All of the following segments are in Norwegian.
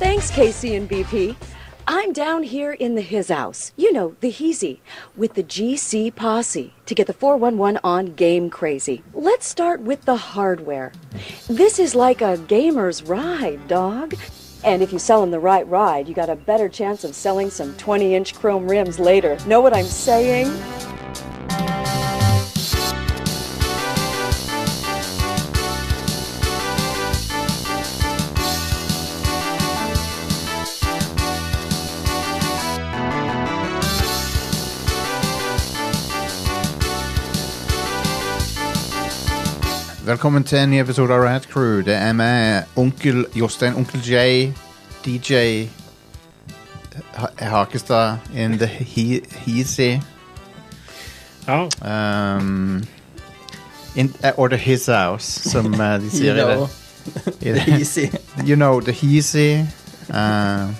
Thanks, Casey and BP. I'm down here in the his house, you know, the Heezy, with the GC posse to get the 411 on game crazy. Let's start with the hardware. This is like a gamer's ride, dog. And if you sell them the right ride, you got a better chance of selling some 20 inch chrome rims later. Know what I'm saying? Velkommen til en ny episode av Rad Crew. Det er meg, onkel Jostein, onkel J, DJ Ha- Hakestad in the he Heezy. Ja, Um, in, eh, or the His House, som eh, de sier No. i det. I det. Easy. You know, the Heezy. Uh,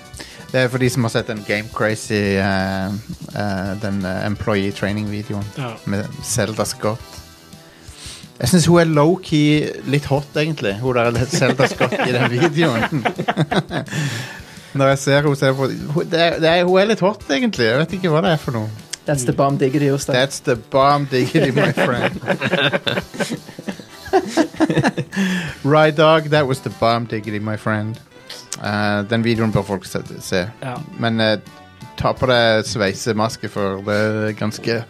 det er for de som har sett den Game Crazy, eh, eh, den eh, employee training-videoen Ja. med Zelda Scott. Jeg syns hun er low-key litt hot, egentlig. Hun der Zelda Scott i den videoen. Når jeg ser henne, ser jeg på hun, det er, det er, hun er litt hot, egentlig. Jeg vet ikke hva det er for noe. That's the bomb digger i Jostein. That's the bomb diggity, my friend. right, dog. That was the bomb diggity, my friend. Eh, den videoen bør folk se. se. Ja. Men eh, ta på deg sveisemaske, for det er ganske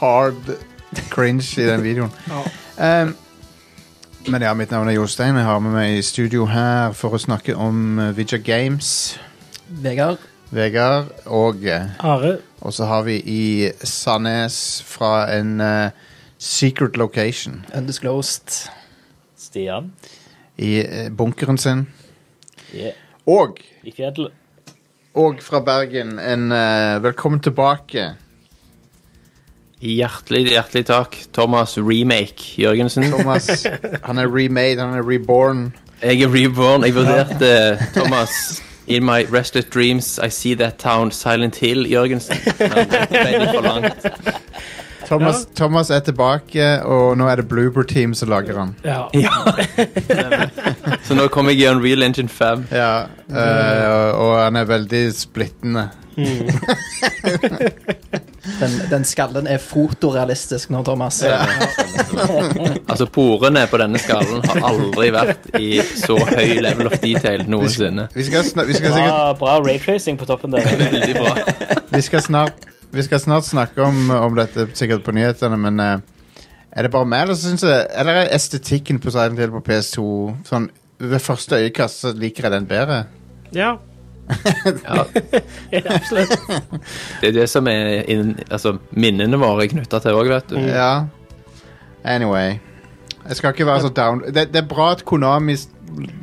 hard cringe i den videoen. ja. Ehm, men ja, mitt navn er Jostein. Jeg har med meg i studio her for å snakke om eh, Vidja Games, Vegard. Vegard, og eh, Are. og så har vi i Sandnes fra en eh, secret location Undisclosed. Stian. i eh, bunkeren sin. Yeah. Og, I fjellet. og fra Bergen en eh, velkommen tilbake. Hjertelig, hjertelig takk. Thomas Remake Jørgensen. Thomas, han er remade, han er reborn. Jeg er reborn. Jeg vurderte eh, Thomas In my restless dreams I see that town Silent Hill Jørgensen. Men det ble litt for langt. Thomas, Thomas er tilbake, og nå er det Bloober Team som lager han. Ja. Så nå kommer jeg i Unreal Engine 5. Ja, eh, og, og han er veldig splittende. Den, den skallen er fotorealistisk nå, Thomas. Altså, porene på denne skallen har aldri vært i så høy level of detail noensinne. Vi skal, sna- vi skal sikkert Bra, bra raytracing på toppen der. Veldig bra. vi skal snart, vi skal snart snakke om, om dette sikkert på nyhetene, men eh, er det bare meg, eller, synes jeg, eller er estetikken på Silent Hill på PS2 sånn, Ved første øyekast så liker jeg den bedre. ja. Ja, Absolutt. det er det som er inn, altså, minnene våre er knytta til òg, vet du. Mm. Ja. Anyway. Jeg skal ikke være så down det, det er bra at Konami s-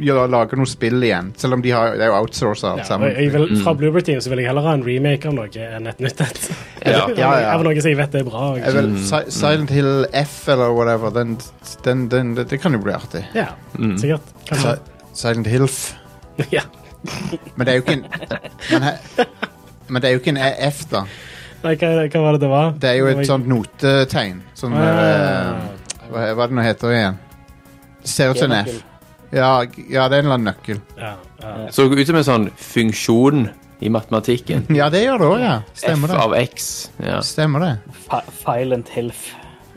gjør- lager noe spill igjen, selv om de har, det er jo outsourcet alt Ja, og jeg sammen. vil, fra Bloober Team så vil jeg heller ha en remake av noe enn et nytt et. Ja. Ja, ja. Av noe som jeg vet er bra. og- Jeg vil, Si- Silent Hill F eller whatever, den, den, den, det, det kan jo bli artig. Ja, Mm. sikkert. Kanskje. Si- Silent Hilf. Ja. Men det er jo ikke en Men, he, men det er jo ikke en E- F, da. Nei, hva, hva var det det var? Det er jo et Nå sånt notetegn. Sånn Ah. eh, hva, hva det nå heter det igjen? Det Ser ut som en F. Ja, g- ja, det er en eller annen nøkkel. Ja, ja. Så ut som en sånn funksjon i matematikken. Ja, det gjør det òg, ja. F Stemmer det. av X. Ja. Stemmer det. Fi- Silent Hilf.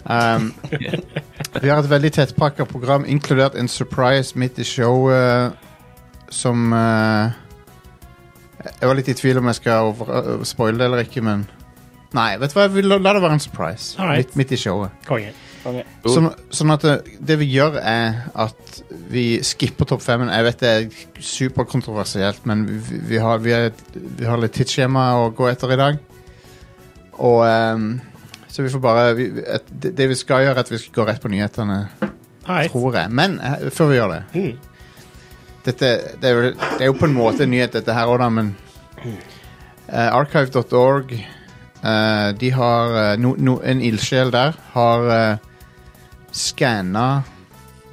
Um, vi har et veldig tettpakka program, inkludert en surprise midt i showet eh, som eh, Jeg var litt i tvil om jeg skal over, øh, spoile det eller ikke, men Nei, vet du hva, vi la, la det være en surprise Alright. midt, midt i showet. Konge. Konge. Jo. Sånn, sånn at det, det vi gjør er at vi skipper topp femmen. Jeg vet det er superkontroversielt, men vi, vi, har, vi, er, vi har litt tidsskjema å gå etter i dag. Og ehm, Så vi får bare vi, vi- et, det, det vi skal gjøre, er at vi skal gå rett på nyhetene, Alright. tror jeg. Men eh, før vi gjør det Mm. dette, det, er jo, det er jo på en måte en nyhet, dette her òg, da, men eh, Archive.org eh, De har eh, no, no, En ildsjel der har uh, skanna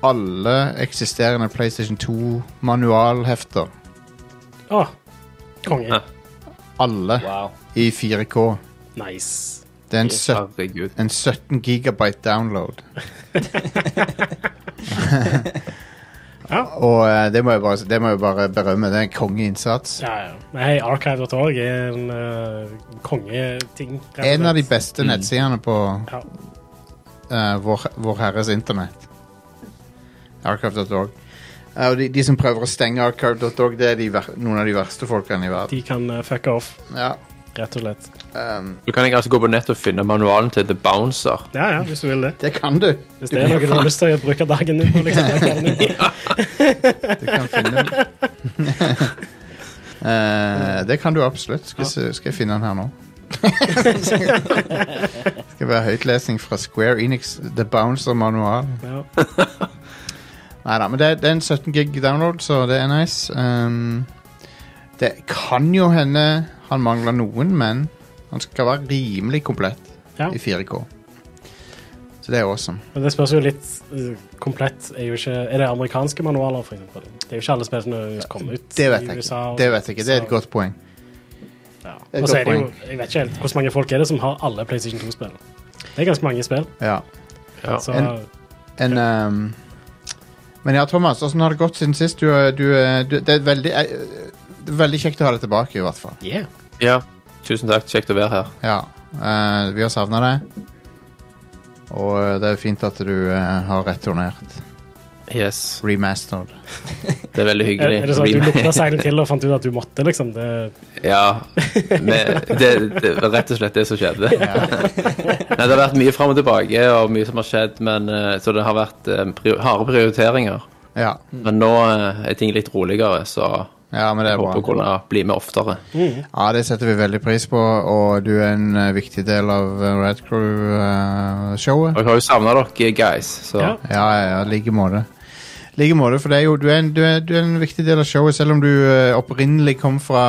alle eksisterende PlayStation 2-manualhefter. Å, konge. Ja. Alle Wow. i 4K. Nice. Det er en, søt, Herregud. en 17 gigabyte download. Ja. Og eh, det, må jeg bare, det må jeg bare berømme. Det er en kongeinnsats. Ja, ja. Nei, archive.org er en eh, kongeting. rett og En av de slett. beste nettsidene på Ja. eh, vår, vår Herres internett. Archive.org. Eh, og de, de som prøver å stenge archive.org, det er de ver noen av de verste folkene i verden. De kan eh, fucke off, Ja. rett og slett. ehm, Du kan jeg altså gå på nett og finne manualen til The Bouncer. Ja, ja, hvis du vil det. det kan du. Hvis det er noe du har lyst til å bruke dagen din på. Liksom, dagen din. Du kan finne den. Eh, det kan du absolutt. Skal, se- skal jeg finne den her nå? skal være høytlesning fra Square Enix The Bouncer-manual. Ja. Nei da, men det, det er en 17 gig download, så det er nice. Ehm, det kan jo hende han mangler noen, men han skal være rimelig komplett Ja. i 4K. Så det er awesome. Men det spørs jo litt eh, komplett. Er, jo ikke, er det amerikanske manualer, for eksempel? Det er jo ikke alle spillene som kommer ut Det vet i jeg ikke. USA. og- Det vet jeg ikke, det er et godt poeng. er Ja. et Og så er godt det jo, jeg vet ikke helt hvor mange folk er det som har alle PlayStation 2-spillene. Det er ganske mange spill. Ja. Ja. Så En- En, ehm, men ja, Thomas, åssen har det gått siden sist? Du, eh, du, eh, du, det er veldig, eh, det er veldig kjekt å ha deg tilbake, i hvert fall. yeah. ja. Tusen takk. Kjekt å være her. Ja, eh, vi har savna deg. Og eh, det er fint at du eh, har returnert. Yes. Remastered. Det er veldig er, hyggelig. er det sånn at du lukta seilen til og fant ut at du måtte, liksom? Det, Ja. Men det, det var rett og slett det som skjedde. Nei, det har vært mye fram og tilbake, og mye som har skjedd, men, eh, så det har vært eh, prior harde prioriteringer. Ja, Men nå eh, er ting litt roligere, så ja men det jeg er håper å bra. kunne bli med oftere. Ja, det setter vi veldig pris på, og du er en eh, viktig del av eh, Red eh, Crew-showet. Og jeg har jo savna dere, guys, så ja. ja, ja, ja, like måte. Like måte, for det er jo, du, er en, du, er, du er en viktig del av showet, selv om du eh, opprinnelig kom fra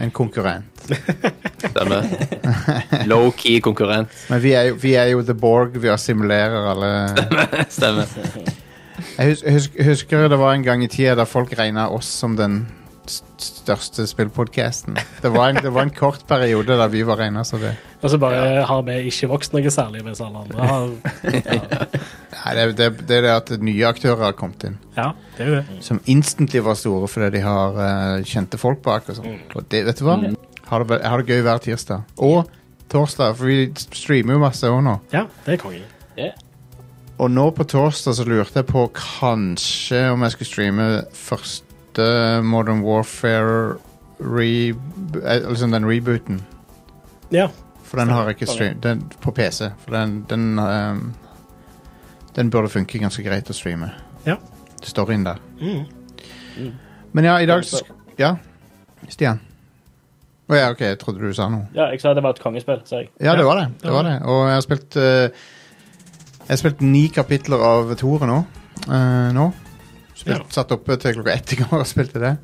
en konkurrent. denne low-key konkurrent Men vi er, jo- vi er jo The Borg, vi assimilerer alle stemmer. Jeg hus- hus- husker det var en gang i tida da folk regna oss som den st- største spillpodkasten. Det, var en- det var en kort periode da vi var regna som det. Og så bare har vi ikke vokst noe særlig, mens alle andre har Nei, det, det, det er det at nye aktører har kommet inn. Ja, det er jo det. Som instantly var store fordi de har eh, kjente folk bak. og sånn. Og det, vet du hva? Har det, ve- har det gøy hver tirsdag. Og torsdag, for vi streamer jo masse òg nå. Ja, det er konge. Ja. Og nå på torsdag så lurte jeg på kanskje om jeg skulle streame første Modern Warfare re, eh, Liksom den rebooten. Ja. For den har jeg ikke streamet den, på PC. For den den, ehm, den burde funke ganske greit å streame. Ja. Storyen der. Men ja, i dag så sk- Ja, Stian. Å ja, OK, jeg trodde du sa noe. ja, jeg sa det var et kongespill, sa jeg. Ja, det var det. det, var det. Og jeg har spilt eh, Jeg har spilt ni kapitler av Tore nå. eh, nå. Spilt, Ja. Satt oppe til klokka ett i går og spilte det.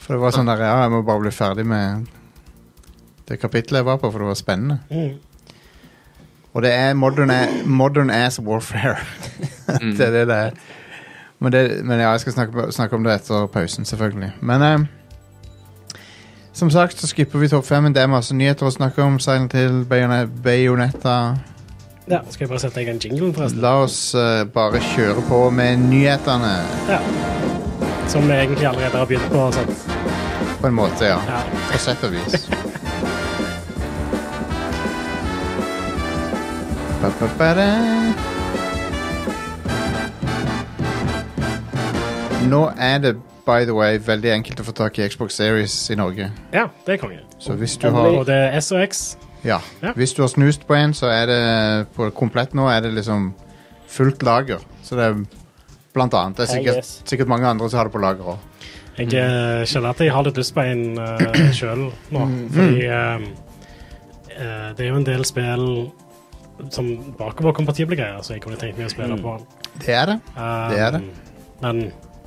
For det var sånn der Ja, jeg må bare bli ferdig med det kapitlet jeg var på, for det var spennende. Mm. Og det er modern, a- modern ass warfare. Mm. det er det det er. Men, det, men ja, jeg skal snakke, snakke om det etter pausen, selvfølgelig. Men eh, som sagt så skipper vi topp fem. men Det er masse nyheter å snakke om. Seilen til Bayonetta. ja. Skal jeg bare sette i gang jinglen, forresten? La oss eh, bare kjøre på med nyhetene, Ja. Som vi egentlig allerede har begynt på. Sånn. på en måte, ja. Ja. På sett og vis. Ba-ba-ba-da. Nå er det, by the way, veldig enkelt å få tak i Xbox Series i Norge. ja, det er konge. Så hvis du har Og det er S og X. Ja. Ja. Hvis du har snust på en, så er det på komplett nå er det liksom fullt lager. Så det er blant annet. Det er Hell sikkert, yes. sikkert mange andre som har det på lager òg. Jeg eh, kjenner at jeg har litt lyst på en uh, sjøl nå, Mm. fordi eh, eh, det er jo en del spill som bakoverkompatible greier, så jeg kunne tenkt meg å spille på den. Det er det. Mm. Det er det. Um, Men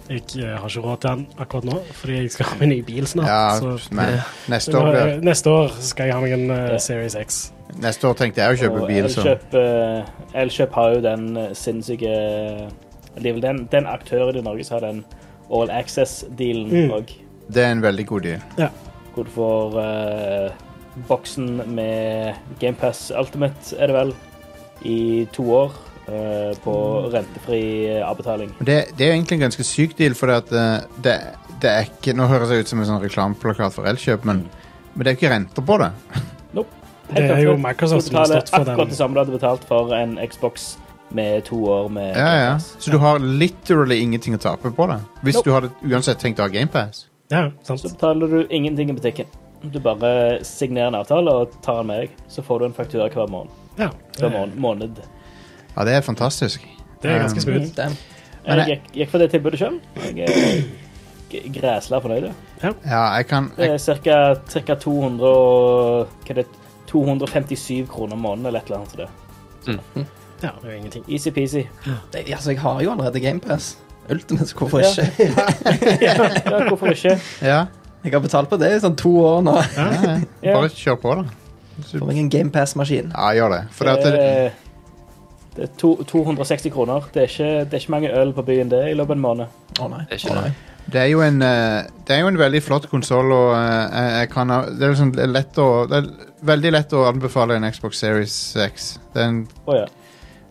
jeg eh, har ikke råd til den akkurat nå, fordi jeg skal ha meg ny bil snart. Ja, så men neste år, Nå, eh, blir- neste år skal jeg ha meg en eh, Series X. neste år tenkte jeg å kjøpe Og bil, så Elkjøp, eh, Elkjøp har jo den eh, sinnssyke Det er vel den, den aktøren i Norge som har den All Mm. Access-dealen òg. det er en veldig god deal. Ja. Hvor du får eh, boksen med GamePass Ultimate, er det vel, i to år. eh, på Mm. rentefri eh, avbetaling. Og Det, det er jo egentlig en ganske syk deal, for at, eh, det, det er ikke Nå høres det ut som en sånn reklameplakat for Elkjøp, men, men det er jo ikke renter på det. Nope. Det er jo Microsoft som har stått for den. Akkurat det samme du hadde betalt for en Xbox med to år med Ja, ja. Gamepass. Så du har literally ingenting å tape på det. Hvis Nope. du hadde uansett tenkt å ha GamePass. Ja, sant. Så betaler du ingenting i butikken. Du bare signerer en avtale og tar den med deg. Så får du en faktura hver måned. Ja, Hver det, mån- måned. Ja, det er fantastisk. det er ganske smooth. Damn. Men Jeg gikk, gikk for det tilbudet sjøl. Jeg er g- græsla fornøyd. jeg. Ja, jeg kan Det jeg, er cirka, cirka 200 og Hva er det? 257 kroner måneden eller et eller annet. sånt. Ja, det er jo ingenting. Easy-peasy. Det, altså, jeg har jo allerede GamePass. Ultimate, så hvorfor ikke? Ja, hvorfor ikke? ja, Jeg har betalt på det i sånn to år nå. Ja. Bare kjør på, da. Får meg en GamePass-maskin. Ja, gjør det. For det at det, det, er- det er to, 260 kroner. Det er, ikke, det er ikke mange øl på byen det i løpet av en måned. Å nei. Det Å, er ikke nei. det er jo en eh, Det er jo en veldig flott konsoll, og eh, jeg, jeg kan ha- Det er liksom lett å Det er veldig lett å anbefale en Xbox Series X. Det er, en, Å ja.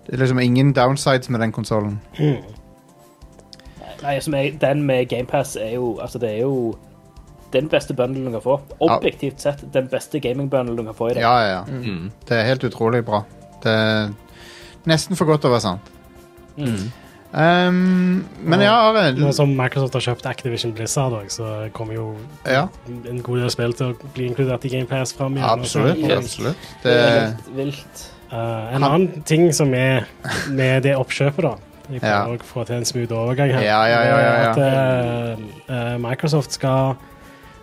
det er liksom ingen downsides med den konsollen. Nei, altså, med- den med GamePass er jo Altså, det er jo den beste bundlen du kan få. Objektivt sett den beste gamingbundlen du kan få i det. Ja, ja, ja. Det er helt utrolig bra. Det er nesten for godt til å være sant. Um, men ja, Nå Are. som Microsoft har kjøpt Activision Blizzard, også, så kommer jo Ja, en god del spill til å bli inkludert i GamePass fram igjen. altså. absolutt. Og så- Yes. absolutt. Det Det, er helt vilt. Eh, en Han- annen ting som er med det oppkjøpet, da Jeg Ja. prøver å få til en smooth overgang her. Ja, ja, ja, ja, ja. det er At eh, eh, Microsoft skal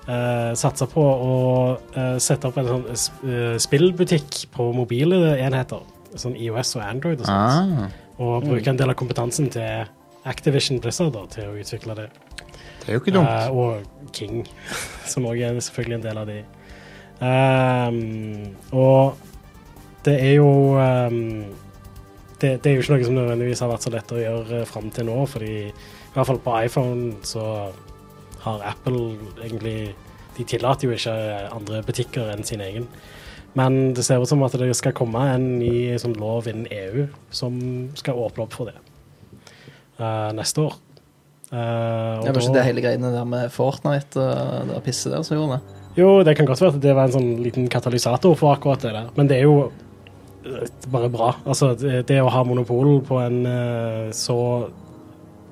eh, satse på å eh, sette opp en sånn sp- eh, spillbutikk på mobile enheter. Sånn IOS og Android og sånt. ah, Og bruke en del av kompetansen til Activision Blizzard da, til å utvikle det. det er jo ikke dumt. Eh, og King, som også er selvfølgelig en del av de. Ehm, og det er jo ehm, det, det er jo ikke noe som nødvendigvis har vært så lett å gjøre fram til nå, fordi i hvert fall på iPhone så har Apple egentlig De tillater jo ikke andre butikker enn sin egen. Men det ser ut som at det skal komme en ny sånn, lov innen EU som skal åpne opp for det eh, neste år. Eh, og Det var ikke da- det hele greiene der med Fortnite og det der pisset der som gjorde det. jo, det kan godt være at det var en sånn liten katalysator for akkurat det der, men det er jo eh, bare bra. Altså, det, det å ha monopol på en eh, så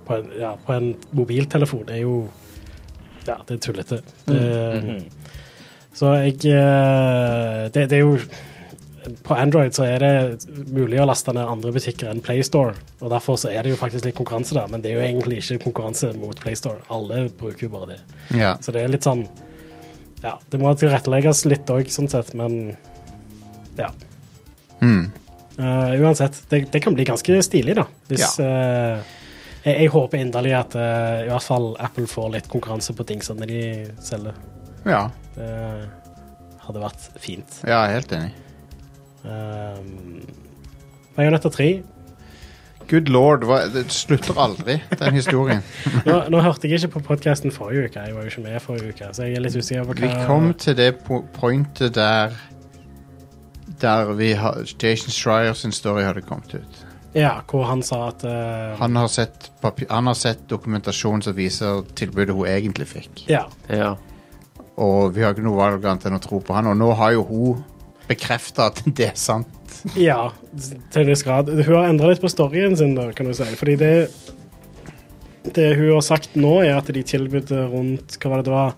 på en, ja, på en mobiltelefon er jo Ja, det er tullete. Det- Så jeg eh, det, det er jo På Android så er det mulig å laste ned andre butikker enn PlayStore, og derfor så er det jo faktisk litt konkurranse der, men det er jo egentlig ikke konkurranse mot PlayStore. Alle bruker jo bare det. Ja. Så det er litt sånn Ja, det må tilrettelegges litt òg, sånn sett, men ja. Mm. Eh, uansett, det, det kan bli ganske stilig, da. Hvis eh, jeg, jeg håper inderlig at eh, i hvert fall Apple får litt konkurranse på dingsene de selger. ja. Det hadde vært fint. Ja, jeg er helt enig. Um, Bajonetta 3. Good lord, hva, det slutter aldri, den historien. Nå, nå hørte jeg ikke på podkasten forrige uke, jeg var jo ikke med forrige uke, så jeg er litt usikker på hva Vi kom til det po pointet der Der vi har, Jason Schreier sin story hadde kommet ut. Ja, hvor han sa at eh, Han har sett, papi- han har sett dokumentasjon som viser tilbudet hun egentlig fikk. Ja. Ja. Og vi har ikke noe valg annet enn å tro på han. Og nå har jo hun bekrefta at det er sant. Ja, til en viss grad. Hun har endra litt på storyen sin, da, kan du si. Fordi det, det hun har sagt nå, er at de tilbød rundt hva var det det var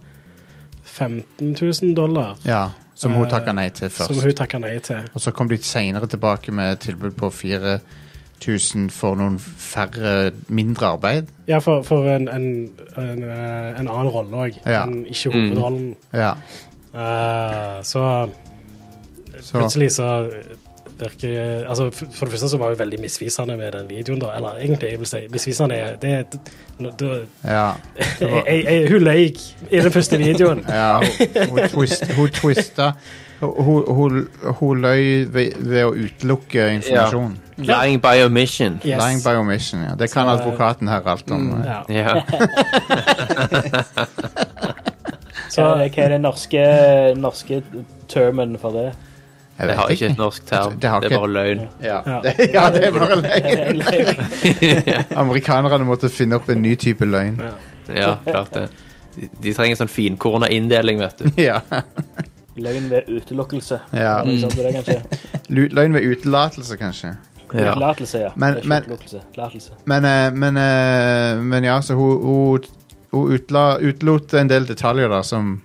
15 000 dollar, Ja, Som hun Eh, takka nei til som hun først. takka nei til. Og så kom de seinere tilbake med et tilbud på 4000 for noen færre, mindre arbeid. Ja, for, for en, en, en, eh, en annen rolle òg, Ja. men ikke hovedrollen. Ja, Eh, så så plutselig så virker altså, f- For det første så var hun veldig misvisende med den videoen, da. Eller egentlig, jeg vil si, misvisende er det, det, det Ja. jeg, jeg, jeg, Hun løy i den første videoen. Ja, hun, hun, twist, hun twista Hun, hun, hun løy ved, ved å utelukke informasjon. Lying by omission. Yes. Lying by omission, ja. Det kan Så, eh, advokaten her alt om. eh. Ja. Ja. Så, Hva er, hva er den norske, norske termen for det? Ja. Jeg Det vet har ikke et norsk term. Det Det har er ikke- bare løgn. Ja. Ja. Det, ja, det er bare løgn. Eller- Amerikanerne måtte finne opp en ny type løgn. Ja, klart det. De, de trenger sånn finkorna inndeling, vet du. Ja. Løgn ved utelukkelse. Ja. Noe sånt er det, kanskje. Lu- Løgn ved utelatelse, kanskje. Ja. Utelatelse, ja. Men- Det er ikke men- utelukkelse. Latelse. Men, eh, men, eh, men ja, så hun, hun, hun utla, utelot en del detaljer da, som,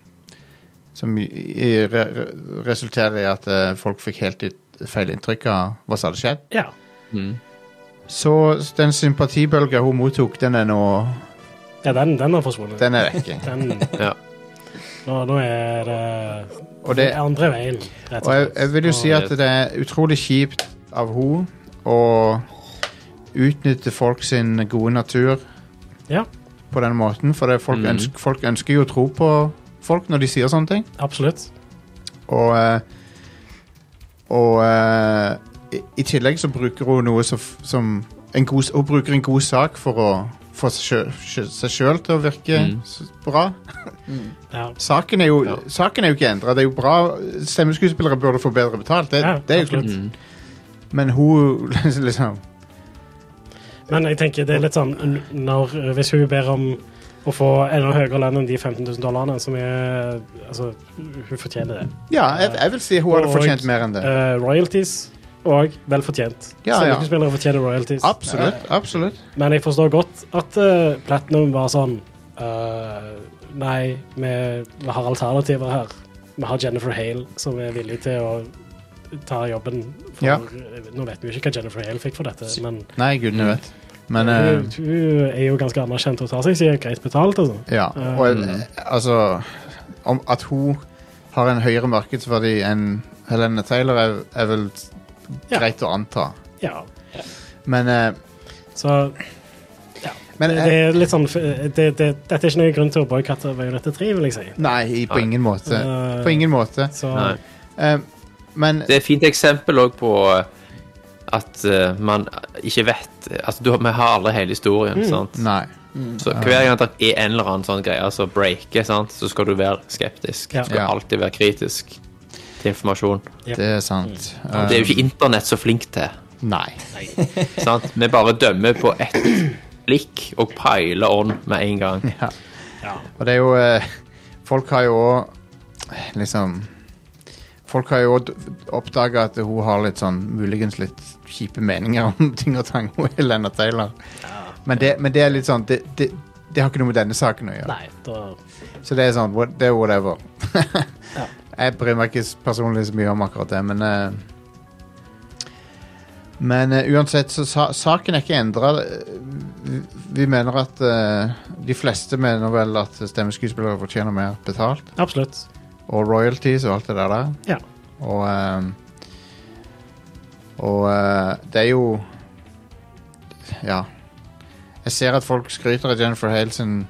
som i, i, re, re- resulterer i at eh, folk fikk helt ut, feil inntrykk av hva som hadde skjedd. Ja. Mm. Så den sympatibølga hun mottok, den er nå ja, den, den har forsvunnet. Den er vekke. Den, Ja. nå, nå er det Og det, andre veien, rett Og jeg, jeg vil jo si at det er utrolig kjipt av hun å utnytte folk sin gode natur Ja. på den måten, for det er folk, Mhm. ønsker, folk ønsker jo å tro på folk når de sier sånne ting. Absolutt. Og, eh, og eh, i, i tillegg så bruker hun noe som, f- som en god, s- Hun bruker en god sak for å få seg sjø- sjø- seg sjøl til å virke Mhm. s- bra. Ja. Saken er jo, Ja. saken er jo ikke endra. Det er jo bra Stemmeskuespillere burde få bedre betalt. Det, Ja, det er jo absolutt. klart. Mm. Men hun liksom Men jeg tenker det er litt sånn når, Hvis hun ber om å få enda høyere lønn enn de 15 000 dollarene, som er Altså, hun fortjener det. Ja, jeg, jeg vil si hun hadde Og- fortjent mer enn det. Eh, royalties og vel fortjent. Ja, ja. Stemmeskuespillere fortjener royalties. Absolutt. absolutt Men jeg forstår godt at eh, Platinum var sånn eh, Nei, vi, vi har alternativer her. Vi har Jennifer Hale som er villig til å ta jobben for Ja. Nå vet vi jo ikke hva Jennifer Hale fikk for dette, men Nei, gudene vet. Men hun, eh, hun er jo ganske anerkjent og tar seg sikkert greit betalt. Altså. ja. Og jeg, altså om At hun har en høyere markedsverdi enn Helene Taylor, er, er vel Ja. greit å anta. Ja. Men, eh, Så men eh, det, det jeg, er litt sånn det, det, Dette er ikke noen grunn til å boikotte Violette 3, vil jeg si. Nei, i- på Nei. ingen måte. Eh, På ingen måte. Så Nei. Eh, men Det er et fint eksempel òg på eh, at eh, man ikke vet Altså, du, vi har aldri hele historien, sant? Mm. Nei. Så hver gang det er en eller annen sånn greie som breaker, sant, så skal du være skeptisk. Ja. Du skal Ja. alltid være kritisk til informasjon. Ja. Det er sant. Eh, Det er jo ikke internett så flink til. Nei. Sant? Vi bare dømmer på ett blikk og peiler on med en gang. Ja. Ja. Og det er jo eh, Folk har jo òg liksom Folk har jo òg oppdaga at hun har litt sånn muligens litt kjipe meninger om ting og tang. hun Helena Taylor. Men, det, men det er litt sånn det, det, det har ikke noe med denne saken å gjøre. Nei, da Så det er sånn what, Det er whatever. Jeg bryr meg ikke personlig så mye om akkurat det, men eh, Men eh, uansett, så sa, saken er ikke endra. Vi, vi mener at eh, De fleste mener vel at stemmeskuespillere fortjener mer betalt. Absolutt. Og royalties og alt det der der. Ja. Og eh, Og eh, det er jo Ja. Jeg ser at folk skryter av Jennifer Hale sin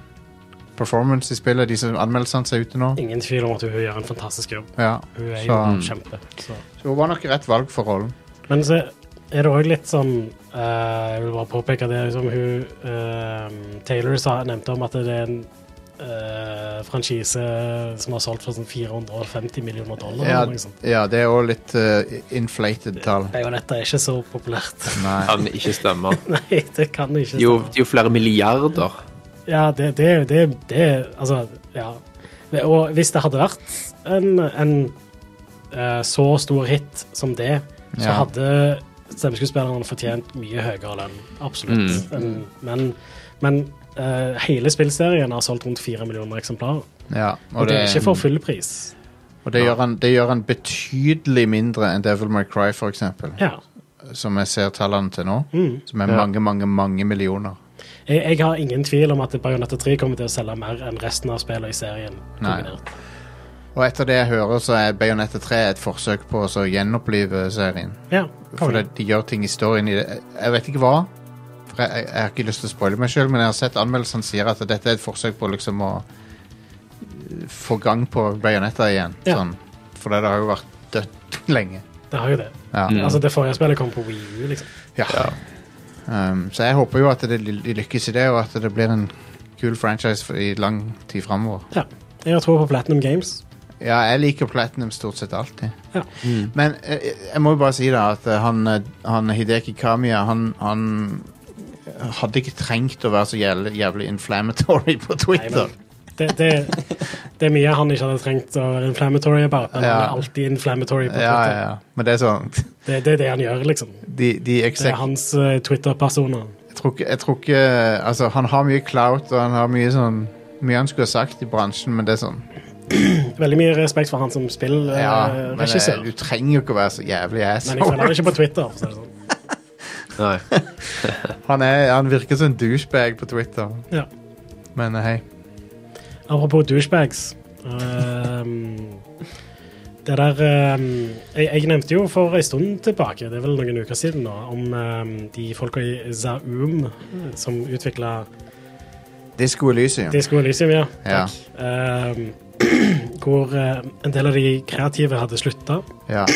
performance i spillet. De som anmeldelsene ser ute nå. Ingen tvil om at hun gjør en fantastisk jobb. Ja. Hun er jo Så- en kjempe. Så. Så hun var nok rett valg for rollen. Men så er det òg litt sånn eh, Jeg vil bare påpeke det som hun eh, Taylor sa, nevnte om at det er en eh, franchise som har solgt for sånn 450 millioner dollar. Ja, eller noe sånt. ja det er òg litt eh, inflated tall. Bayonetta er ikke så populært. Nei. Kan ikke stemme. Nei, det kan ikke Jo, stemme. jo flere milliarder. Ja, det, det, det, det Altså, ja. Det- Og hvis det hadde vært en, en eh, så stor hit som det, så Ja. hadde stemmeskuespillerne fortjent mye høyere lønn. Absolutt. En- Men, men eh, hele spillserien har solgt rundt fire millioner eksemplarer. Ja, Og, det er ikke for full pris. og det, gjør han, det gjør han betydelig mindre enn Devil May Cry, for eksempel. Ja. Som jeg ser tallene til nå. Mm. Som er Ja. mange, mange, mange millioner. Jeg, jeg har ingen tvil om at Bajonetta 3 kommer til å selge mer enn resten av spillene i serien. Nei. kombinert. Og etter det jeg hører, så er Bayonetta 3 et forsøk på å så gjenopplive serien. Ja, For konge. det, de gjør ting i storyen i det. Jeg vet ikke hva. For jeg, jeg, jeg har ikke lyst til å spoile meg sjøl, men jeg har sett anmeldelsene sier at dette er et forsøk på liksom å eh, få gang på Bayonetta igjen. Ja. Sånn. For det har jo vært dødt lenge. Det har jo det. Ja. Altså, det forrige spillet kom på Wii U, liksom. Ja. Um, så jeg håper jo at det, de lykkes i det, og at det blir en kul franchise for, i lang tid framover. Ja. Jeg har tro på Platinum Games. Ja, jeg liker Platinum stort sett alltid. Ja. Men eh, jeg må jo bare si da at eh, han, eh, han Hideki Kamiya, han, han eh, hadde ikke trengt å være så jævlig, jævlig inflammatory på Twitter. Det, det, det er mye han ikke hadde trengt å være inflammatory about, men han Ja. er alltid inflammatory. På ja, ja, Twitter. ja. Men det er sånn Det, det er det han gjør, liksom. De, de Det er exec, hans eh, Twitter-personer. jeg, tror ikke, jeg tror ikke Altså, han har mye clout, og han har mye sånn mye han skulle ha sagt i bransjen, men det er sånn Veldig mye respekt for han som Ja, men eh, spillregissør. du trenger jo ikke å være så jævlig men jeg følger asshole. han ikke på Twitter. for å si det sånn. Nei. Han, er, han virker som en douchebag på Twitter, Ja. men eh, hei. Apropos douchebags ehm, Det der ehm, jeg, jeg nevnte jo for en stund tilbake, det er vel noen uker siden nå, om ehm, de folka i Zaum eh, som utvikla Disko Elysium. Disco Elysium, ja. Ja. Ehm, hvor eh, en del av de kreative hadde slutta. Ja.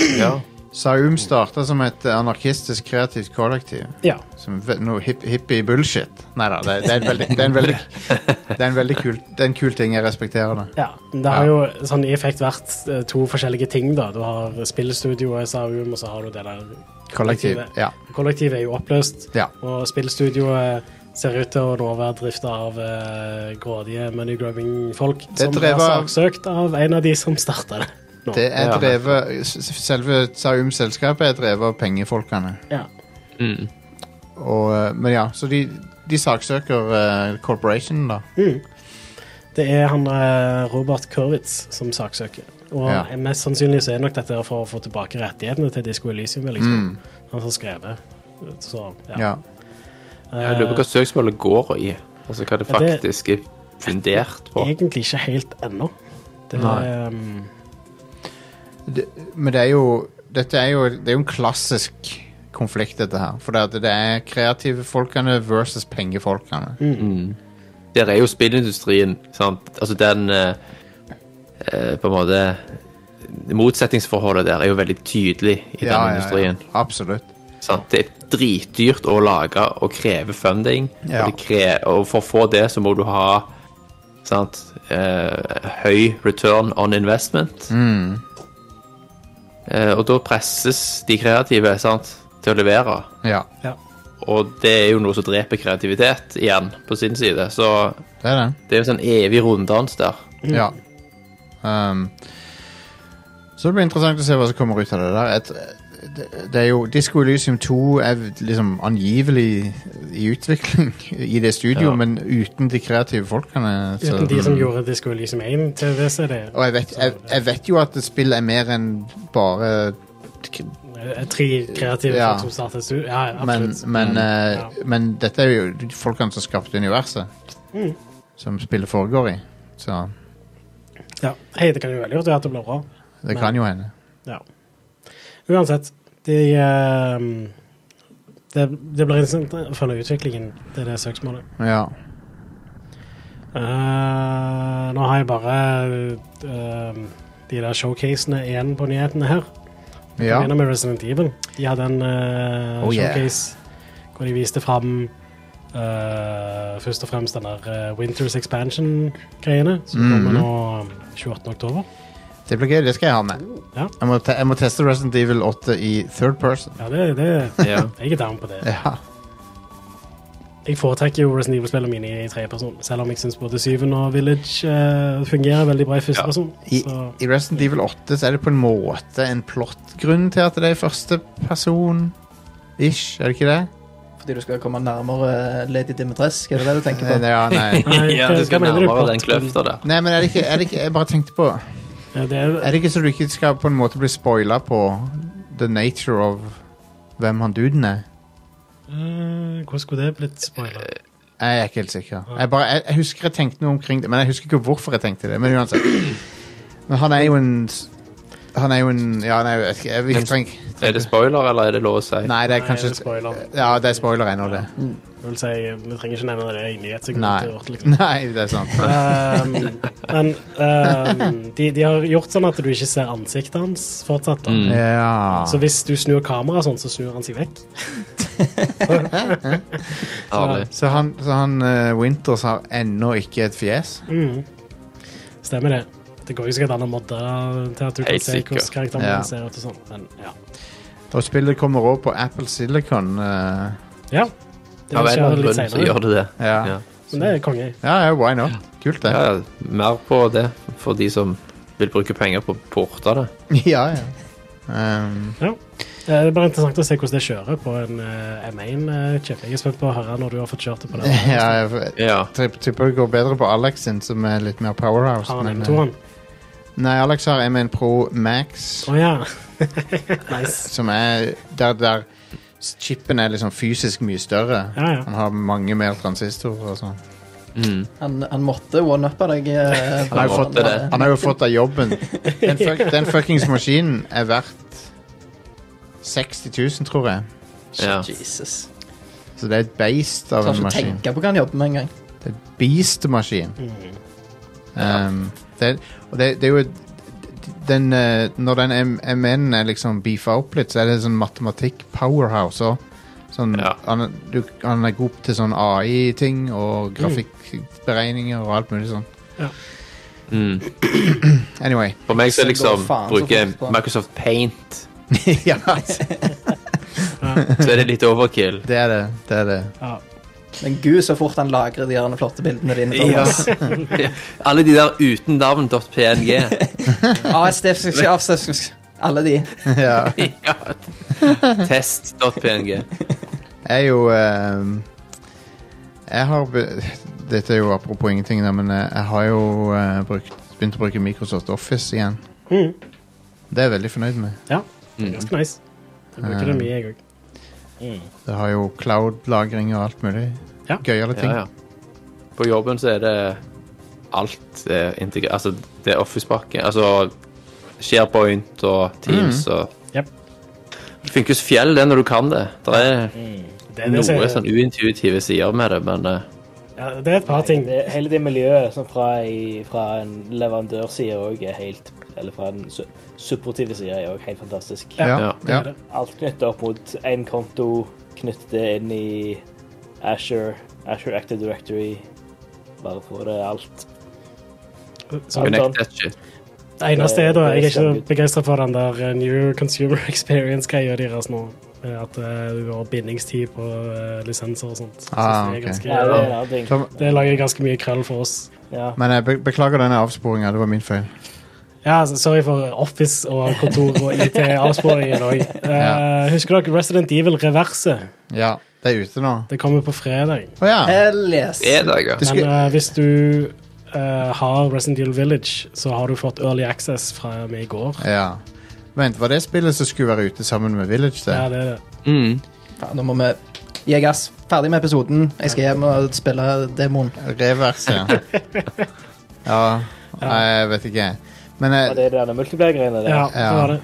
Saum starta Uhm som et anarkistisk kreativt kollektiv. Ja. Som ve- noe hipp, hippie bullshit. Nei da, det, det er en veldig, det er en veldig, det er en veldig kul, det er en kul ting. Jeg respekterer det. ja. Det har Ja. jo sånn i effekt vært eh, to forskjellige ting, da. Du har spillstudioet Zaum, og så har du det der Kollektiv. Ja. Kollektivet er jo oppløst, Ja. og spillstudioet ser ut til å nå være drifta av eh, grådige moneygrabbing-folk som drevet er av- saksøkt av en av de som starta det. Nå. Det er Ja. drevet, s- s- selve Saum-selskapet er drevet av pengefolkene. Ja. Mm. Og, eh, men ja, så de, de saksøker eh, corporationen, da. Mm. Det er han eh, Robert Kurwitz som saksøker. Og eh, Ja. mest sannsynlig så er nok dette for å få tilbake rettighetene til Disco Elysium. Liksom. Mm. Han som skrevet. Så, ja. Ja. Jeg lurer på hva søksmålet går i. Altså hva det Ja, det- faktisk er fundert på. Eh, Egentlig ikke helt ennå. Det er, Nei. ehm, Det, men det er jo Dette er jo, det er jo en klassisk konflikt, dette her. For det, at det er kreative folkene versus pengefolkene. Mm. Der er jo spillindustrien, sant? Altså den eh, eh, På en måte Motsetningsforholdet der er jo veldig tydelig i Ja, ja, den industrien. Ja, absolutt. Sant? Det er dritdyrt å lage og kreve funding. Ja. Og, det kre og for å få det så må du ha sant? Eh, høy return on investment. Mm. Eh, og da presses de kreative sant? til å levere. Ja, ja. Og det er jo noe som dreper kreativitet igjen, på sin side. Så det er det. det er jo en sånn evig runddans der. Ja. Um, så det blir interessant å se hva som kommer ut av det der. Et, det, det er jo Disco Elysium 2 er liksom angivelig i utvikling i det studio, Ja. Mm. men uten de kreative folkene. så- Uten de som gjorde Disco Elysium 1 til WCD. Og jeg vet, jeg, jeg vet jo at spill er mer enn bare Eh, Tre kreative Ja. folk som startet studio. Ja, ja, Men, absolutt. Mm. men, eh, Ja. men dette er jo folkene som skapte universet, Mm. som spillet foregår i. Så Ja. Hei, det kan jo veldig godt være at det blir bra. det kan jo hende. Ja. Uansett, de eh, det, det blir interessant å følge utviklingen til det søksmålet. Ja. Eh, nå har jeg bare eh, de der showcasene igjen på nyhetene her. Jeg ja. begynner med Resident Evil. De hadde en eh, Oh, yeah. showcase hvor de viste fram eh, først og fremst den der eh, Winters Expansion-greiene, som Mm-hmm. kommer nå ehm, 28. oktober. Det blir gøy, det skal jeg ha med. Ja. Jeg, må te jeg må teste Resident Evil 8 i third person. Ja, det, det, Ja. jeg er down på det. Ja, Jeg foretrekker jo Resident Evil-spillene mine i tredjeperson, selv om jeg syns både Syven og Village eh, fungerer veldig bra i Ja. førsteperson. I, person I Resident Evil 8 så er det på en måte en plottgrunn til at det er første person Ish, er det ikke det? Fordi du skal komme nærmere eh, Lady Dimitrescu, er det det du tenker på? Nei, Eh, ja, nei. Nei, Ja, hva- du skal hva mener du, nærmere den plot- kløfta der. nei, men er det ikke, er det ikke Jeg bare tenkte på Ja, eh, det er, Er det ikke så du ikke skal på en måte bli spoila på the nature of hvem han duden er? Eh, hvordan skulle det blitt spoila? Jeg er ikke helt sikker. Jeg, bare, jeg, jeg husker jeg tenkte noe omkring det, men jeg husker ikke hvorfor jeg tenkte det. Men uansett. Men han er jo en s- Han er jo en Ja, nei, jeg vet ikke. Jeg, vi trenger Er det spoiler, eller er det lov å si? Nei, det er Nei, det er kanskje spoiler. Ja, det er spoiler ennå, det. Jeg vil si, eh, vi trenger ikke nevne det i Nei. nyhetssekundet. Liksom. Nei, det er sant. Um, men ehm, de, de har gjort sånn at du ikke ser ansiktet hans fortsatt. Da. Mm. Ja. Så hvis du snur kameraet sånn, så snur han seg vekk. Herlig. Så han, så han eh, Winters har ennå ikke et fjes? Mm. Stemmer det. Det går jo sikkert an å modde det til at du kan Helt se hvordan sikkert. karakterene Ja. ser ut og sånn, men ja. Da spillet kommer over på Apple Silicon eh, Ja, det Av en eller skjer annen litt grunn så senere, gjør du det. ja. Ja. Ja. men det er konge. ja, why not? Kult, det. Ja, ja, mer på det for de som vil bruke penger på å porte det. ja, ja. Um, Eh, Det er bare interessant å se hvordan det kjører på en eh, M1 eh, chip. Jeg er spent på å høre når du har fått kjørt det på den. ja, jeg Ja. tripp- tipper det går bedre på Alex sin, som er litt mer powerhouse. Har han men, eh, M2-en? nei, Alex har M1 Pro Max, Å ja. nice. som er der, der s- chipen er liksom fysisk mye større. Ja, ja. Han har mange mer transistorer og sånn. Mm. Han, han måtte one-uppe deg. eh, Han har jo Han fått, måtte det. han har jo fått av jobben. Den, fuck, den fuckings maskinen er verdt 60 000, tror jeg. Ja. Jesus. Så det er et beist av Klarer en ikke å maskin. tenke på hva han jobber med engang. Det er et beast-maskin. Mm. Um, det, og det, det er jo et- den, eh, Når den M- MN er liksom beefa opp litt, så er det sånn matematikk-powerhouse òg. Sånn, Ja. han, er- du, han er god til sånn AI-ting og grafikkberegninger og alt mulig sånn. Mm. Anyway. For meg så er det liksom Det går faen så bruke fort på. Microsoft Paint, ja, altså, så er det litt overkill. det er det. Det er det. Ja. Men gud, så fort han lagrer de der flotte bildene dine. Ja. Thomas. Alle de der uten navn.png. ASDF, ASDF, alle de. ja. Ja. Test.png. Jeg er jo ehm, Jeg har be- Dette er jo apropos ingenting, da, men eh, jeg har jo eh, brukt, begynt å bruke Microsoft Office igjen. Mm. Det er jeg veldig fornøyd med. ja, Mm. ganske nice. Jeg bruker det mye, jeg òg. Det har jo cloud-lagring og alt mulig. Ja. Gøyale ting. Ja, ja. På jobben så er det alt er integrert. Altså, det er Office-pakke. Altså SharePoint og Teams og Jep. Det funker som fjell, det, når du kan det. Det er Det, er det, som noe er- sånn uintuitive sider med det, men eh, ja, det er et par ting. Det, hele det miljøet som fra, i, fra en leverandørside òg er helt Eller fra en su supportive side er òg helt fantastisk. Ja, Ja. Det ja. er det. Alt knyttet opp mot én konto, knyttet det inn i Asher, Asher Active Directory. Bare få det alt. Så, Men- connect that shit. det eneste er da, jeg er Det er ikke begeistra for den der eh, New Consumer Experience-greia deres nå. Eh, At eh, du har bindingstid på eh, lisenser og sånt. Jeg Ah, synes det, ok. er Nei, det er en ganske, annen ting. Tom, det lager ganske mye krøll for oss. Ja. men jeg be beklager denne avsporinga. Det var min feil. Ja, altså, sorry for Office og kontor og IT-avsporingen òg. Ja. Eh, Husker dere Resident Evil Reverse? Ja, det er ute nå. Det kommer på fredag. Å Eh. ja. Hell yes. Det er det, ja. Det Men skulle, eh, hvis du eh, har Resident Evil Village, så har du fått Early Access fra meg i går. ja. Vent, var det spillet som skulle være ute sammen med Village? Det? Ja, det er det. Mm. Ja, nå må vi gi gass. Ferdig med episoden. Jeg skal hjem og spille demoen. Revers, ja. ja. Nei, jeg vet ikke. Men eh, Og jeg, det er denne multiplayer-greiene der. Ja, det var det.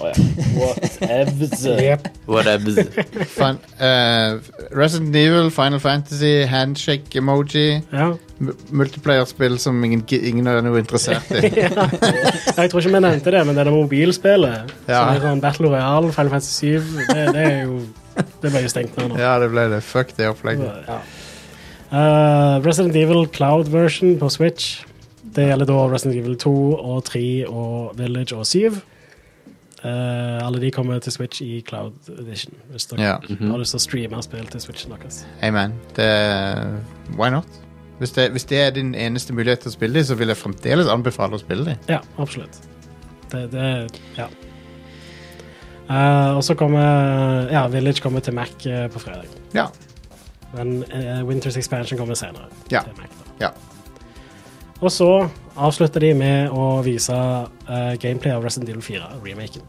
Å ja. Whatevs. Jep. Whatever. fan, eh, Resident Evil, Final Fantasy, handshake-emoji Ja. m- Multiplayer-spill som ingen, ingen er noe interessert i. Jeg tror ikke vi nevnte det, men det er det mobilspillet. Ja. Som er sånn Battle Royale, Final Fantasy 7, det, det er jo Det ble jo stengt ned nå. Ja, det ble det. Fuck det opplegget. Ja. Eh, Resident Evil Cloud version på Switch. Det gjelder da Resident Evil 2 og 3 og Village og 7. Eh, alle de kommer til Switch i Cloud Edition, hvis dere Mhm. Ja. har lyst til å streame spill til Switchen deres. Amen. Det, why not? Hvis det, hvis det er din eneste mulighet til å spille dem, så vil jeg fremdeles anbefale å spille dem. Ja, absolutt. Det, det ja. Eh, og så kommer Ja, Village kommer til Mac eh, på fredag. Ja. Men eh, Winters Expansion kommer senere. Ja. til Mac, da. ja. Og så avslutter de med å vise eh, gameplay av Resident Evil 4, remaken.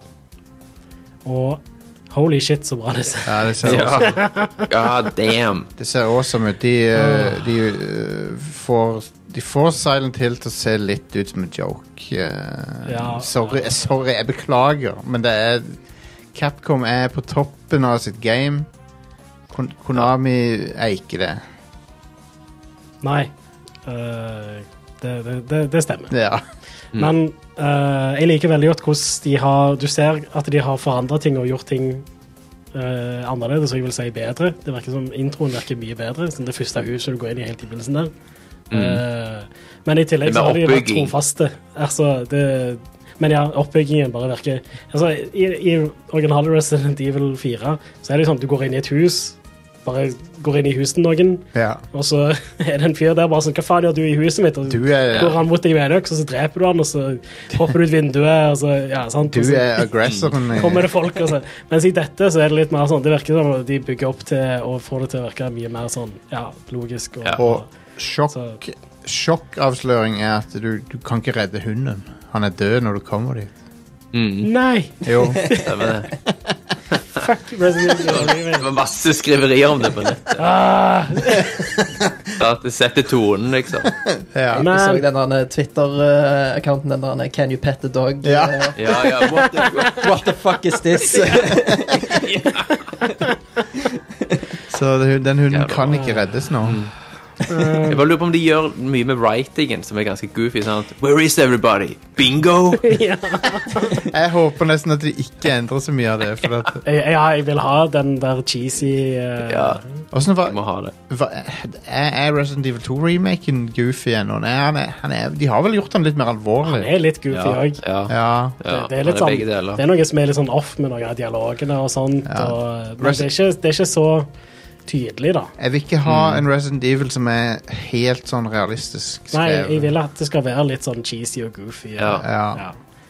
Og holy shit, så bra det ser ja det, ser, Ja. God damn. det ser awesome ut. De, Ah. eh, de, eh, får, de får Silent Hill til å se litt ut som en joke. Eh, Ja. Sorry, eh, sorry, jeg beklager, men det er Capcom er på toppen av sitt game. Kon Konami er ikke det. Nei. eh, det, det, det, det stemmer. Ja. Mm. Men eh, jeg liker veldig godt hvordan de har Du ser at de har forandra ting og gjort ting eh, annerledes, og jeg vil si bedre. Det virker som Introen virker mye bedre, som det første huset du går inn i helt i begynnelsen der. Eh, Men i tillegg Mm. Det så med har de jo vært oppbygging. trofaste. Altså, det, men ja, oppbyggingen bare virker altså, i, I originale Resident Evil 4 så er det jo sånn du går inn i et hus, bare går inn i huset til noen, Ja. og så er det en fyr der bare sånn Hva faen gjør du i huset mitt? Og så Du er, går han mot deg med en øks, og så dreper du han, og så hopper du ut vinduet, og så ja, sant? du Og så- er aggressoren. eh, i- kommer det folk. Altså. Mens i dette så er det litt mer sånn Det virker som om de bygger opp til og får det til å virke mye mer sånn ja, logisk. Og, Ja. Og sjokk, sjokkavsløring er at du, du kan ikke redde hunden. Han er død når du kommer dit. Mm, Nei! Jo. stemmer det. Fuck Resident Evil. Det var masse skriverier om det på nettet. Ah, Ja, At det setter tonen, liksom. Ja. Jeg så men den der Twitter-accounten, den der Can you pet the dog? Ja. Eh, Ja, ja, what the fuck? What the fuck is this? Så det- den hunden Jævla. kan ikke reddes nå. Jeg bare lurer på om de gjør mye med writingen, som er ganske goofy. Sånn at, Where is everybody? Bingo? ja. Jeg håper nesten at de ikke endrer så mye av det. For at, jeg, ja, jeg vil ha den der cheesy eh, Ja, Hvordan vi må var, ha det. var er, er Resident Evil 2-remaken goofy ennå? Nei, han er, han er, de har vel gjort han litt mer Han alvorlig? er litt goofy Ja, òg. ja, ja. Ja. Det, det er litt han sånn, begge deler. det er noe som er litt sånn off med noen av dialogene og sånt. Ja. Og, men det er, ikke, det er ikke så tydelig, da. Jeg vil ikke Mm. ha en Resident Evil som er helt sånn realistisk Nei, jeg skrevet. vil at det skal være litt sånn cheesy og goofy. og- Ja. Ja.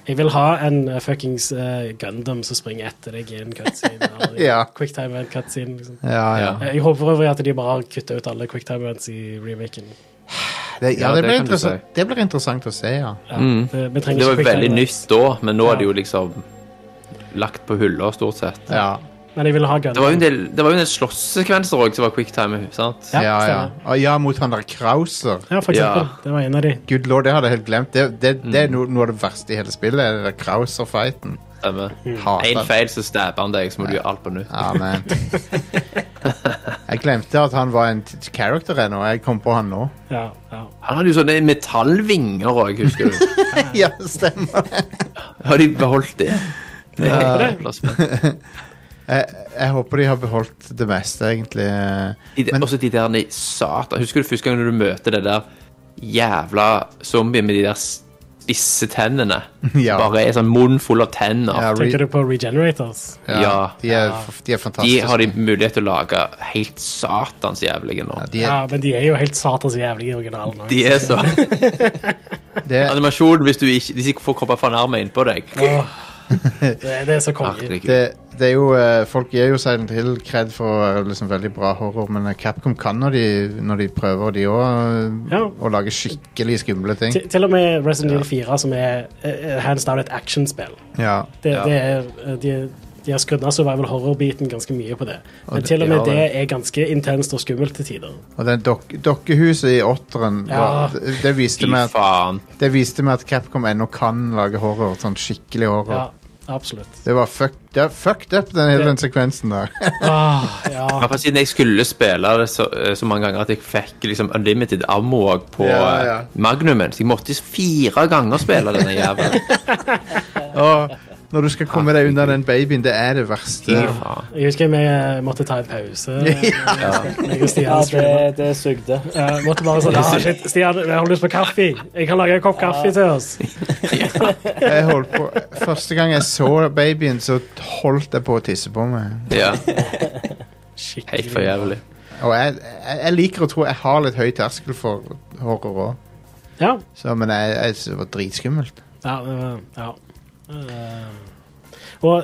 Jeg vil ha en uh, fuckings eh, Gundam som springer etter deg i en cutscene. Eller i Ja. en Quicktime event cutscene. Liksom. Ja, ja. Eh, Jeg håper for øvrig at de bare har kutta ut alle quicktime events i remaken. Det, ja, Ja, det, det blir kan du si. interessant- det blir interessant å se, ja. Ja, Mm. det, vi trenger ikke Det var jo quicktime veldig events. nytt da, men nå er det Ja. jo liksom lagt på hylla, stort sett. ja. Men jeg vil ha Gundam. Det var jo en del, det var jo en del slåsssekvenser òg som var quicktime. sant? Ja, Ja, ja. stemmer. Og ja, mot han der Krauser. Ja, for eksempel. Ja. Det var en av de. Gud lord, det hadde jeg helt glemt. Det, det, det Mm. er no, noe av det verste i hele spillet, er det der Krauser-fighten. Stemmer. Én Hater. feil, så stabber han deg, så må du gjøre alt på nytt. Ja, men Jeg glemte at han var en t- character ennå. Jeg kom på han nå. Ja, ja. Han hadde jo sånne metallvinger òg, husker du. ja, stemmer det. Har de beholdt det? Det er helt plass med. Jeg, jeg håper de har beholdt det meste, egentlig. De, Men- også de der nei, satan Husker du første gang du møter det der jævla zombien med de der spisse tennene? Ja. Bare en sånn munn full av tenner. Ja, re, Tenker du på Regenerators? ja, Ja. de, er, f- de er De fantastiske. har de mulighet til å lage helt satans jævlige nå. Ja, de er, Ja, men de er jo helt satans jævlige i originalen. også. De er så det, Animasjonen hvis du ikke Hvis ikke får komme for nærme innpå deg. Åh, det, det er så konge. Herregud. det, det er jo eh, Folk gir jo Silent Hill kred for å være liksom veldig bra horror, men eh, Capcom kan når de, når de prøver, de òg, Ja. å lage skikkelig skumle ting. Til, til og med Resident Evil 4, som er eh, hands down et actionspill. Ja. Det, Ja. det er, eh, de, de har skrudd ned survival horror-biten ganske mye på det. Men det- til og med ja, det det- er ganske intenst og skummelt til tider. Og den dok dokkehuset i åtteren Ja. var- det, det, viste Fy meg at, faen. det viste meg at Capcom ennå kan lage horror. Sånn skikkelig horror. Ja, absolutt. Det var fuck, det er fucked up, den hele Det- den sekvensen der. Ah, ja. Akkurat siden jeg skulle spille det så, eh, så mange ganger at jeg fikk liksom unlimited ammo også på Ja, ja. eh, magnumen, så jeg måtte fire ganger spille denne jævelen. Og når du skal komme deg unna den babyen, det er det verste. Fy faen. Jeg husker vi eh, måtte ta en pause. Jeg og Ja, Stian streamet. det, det sugde. Eh, måtte bare sånn ah, shit, Stian, jeg har lyst på kaffe. Jeg kan lage en kopp kaffe til oss. Jeg holdt på, første gang jeg så babyen, så holdt jeg på å tisse på meg. Ja, helt for Skikkelig. jævlig. Og jeg, jeg, jeg liker å tro jeg har litt høy terskel for horror òg, Ja. men jeg, jeg synes det var dritskummelt. Ja, eh, ja. Eh, Og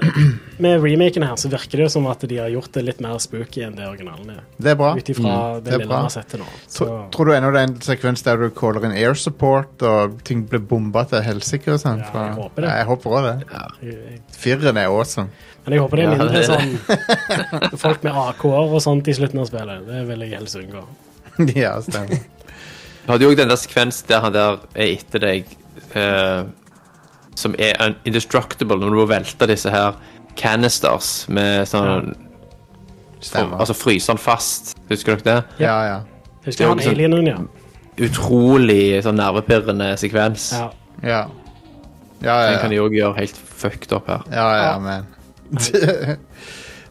med remaken her så virker det jo som at de har gjort det litt mer spooky enn det originalen er. Det er bra. Mm. Ut ifra det, det er lille vi bra. har sett til nå. Tro, Så- tror du ennå det er en sekvens der du caller inn air support, og ting blir bomba til helsike og sånn? Ja, fra- jeg håper det. Ja, jeg håper også det. jeg- Fireren er awesome. Men jeg håper det er Ja, mindre det er sånn folk med AK-er og sånt i slutten av spillet. Det vil jeg helst unngå. ja, stemmer. Du hadde jo også den der sekvens der han der er etter deg, eh, som er un- indestructible, når du må velte disse her canisters med sånn Stemmer. Altså fryse han fast, husker dere det? ja, ja. Husker han Det er jo sånn- alienen, ja. Utrolig sånn nervepirrende sekvens. ja. Ja, ja, ja. Den kan de òg gjøre helt fucked up her. ja, ja, men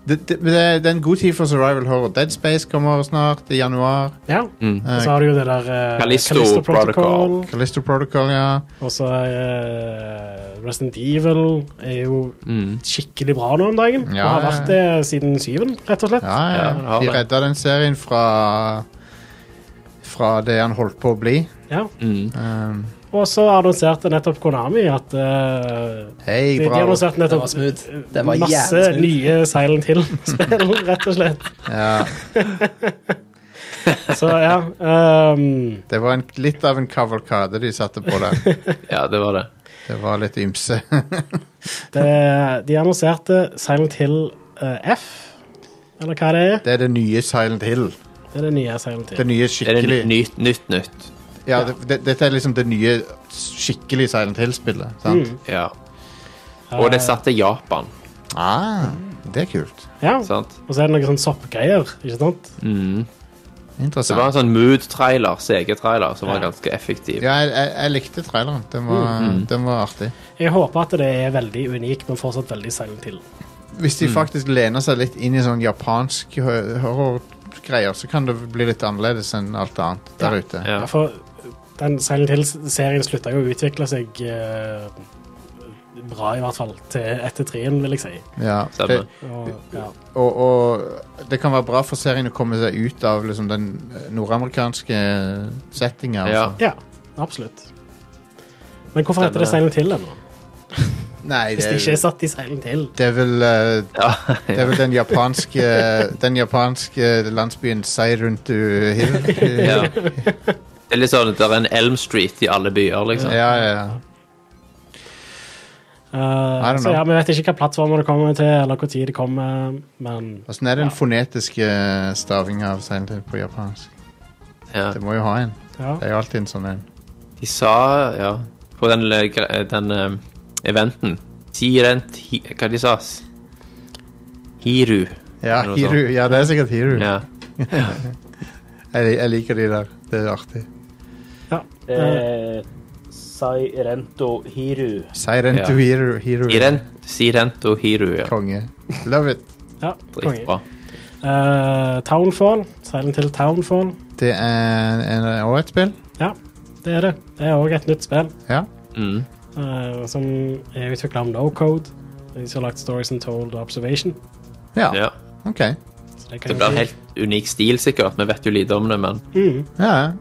det, det, det er en god tid for survival horror. Dead Space kommer snart i januar. Ja. Mm. Og så har du jo det der eh, Callisto Protocol. Callisto Protocol, ja. Og så uh, Resident Evil er jo Mm. skikkelig bra nå om dagen. Ja, og har ja, vært det siden syven, rett og slett. ja, ja. Ja, det har De det. redda den serien fra Fra det han holdt på å bli. Ja. Mm. Um, Og så annonserte nettopp Konami at eh, Hei, de, de bra. annonserte Det nettopp var smooth. Det var masse jævlig smooth. nye Silent Hill-spill, rett og slett. Ja, Så ja. ehm, det var en, litt av en kavalkade de satte på der. Ja, det var det. Det var litt ymse. det, de annonserte Silent Hill eh, F, eller hva det er. Det er det nye Silent Hill. Det er det nye Silent Det Hill. nye Er det skikkelig nytt, nytt, nytt? ja, det, det, Dette er liksom det nye skikkelig Silent Hill-spillet. Sant? Ja. Og det er satt til Japan, Ah, det er kult. Ja. sant? Og så er det noen sånn soppgreier, ikke sant? Mm. Det var Interessant. en sånn mood-trailer, CG-trailer, som var ganske effektiv. Ja, jeg, jeg, jeg likte traileren. Den var, Mm, den var artig. Jeg håper at det er veldig unikt, men fortsatt veldig Silent Hill. Hvis Mm. de faktisk lener seg litt inn i sånn japansk hø- horrorgreier, så kan det bli litt annerledes enn alt annet der ute. Ja. Ja, for den Silent Hill-serien slutta jo å utvikle seg eh, bra, i hvert fall, til etter treen, vil jeg si. Ja, det, Stemmer. Og, ja. og, og det kan være bra for serien å komme seg ut av liksom, den nordamerikanske settinga. Ja. Altså. ja, absolutt. Men hvorfor heter det Silent Hill ennå? Nei, Hvis det, det ikke er- er satt i Silent Hill? det er vel eh, Ja. Det er vel den japanske, den japanske landsbyen Seiruntu Hill. ja. Det er litt sånn at det er en Elm Street i alle byer, Ja, liksom. ja, ja. Eh, don't så know. ja, Vi vet ikke hvilke plattformer det kommer til, eller hvor tid det kommer, men Åssen er Altså, den fonetiske stavinga av Silent Hill på japansk? Ja. Det må jo ha en. ja. Det er jo alltid en sånn en. De sa, ja, på den, le- gre- den eh, eventen Tirent, hi, hva de sa? S- Hiru. Ja, Eller noe sånt. Hiru. ja det er sikkert Hiru. Ja. Jeg, jeg liker de der. Det er artig. ja. Det Eh, er Sairento Hiru. Seiruntu Ja. Hiru. Hiru. Irent, Sirent og Hiru, ja. Konge. Love it. ja, konge. Dritbra. Eh, Townfall. Silent Hill Townfall. Det er en- også et spill. Ja, det er det. Det er òg et nytt spill. Ja. Mm. eh, som er utvikla av No Code. De som har lagt Stories and Told og Observation. ja. Ja. OK. Så det kan Det jo blir en bli- helt unik stil, sikkert. Vi vet jo lite om det, men Mm. Ja, ja.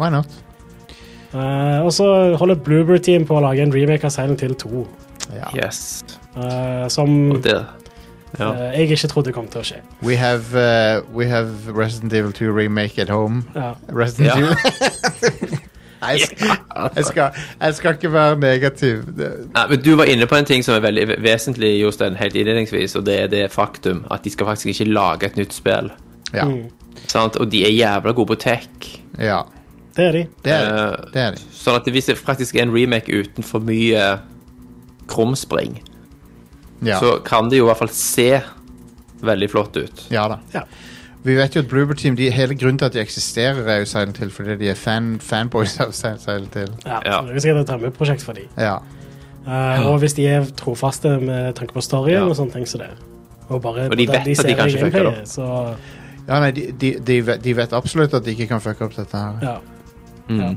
Why not? Eh, og så holder Bluebird Team på å lage en remake av Silent Hill 2. Ja. yes. eh, som Og det ja. eh, jeg ikke trodde kom til å skje. We have, uh, we have Resident Evil 2 remake at home. Ja. Resident Ja. Evil. Nei, jeg, skal, jeg, skal, jeg skal ikke være negativ. Det- Nei, men Du var inne på en ting som er veldig ve- vesentlig, Jostein, helt innledningsvis, og det er det faktum at de skal faktisk ikke lage et nytt spill. Ja. Mm. Sant? Og de er jævla gode på tech. ja. Det er de. Det er det. Eh, det er det. Sånn at hvis det faktisk er en remake uten for mye krumspring, Ja. så kan det jo i hvert fall se veldig flott ut. ja da. Ja. Vi vet jo at Bloober Team de, Hele grunnen til at de eksisterer, er jo Silent Hill fordi de er fan, fanboys av Sil- Silent Hill. Ja, Ja. så Det er sikkert et drømmeprosjekt for de. Ja. Eh, og hvis de er trofaste med tanke på storyen Ja. og sånne ting som det. Og bare Og de vet hvordan at de ser kan i ikke fucke det gameplayet, Så ja nei, de, de, de, vet, de vet absolutt at de ikke kan fucke opp dette her. ja. Mm.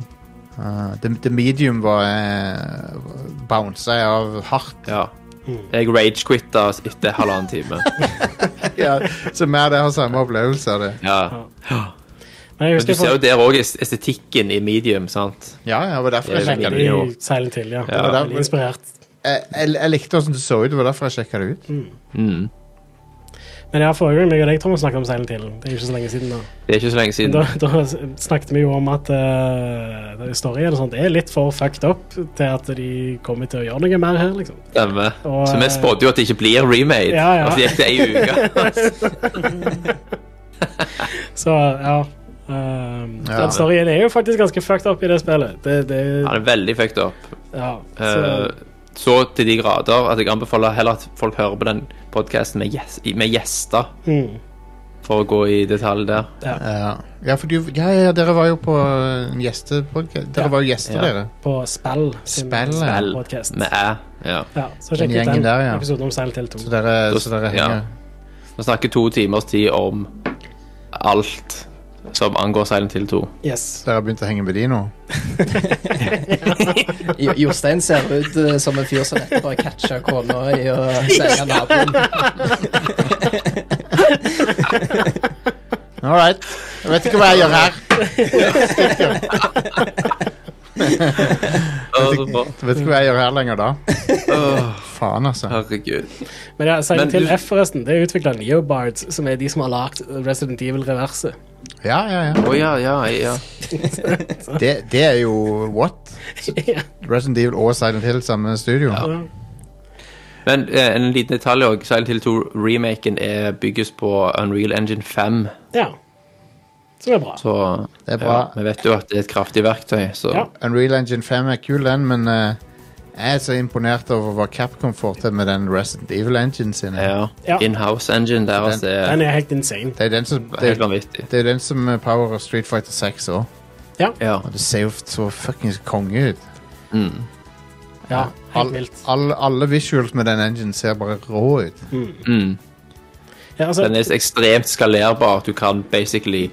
Uh, the, the Medium var uh, bounsa jeg av hardt. Ja. Mm. Jeg ragequitta etter halvannen time. Ja, så vi og dere har samme opplevelse av det. Ja. Men jeg Men husker du ser jo for, der òg estetikken i medium, sant? Ja, ja, det var derfor Det er jeg sjekka det. veldig- jo. veldig Silent Hill, ja. Ja. Veldig inspirert. Jeg, jeg, jeg likte åssen det så ut, det var derfor jeg sjekka det ut. Mm. Men ja, forrige gang meg og deg, Thomas, snakket om Silent Hill. Det er jo ikke så lenge siden da. Det er ikke så lenge siden. Da, da snakket vi jo om at eh, det- storyen og sånt er litt for fucked up til at de kommer til å gjøre noe mer her, liksom. Stemmer. Og, Så vi spådde jo at det ikke blir remade. eh. Ja, ja. Og så gikk det ei uke. Så ja. Um, Ja. Den storyen er jo faktisk ganske fucked up i det spillet. Det, det, Han er veldig fucked up. ja, Eh, så, Så til de grader at jeg anbefaler heller at folk hører på den podkasten med, gjes- med gjester, mm, for å gå i detalj der. Ja, Eh, ja for du, ja, ja, dere var jo på en gjestepodcast. Dere Ja. var jo gjester, Ja. dere. på spill sin Spill, ja. L podcast. med æ. Ja. Ja, så Den sjekk ut gjengen den der, ja. episoden om Silent Hill 2. Så dere, Da- så dere ja. henger Vi snakker to timers tid om alt som angår Silent Hill 2. Yes. Dere har begynt å henge med de nå? Jo- Jostein ser ut eh, som en fyr som nettopp har catcha kona i å selge naboen. All right. Jeg vet ikke hva jeg gjør her. Jeg vet ikke hva jeg gjør her lenger da. Faen, altså. herregud. Men ja, Silent Men Hill du- F, forresten, det er utvikla av Neobards, som er de som har lagd Resident Evil-reverset. Ja, ja, Å ja. ja, ja, ja. Det, det er jo what? Resident Evil og Silent Hill samme studio. Men eh, en liten detalj òg. Silent Hill 2-remaken er bygges på Unreal Engine 5. Ja. Som er bra. Så Det er bra. vi vet jo at det er et kraftig verktøy, så Ja. Unreal Engine 5 er kul, den, men eh, jeg er så imponert over hva Capcom får til med den Resident Evil Engine sin. ja. Ja. Inhouse engine deres er Den er helt insane. Det er den som, det, helt vanvittig. det er den som eh, powerer Street Fighter 6 òg. Ja. Altså, Og det ser jo så fuckings konge ut. Mm. Ja, helt All, vilt. all, alle visuals med den engine ser bare rå ut. Mm. Ja, altså, Den er ekstremt skalerbar. Du kan basically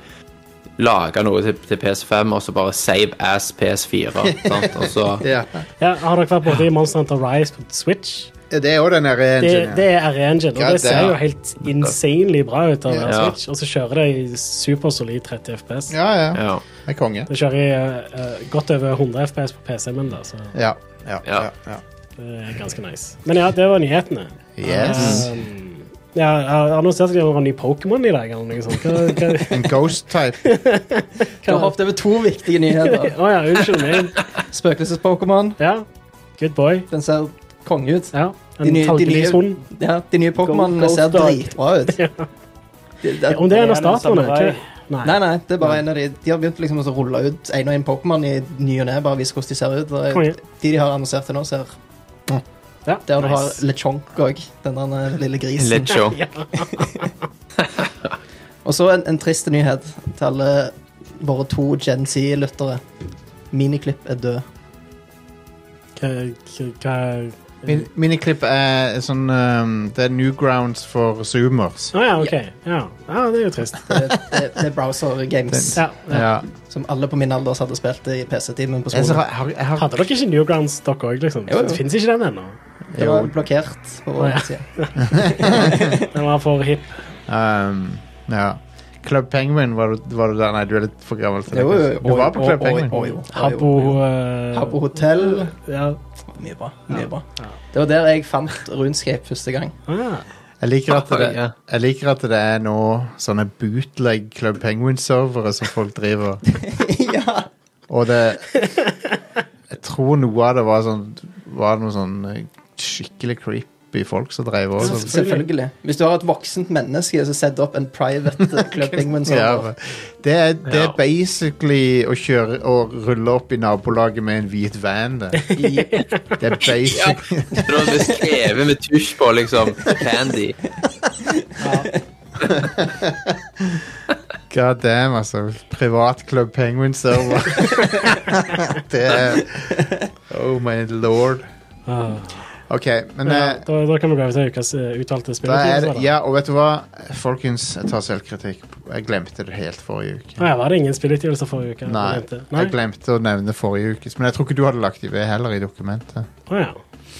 lage noe til, til PS5 og så bare save as PS4. sant? Og så Ja. ja, har dere vært både i Monster Hunter Rise på Switch? Det er jo den der engine. Det, det er R-Engine, og God det ser damn. jo helt insanely bra ut. av Ja. hver Switch, Og så kjører det i supersolid 30 FPS. ja, ja. ja. ja. Det er konge. Det kjører i eh, eh, godt over 100 FPS på PC-en min, da, så Ja. ja, Ja. ja, ja. det er ganske nice. Men ja, det var nyhetene. Yes. Um, ja, jeg har annonsert at det var en ny Pokémon i dag, eller noe sånt. Hva, hva, En ghost type. Du har hoppet over to viktige nyheter. Å ja, unnskyld meg. Spøkelses-Pokémon. Ja, good boy. Den ser konge ut. Ja, De en nye- de nye- talgelys hund. Ja, De nye Pokémonene Ghost ser Dog. dritbra ut. Ja. Det- det- Om det er en av Det er en statuene? samurai. ikke? Nei. Nei, nei, det er bare en av de De har begynt liksom å så rulle ut en og en Pokémon i ny og ne. Bare vise hvordan de ser ut. Og Konge. de de har annonsert til nå, ser Ja, Der du har nice. LeChonk òg. Den der eh, lille grisen. Litt show. Og så en, en trist nyhet til alle våre to Gen Z-lyttere. Miniklipp er død. Hva- hva- hva- Min, miniklipp er sånn um, Det er newgrounds for zoomers. Å ja, OK. Ja. ja, det er jo trist. Det, det, det er browser-games Ja, ja. Ja. som alle på min alder hadde spilt i PC-timen på Jeg, så, skolen. har, har, jeg har Hadde dere ikke Newgrounds, dere òg? Liksom? Jo, jo. Fins ikke den ennå? Det var blokkert på Å, ja. vår side. Den var for hipp. um, Ja. Club Penguin, var du, var du der? Nei, du er litt for gammel til det. Jo, jo, jo. kanskje. Du var på Oi, Club oi, Penguin. oi, oi, oi. Habbo eh, Habbo Hotel. Ja. Mye bra. mye bra. Det var der jeg fant Runescape første gang. Ah, Jeg liker, at Oi, ja. det, jeg liker at det er nå sånne bootleg Club Penguin-servere som folk driver. ja. Og det Jeg tror noe av det var sånn Var noe sånn eh, skikkelig creepy folk som drev Så- også. Selvfølgelig. Hvis du har et voksent menneske som setter opp en private eh, Club Penguin Ja, server det, er, det er Ja. basically å kjøre og rulle opp i nabolaget med en hvit van. Det, i- det er basic Det var det skrevet med tusj på, liksom. Candy. God damn, altså. Privat Club Penguin-server. det er Oh my lord. ah. OK, men Ja, eh, da, da kan vi gå over til ukas eh, utvalgte da er det, spilletider. Ja, og vet du hva? Folkens, jeg tar selvkritikk. Jeg glemte det helt forrige uke. Ah, ja, var det ingen spillutgivelser forrige uke? Nei, Nei? jeg glemte å nevne forrige ukes, men jeg tror ikke du hadde lagt det ved heller i dokumentet. Å ja.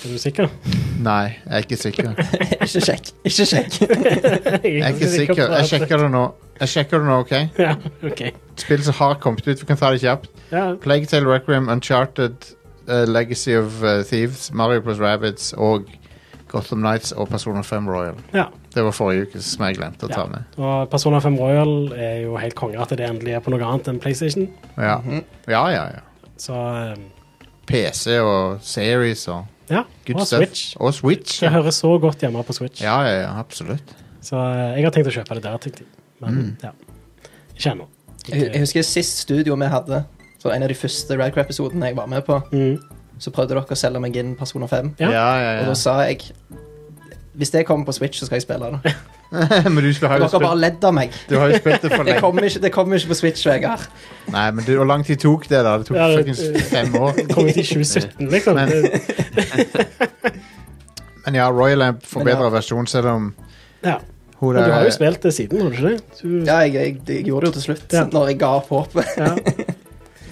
Er du sikker? Nei, jeg er ikke sikker. Ikke sjekk. Ikke sjekk. Jeg Jeg er ikke sikker. Jeg sjekker det nå. Jeg sjekker det nå, ok? Ja, OK. Spill som har kommet ut, vi kan ta det kjapt. Ja, Plague Tale Requiem, Uncharted, eh, Legacy of eh, Thieves, Mario Plus Rabbids og Gotham Knights og Persona 5 Royal. ja. Det var forrige uke som jeg glemte å ta Ja. med. Og Persona 5 Royal er jo helt konge at det endelig er på noe annet enn PlayStation. Ja, ja, ja. ja. Så eh, PC og series og ja. good og stuff. Switch. Og Switch. Det Ja, høres så godt hjemme på Switch. ja, ja, ja absolutt. Så eh, jeg har tenkt å kjøpe det der, tenkte jeg. Men ja. Ikke ennå. Jeg, jeg husker sist studio vi hadde, så en av de første Radcrap-episodene jeg var med på, Mm. så prøvde dere å selge meg inn Persona 5. Ja. Ja, ja, Og da ja. sa jeg hvis det kommer på Switch, så skal jeg spille det. Men du skal ha jo Dere har bare spilt, ledd av meg. du har jo spilt det for Det lenge. kommer ikke, det kommer ikke på Switch, Vegard. Nei, men det, hvor lang tid tok det, da? Det tok Ja, det- fuckings fem år. Kom ut i 2017, liksom. Men- Det- Men ja, Royal er en Men forbedra ja. versjon, selv om Ja. Hun Men du har der, jo spilt det siden, har du ikke det? Du, Ja, jeg, jeg, jeg gjorde det jo til slutt, Ja. når jeg ga opp håpet. ja.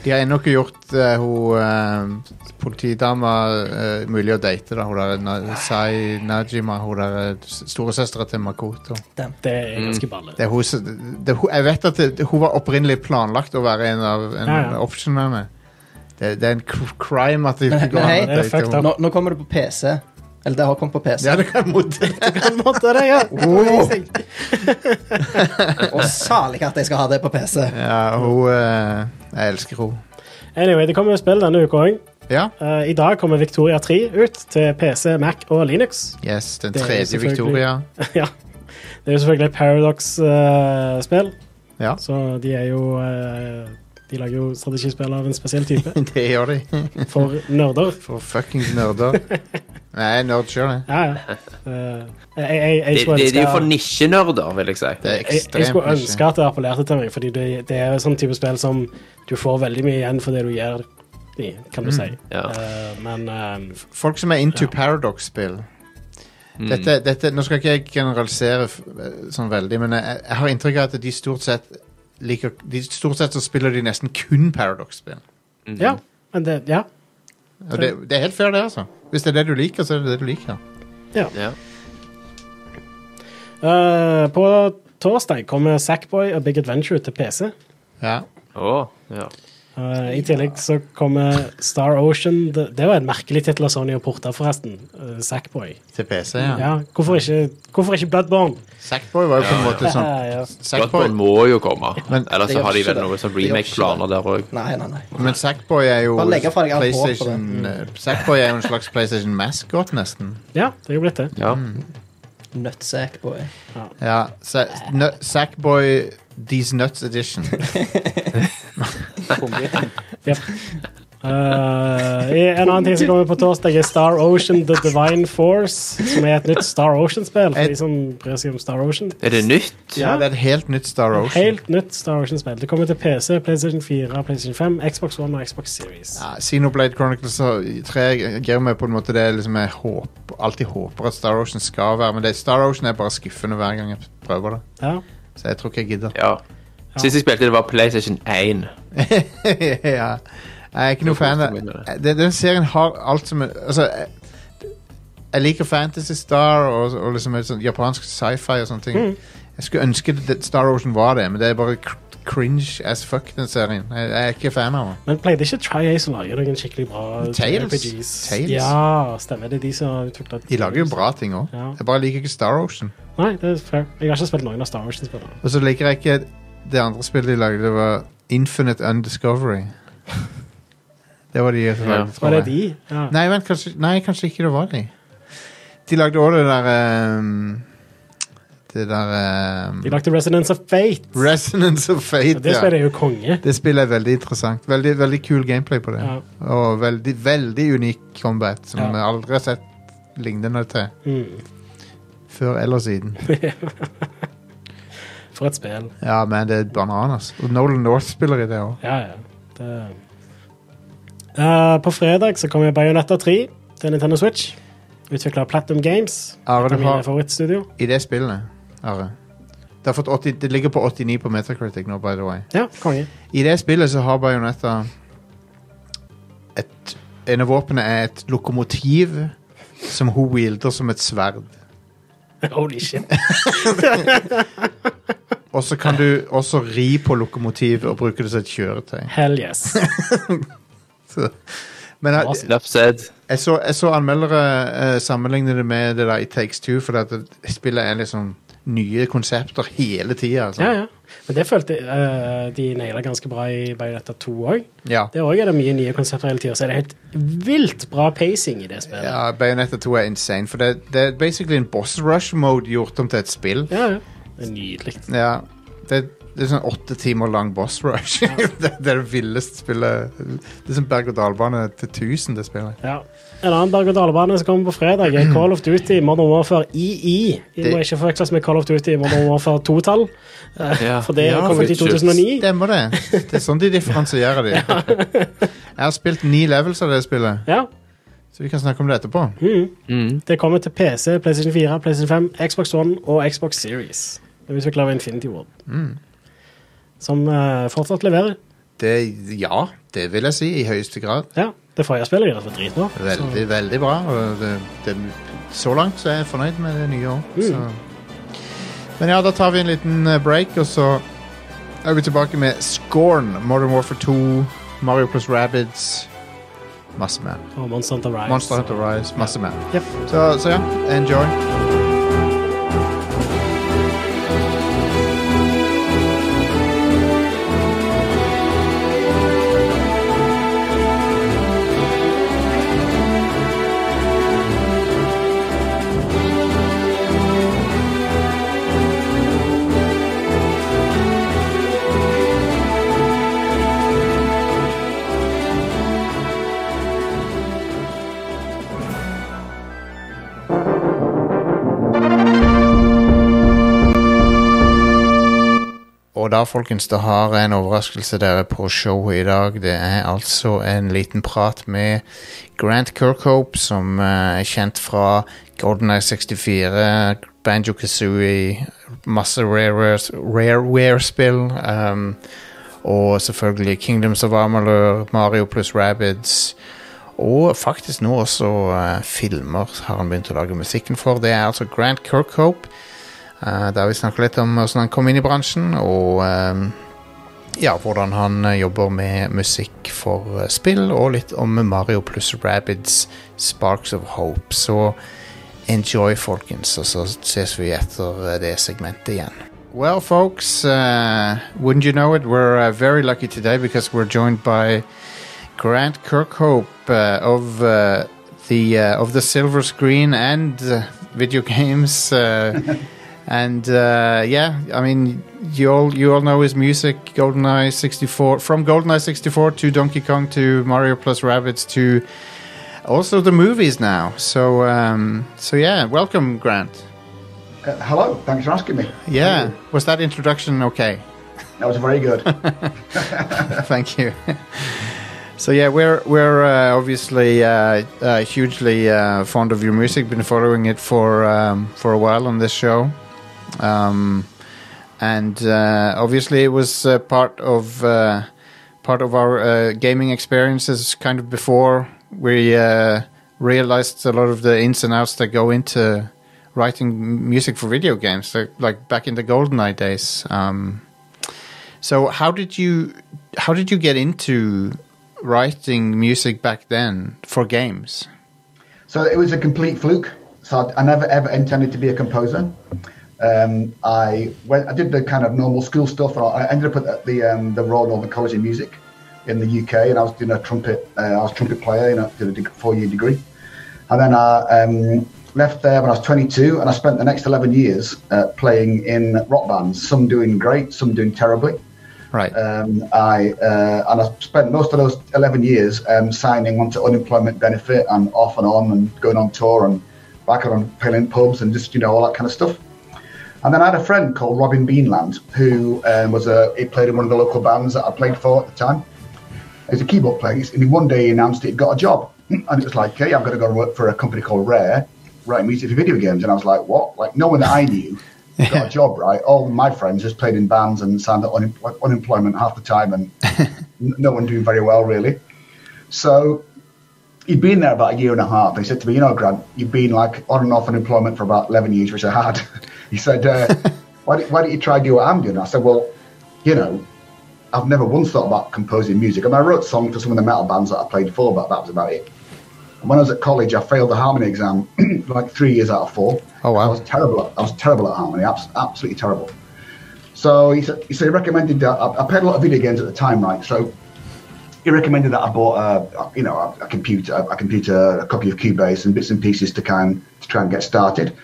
de har ennå ikke gjort eh, hun eh, politidama eh, mulig å date. da Hun der Na- Sai Najima, hun der eh, s- storesøstera til Makoto. Det er ganske balle. Det er hun, som- det, er hun, jeg vet at det, hun var opprinnelig planlagt å være en av en, Ja, ja. optionene. Det, det er en cr- crime at det Men- ikke går men hei, an å det er date fucked up. henne. Nå, nå kommer det på PC. Eller det har kommet på PC. Ja, det kan mot På en måte er det, ja. Og salig at jeg skal ha det på PC. Ja, hun eh, Jeg elsker henne. Anyway, det kommer jo spill denne uka òg. Ja. I dag kommer Victoria 3 ut til PC, Mac og Linux. Yes, den Det er tredje selvfølgelig- Victoria. ja. Det er jo selvfølgelig et Paradox-spill, Ja, så de er jo eh, De lager jo strategispill av en spesiell type, det gjør de. for nerder. For fuckings nerder. Nei, jeg er nerd sjøl, jeg. Ja, ja. Eh, jeg, jeg, jeg De, skulle de, de er jo for ønske- nisjenerder, vil jeg si. Det er jeg, jeg ekstremt skulle ønske mye. at det appellerte til meg, fordi det, det er sånn type spill som du får veldig mye igjen for det du gjør, i, kan du si. Mm, Ja. Eh, men eh, Folk som er into Paradox-spill dette, dette, Nå skal ikke jeg generalisere f- eh, sånn veldig, men jeg, jeg har inntrykk av at de stort sett liker de, Stort sett så spiller de nesten kun Paradox-spill. Mm. ja, men det, ja, Og det, det er helt fair, det, altså. Hvis det er det du liker, så er det det du liker. Ja. Eh, på torsdag kommer Sackboy og Big Adventure til PC. Ja. Å, ja. Eh, I tillegg så kommer Star Ocean. Det, det var en merkelig tittel av Sony å porte, forresten. Eh, Sackboy. Til PC, Ja. ja. hvorfor, ikke, hvorfor ikke Bloodborne? Sackboy var jo på en måte sånn Ja, ja. Sackboy, Bloodborne må jo komme. Men- Ellers Det så gjør har de ikke vel det. noen sånn Det gjør remake-planer der òg. Nei, nei, nei. Men Sackboy er jo Bare legge fra deg alt håp på det. PlayStation, eh, Sackboy er jo en slags PlayStation-maskot, nesten. ja, det er jo blitt det. Ja. Nøttsekk, boy. Ja, sa, nø- Sackboy These Nuts Edition. Eh, en annen ting som kommer på torsdag, er Star Ocean The Divine Force. Som er et nytt Star Ocean-spill for de som bryr seg om Star Ocean. Er det nytt? Ja, det er et helt nytt Star Ocean. Helt nytt Star Ocean-spill. Det kommer til PC, PlayStation 4, PlayStation 5, Xbox One og Xbox Series. Ja, Xenoblade Chronicles og 3 gir meg på en måte det liksom jeg håp, alltid håper at Star Ocean skal være, men det, Star Ocean er bare skuffende hver gang jeg prøver det. Ja. Så jeg tror ikke jeg gidder. Ja. Sist jeg spilte, det var PlayStation 1. ja. Jeg er ikke noe fan av den, den serien har alt som er- Altså jeg, jeg liker Fantasy Star og, og liksom et sånt japansk sci-fi og sånne ting. Jeg skulle ønske det- det Star Ocean var det, men det er bare cr- cringe as fuck, den serien. Jeg, jeg er ikke fan av den. Men pleide ikke Tri-Ace å lage noen skikkelig bra Tales. RPGs? Tales. Ja, stemmer. Det er de som utvikla De lager jo bra ting òg. Ja. Jeg bare liker ikke Star Ocean. Nei, det er fair. Jeg har ikke spilt noen av Star Wars-spillene. Og så liker jeg ikke det andre spillet de lagde, det var Infinite Undiscovery. det var de som lagde, Ja. tror Var det jeg. de? Ja. Nei, vent, kanskje, nei, kanskje ikke det var de. De lagde også det der ehm, Det der ehm, De lagde Resonance of Fate. Resonance of Fate. Og det ja. spillet er jo konge. Det spillet er veldig interessant. Veldig, veldig kul gameplay på det. Ja. Og veldig, veldig unik combat, som Ja. vi aldri har sett lignende til Mm. før eller siden. For et spill. Ja, men det er bananas. Og Nolan North spiller i det òg. Ja, ja. Det... Eh, på fredag så kommer Bayonetta 3 til Nintendo Switch. Utvikla Platinum Games. Are, Et du av mine har- favorittstudio. I det spillet, Are. Det, har fått 80, det ligger på 89 på Metacritic nå, by the way. Ja, konge. I det spillet så har Bayonetta et, En av våpnene er et lokomotiv som hun wielder som et sverd. Holy shit. Og så kan du også ri på lokomotivet og bruke det som et kjøretøy. Hell yes. Sånn. Men jeg, Enough said. jeg, så, jeg så anmeldere eh, sammenligne det med det der i Takes Two, for at det- spillet er liksom nye konsepter hele tida. Altså. Ja, ja. Men det følte eh, de naila ganske bra i Bayonetta 2 òg. Ja. Der òg er det mye nye konsepter hele tida, så er det helt vilt bra pacing i det spillet. Ja, Bayonetta 2 er insane, for det, det er basically en boss rush mode gjort om til et spill. Ja, ja. Det er nydelig. Ja, det, det er sånn åtte timer lang boss rush. det, det er det villeste spillet. Det er sånn berg-og-dal-bane til 1000, det spillet. Ja. En annen berg-og-dal-bane som kommer på fredag, er Call of Duty Modern Warfare E II. Vi må Det- ikke forveksles med Call of Duty Modern Warfare 2-tall, eh, Ja. for det Ja, kom ut i for- 2009. Stemmer det. Det er sånn de differensierer de. Jeg har spilt ni levels av det spillet. Ja. Så vi kan snakke om det etterpå. Det kommer til PC, PlayStation 4, PlayStation 5, Xbox One og Xbox Series. Det utvikler av Infinity Ward. Mm. Som eh, fortsatt leverer. Det, ja, det vil jeg si. I høyeste grad. Ja, det forrige spillet deres var dritbra. Veldig, veldig bra. Og det, det, så langt så er jeg fornøyd med det nye år. Så. Men ja, da tar vi en liten eh, break, og så er vi tilbake med Scorn, Modern Warfare 2, Mario pluss Rabbids Masse mer. Og Monster Hunter Rise. Monster Hunter Rise, masse mer. Jep. Så, så ja, enjoy. Og da, folkens, da har jeg en overraskelse dere på showet i dag. Det er altså en liten prat med Grant Kirkhope, som eh, er kjent fra GoldenEye 64, Banjo Kazooie, masse rareware- rareware-spill. Um, og selvfølgelig Kingdoms of Amalur, Mario pluss Rabbids. Og faktisk nå også eh, filmer har han begynt å lage musikken for. Det er altså Grant Kirkhope. Eh, der vi snakker litt om hvordan han kom inn i bransjen, og eh, ja, hvordan han eh, jobber med musikk for eh, spill, og litt om Mario pluss Rabbids Sparks of Hope. Så enjoy, folkens, og så ses vi etter eh, det segmentet igjen. Well, folks, uh, wouldn't you know it, we're uh, very lucky today because we're joined by Grant Kirkhope uh, of uh, the uh, of the Silver Screen and uh, video games. Uh, and uh, yeah, I mean, you all you all know his music. GoldenEye 64, from GoldenEye 64 to Donkey Kong to Mario plus Rabbids to also the movies now. So um, so yeah, welcome, Grant. Uh, hello, thanks for asking me. Yeah, was that introduction okay? That was very good. Thank you. So yeah, we're we're uh, obviously uh, uh, hugely uh, fond of your music. Been following it for um, for a while on this show, um, and uh, obviously it was uh, part of uh, part of our uh, gaming experiences. Kind of before we uh, realized a lot of the ins and outs that go into writing m- music for video games, like, like back in the GoldenEye days. Um, so how did you how did you get into writing music back then for games? so it was a complete fluke. So I, I never ever intended to be a composer. Um, I went, I did the kind of normal school stuff, and I I ended up at the the, um, the Royal Northern College of Music in the UK, and I was doing a trumpet. Uh, I was a trumpet player, and I did a deg- four year degree, and then I um, left there when I was 22, and I spent the next 11 years uh, playing in rock bands. Some doing great, some doing terribly. Right. Um, I uh, and I spent most of those eleven years um, signing onto unemployment benefit and off and on and going on tour and back on playing in pubs and just you know all that kind of stuff. And then I had a friend called Robin Beanland who um, was a he played in one of the local bands that I played for at the time. He was a keyboard player, and he- one day he announced that he'd got a job, and it was like, "Hey, I'm going to go and work for a company called Rare, writing music for video games." And I was like, "What?" Like no one that I knew got a job, right? All my friends just played in bands and signed up unem- like, unemployment half the time, and n- no one doing very well really. So he'd been there about a year and a half, and he said to me, "You know, Grant, you've been like on and off unemployment for about eleven years, which I had." he said, uh, why, don't, "Why don't you try do what I'm doing?" I said, "Well, you know." I've never once thought about composing music. I mean, I wrote songs for some of the metal bands that I played for, but that was about it. And when I was at college, I failed the harmony exam like three years out of four. Oh, wow. I was terrible. At, I was terrible at harmony. abs- absolutely terrible. So he said, he said he recommended that I, I played a lot of video games at the time, right? So he recommended that I bought a, a- you know a, a computer, a, computer, a copy of Cubase, and bits and pieces to kind to try and get started.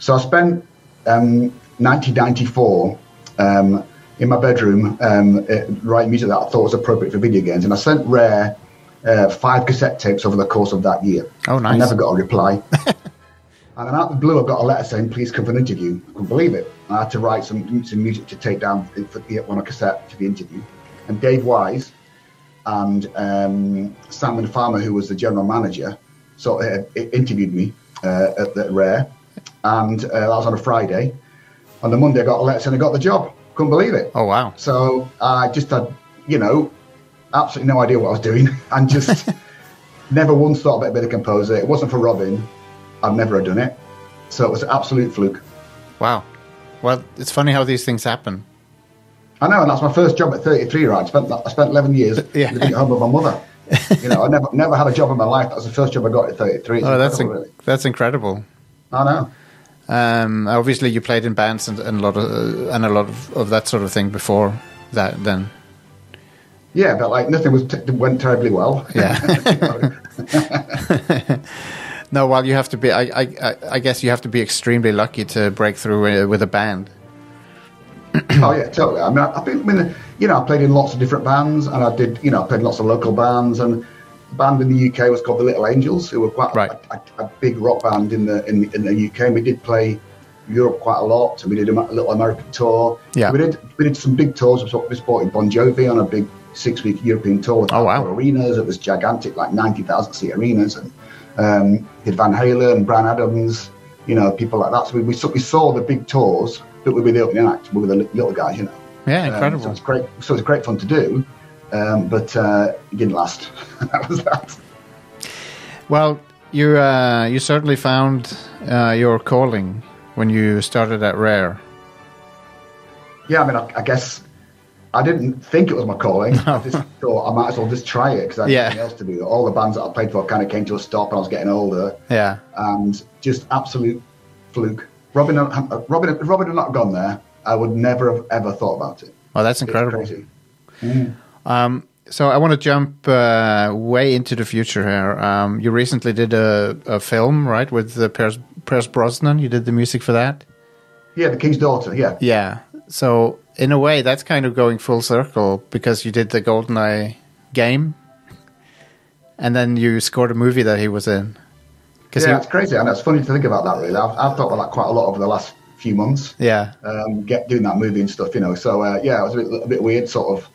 So I spent um, 1994 um, in my bedroom um, uh, writing music that I thought was appropriate for video games, and I sent Rare uh, five cassette tapes over the course of that year. Oh, I nice. never got a reply. And then out of the blue, I got a letter saying, please come for an interview. I couldn't believe it. I had to write some, some music to take down for the, on a cassette for the interview. And Dave Wise and um, Simon Farmer, who was the general manager, sort of uh, interviewed me uh, at, at Rare, and uh, that was on a Friday. On the Monday, I got a letter saying I got the job. Couldn't believe it. Oh, wow. So I just had, you know, absolutely no idea what I was doing, and just never once thought about being a composer. It wasn't for Robin, I'd never have done it. So it was an absolute fluke. Wow. Well, it's funny how these things happen. I know, and that's my first job at 33. Right, I spent I spent 11 years Yeah. living at home with my mother. you know, I never never had a job in my life. That was the first job I got at 33. It's Oh, that's incredible, in- that's incredible. I know. Um, obviously, you played in bands and, and a lot of uh, and a lot of, of that sort of thing before that. Then, Yeah, but like nothing was t- went terribly well. yeah. no, well, you have to be. I, I, I- I guess you have to be extremely lucky to break through uh, with a band. oh yeah, totally. I mean, I, I've been, I mean, you know, I played in lots of different bands, and I did, you know, I played in lots of local bands, and a band in the UK was called the Little Angels, who were quite Right. a, a, a big rock band in the in, in the UK. And we did play Europe quite a lot, and we did a, ma- little American tour. Yeah. we did we did some big tours. We sort- we supported Bon Jovi on a big six week European tour with Oh, wow. outdoor arenas. It was gigantic, like ninety thousand seat arenas, and um, did Van Halen, Brian Adams, you know, people like that. So we we, saw- we saw the big tours, but we were the opening act. We were the li- little guys, you know. Yeah, Um, incredible. so it's great. So it's great fun to do, um, but uh, it didn't last. that was that. Well, you uh, you certainly found uh, your calling when you started at Rare. Yeah, I mean, I, I guess I didn't think it was my calling. I just thought I might as well just try it because I had Yeah. nothing else to do. All the bands that I played for kind of came to a stop, and I was getting older, Yeah, and just absolute fluke. Robin, uh, Robin, if Robin had not gone there, I would never have ever thought about it. well, that's It's incredible. crazy. So I want to jump uh, way into the future here. Um, you recently did a, a film, right, with uh, Pierce, Pierce Brosnan. You did the music for that. Yeah, the King's Daughter. Yeah, Yeah. So in a way, that's kind of going full circle because you did the GoldenEye game, and then you scored a movie that he was in. Because yeah, it's crazy, and it's funny to think about that. Really, I've, I've thought about that quite a lot over the last few months. yeah, um, get doing that movie and stuff, you know. So uh, yeah, it was a bit, a bit weird, sort of,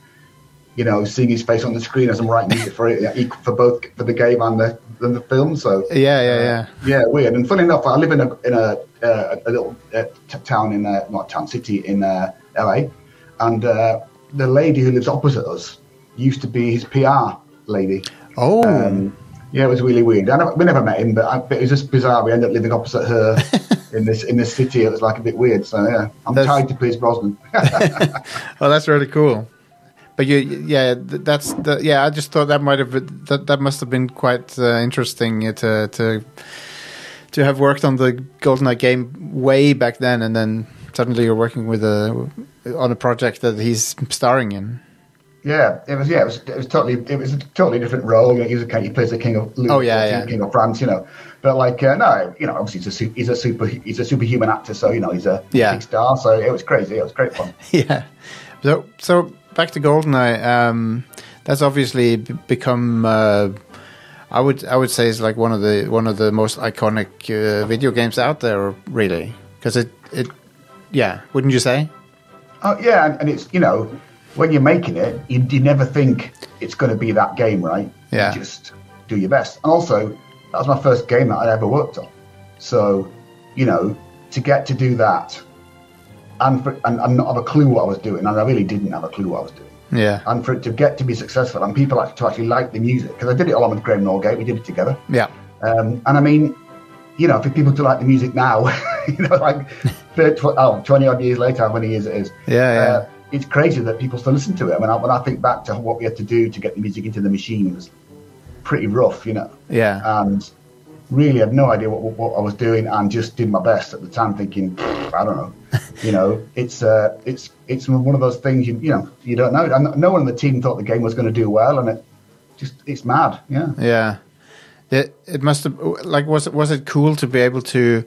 you know, seeing his face on the screen as I'm writing music for it, yeah, equal- for both for the game and the and the film. So yeah, yeah, yeah. yeah, weird. And funny enough, I live in a in a uh, a little uh, t- town in uh, not town city in uh, LA, and uh, the lady who lives opposite us used to be his PR lady. Oh, Um, yeah, it was really weird. I never, we never met him, but, I, but it was just bizarre. We ended up living opposite her in this in this city. It was like a bit weird. So yeah, I'm That's- tied to Pierce Brosnan. well, that's really cool. But you, yeah, th- that's the, yeah. I just thought that might have been- that that must have been quite uh, interesting uh, to to to have worked on the GoldenEye game way back then, and then suddenly you're working with a on a project that he's starring in. yeah, it was. Yeah, it was. It was totally. It was a totally different role. He was a, he plays the king of Louis Oh, yeah, XIV, yeah. king of France. You know, but like uh, no, you know, obviously he's a su- he's a super he's a superhuman actor. So you know, he's a Yeah. big star. So it was crazy. It was great fun. yeah. So so back to Goldeneye. Um, that's obviously b- become. Uh, I would I would say is like one of the one of the most iconic uh, video games out there, really, because it it yeah, wouldn't you say? Oh yeah, and, and it's you know when you're making it, you, you never think it's going to be that game, right? Yeah. You just do your best. And also, that was my first game that I ever worked on, so you know to get to do that, and for, and, and not have a clue what I was doing, and I really didn't have a clue what I was doing. Yeah, And for it to get to be successful, and people like to actually like the music, because I did it along with Graham Norgate, we did it together. yeah, Um, and I mean, you know, for people to like the music now, you know, like 30, tw- oh, 20 odd years later, how many years it is. Yeah, yeah. Uh, it's crazy that people still listen to it. I mean, I, when I think back to what we had to do to get the music into the machine, it was pretty rough, you know. yeah. And really had no idea what, what, what I was doing and just did my best at the time thinking, "Pfft, I don't know. You know, it's uh, it's it's one of those things you you know you don't know. And no one on the team thought the game was going to do well, and it just it's mad. Yeah. Yeah, it it must have like was it was it cool to be able to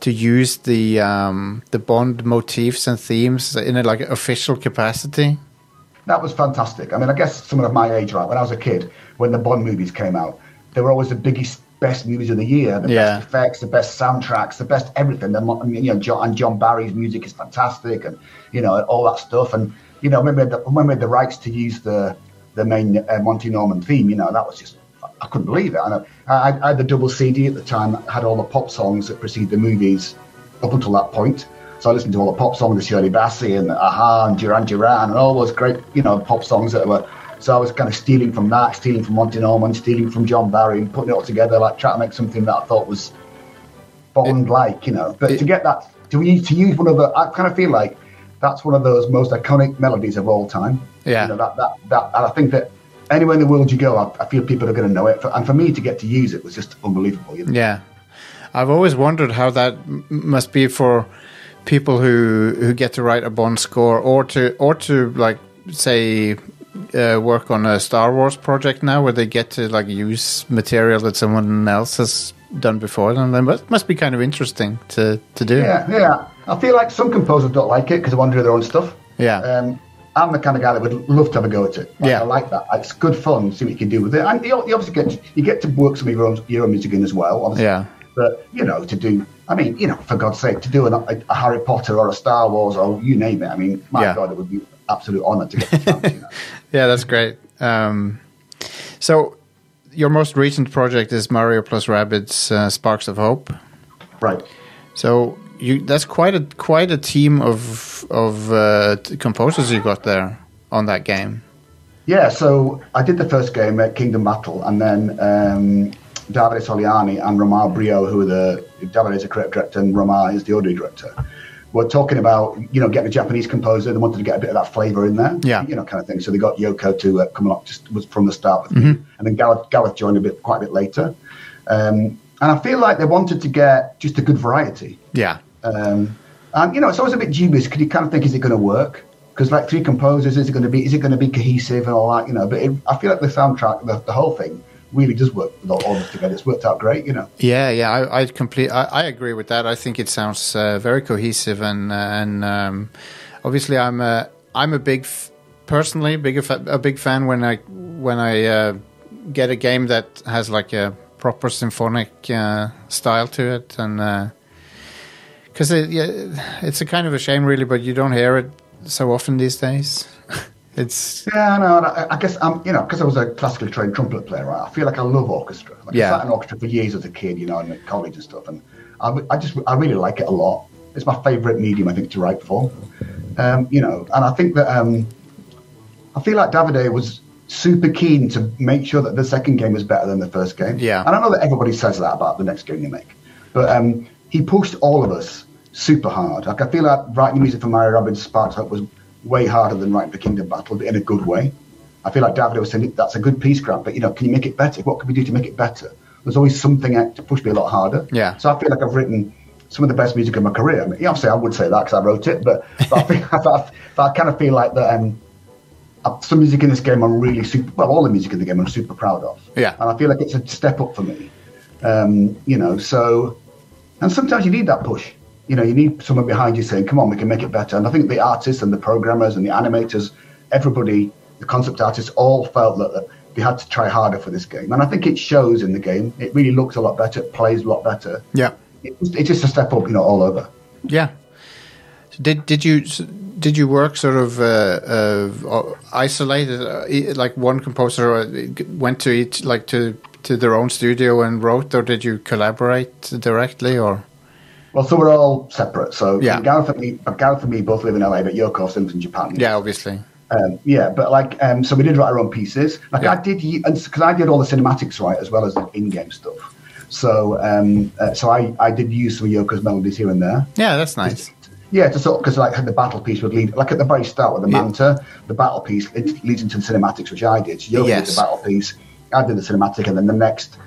to use the um, the Bond motifs and themes in a like official capacity? that was fantastic. I mean, I guess someone of my age, right, when I was a kid, when the Bond movies came out, they were always the biggest, best movies of the year, the Yeah. best effects, the best soundtracks, the best everything. The, mo- I mean, you know, John, and John Barry's music is fantastic, and you know, and all that stuff. And you know, when we had the, when we had the rights to use the the main uh, Monty Norman theme, you know, that was just I couldn't believe it. And I, I, I had the double CD at the time that had all the pop songs that precede the movies up until that point. So I listened to all the pop songs, the Shirley Bassey and Aha and Duran Duran and all those great, you know, pop songs that were. So I was kind of stealing from that, stealing from Monty Norman, stealing from John Barry, and putting it all together, like trying to make something that I thought was Bond-like, you know. But to get that, to use, to use one of the, I kind of feel like that's one of those most iconic melodies of all time. Yeah. You know, that, that, that, and I think that anywhere in the world you go, I, I feel people are going to know it. And for me to get to use it was just unbelievable. You know? Yeah, I've always wondered how that m- must be for people who who get to write a Bond score or to or to like say uh, work on a Star Wars project now, where they get to like use material that someone else has done before them. Then that must be kind of interesting to to do. Yeah, yeah. I feel like some composers don't like it because they want to do their own stuff. Yeah. Um, I'm the kind of guy that would love to have a go at it. Like, Yeah. I like that. It's good fun. See what you can do with it. And you, you obviously get you get to work some of your own your own music in as well. Obviously. Yeah. But you know, to do. I mean, you know, for God's sake, to do an, a, a Harry Potter or a Star Wars or you name it. I mean, my Yeah. God, it would be an absolute honor to get the chance. you know. Yeah, that's great. Um, so, your most recent project is Mario plus Rabbids uh, Sparks of Hope. Right. So you that's quite a quite a team of of uh, t- composers you got there on that game. Yeah, so I did the first game at Kingdom Battle, and then um, Davide Soliani and Romar Brio, who are the Davide is the creative director and Romar is the audio director, were talking about you know getting a Japanese composer. They wanted to get a bit of that flavour in there, Yeah. you know, kind of thing. So they got Yoko to uh, come along just was from the start with me, and then Gareth, Gareth joined a bit quite a bit later. Um, and I feel like they wanted to get just a good variety. Yeah, Um, and you know, it's always a bit dubious because you kind of think, is it going to work? Because like three composers, is it going to be, is it going to be cohesive and all that? You know, but it, I feel like the soundtrack, the, the whole thing, really does work with all all of us together. It's worked out great, you know. yeah, yeah. I I complete. I, I agree with that. I think it sounds uh, very cohesive and uh, and um, obviously I'm a I'm a big f- personally big a, fa- a big fan when I when I uh, get a game that has like a proper symphonic uh, style to it and. Uh, because it, yeah, it's a kind of a shame, really, but you don't hear it so often these days. it's Yeah, no, and I, I guess I'm, you know, because I was a classically trained trumpet player, right? I feel like I love orchestra. Like Yeah. I sat in orchestra for years as a kid, you know, and at college and stuff, and I, w- I just, I really like it a lot. It's my favourite medium, I think, to write for. Um, you know, and I think that um, I feel like Davide was super keen to make sure that the second game was better than the first game. Yeah. And I know that everybody says that about the next game they make, but um, he pushed all of us super hard. Like I feel like writing music for Mario Robbins Sparks Hope was way harder than writing for Kingdom Battle, but in a good way. I feel like Davide was saying that's a good piece, Grant, but you know, can you make it better? What can we do to make it better? There's always something out to push me a lot harder. Yeah. So I feel like I've written some of the best music of my career. I mean, yeah, obviously I would say that because I wrote it, but, but, I, feel, but, I, but I kind of feel like that. Um, uh, some music in this game I'm really super well all the music in the game I'm super proud of Yeah. and I feel like it's a step up for me um, you know so and sometimes you need that push you know you need someone behind you saying come on we can make it better and I think the artists and the programmers and the animators everybody the concept artists all felt that, that they had to try harder for this game and I think it shows in the game it really looks a lot better it plays a lot better yeah, it, it's just a step up you know all over yeah. So Did did you s- did you work sort of uh, uh, o- isolated, uh, e- like one composer uh, g- went to each like to to their own studio and wrote, or did you collaborate directly, or well, so we're all separate. So Yeah. Gareth and me, Gareth and me both live in LA, but Yoko of in Japan. yeah, obviously, Um, yeah, but like, um, so we did write our own pieces. Like Yeah. I did, because I did all the cinematics right as well as the in-game stuff. So, um, uh, so I, I did use some of Yoko's melodies here and there. yeah, that's nice. Yeah, to sort because like the battle piece would lead, like at the very start with the Yeah. manta, the battle piece it leads into the cinematics, which I did. So Yoko Yes. did the battle piece, I did the cinematic, and then the next,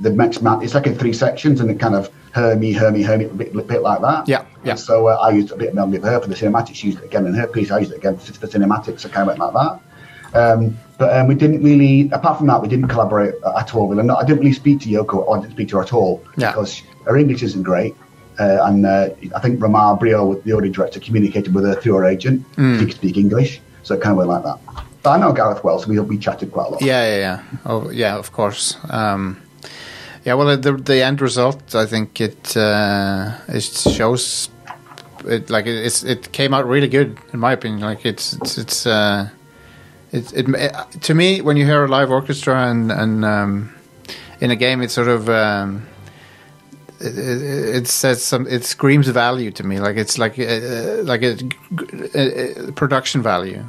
the next man, it's like in three sections, and it kind of her me, her me, her me, a bit, bit like that. Yeah, yeah. And so uh, I used a bit of melody for her for the cinematics. She used it again in her piece. I used it again for the cinematics. I kind of went like that. Um, but um, we didn't really, apart from that, we didn't collaborate at all. Really. Not, I didn't really speak to Yoko, or I didn't speak to her at all Yeah. because her English isn't great. Uh, and uh, I think Ramar Brio, the audio director, communicated with her through her agent. Mm. She could speak English, so it kind of went like that. But I know Gareth well, so we, we chatted quite a lot. Yeah, yeah, yeah. Oh, yeah, of course. Um, yeah, well, the the end result, I think it uh, it shows it like it, it's it came out really good in my opinion. Like it's it's it's uh, it, it to me when you hear a live orchestra and and um, in a game, it's sort of um, it, it, it says some. It screams value to me. Like it's like uh, like a, a, a production value.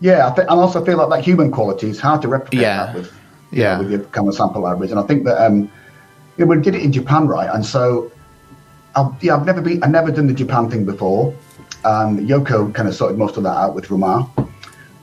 Yeah, I th- and also feel like that human quality is hard to replicate Yeah. that with, you know, Yeah, with your kind of sample libraries. And I think that um, you know, we did it in Japan, right? And so, I've, yeah, I've never been, I've never done the Japan thing before. And Yoko kind of sorted most of that out with Ramar.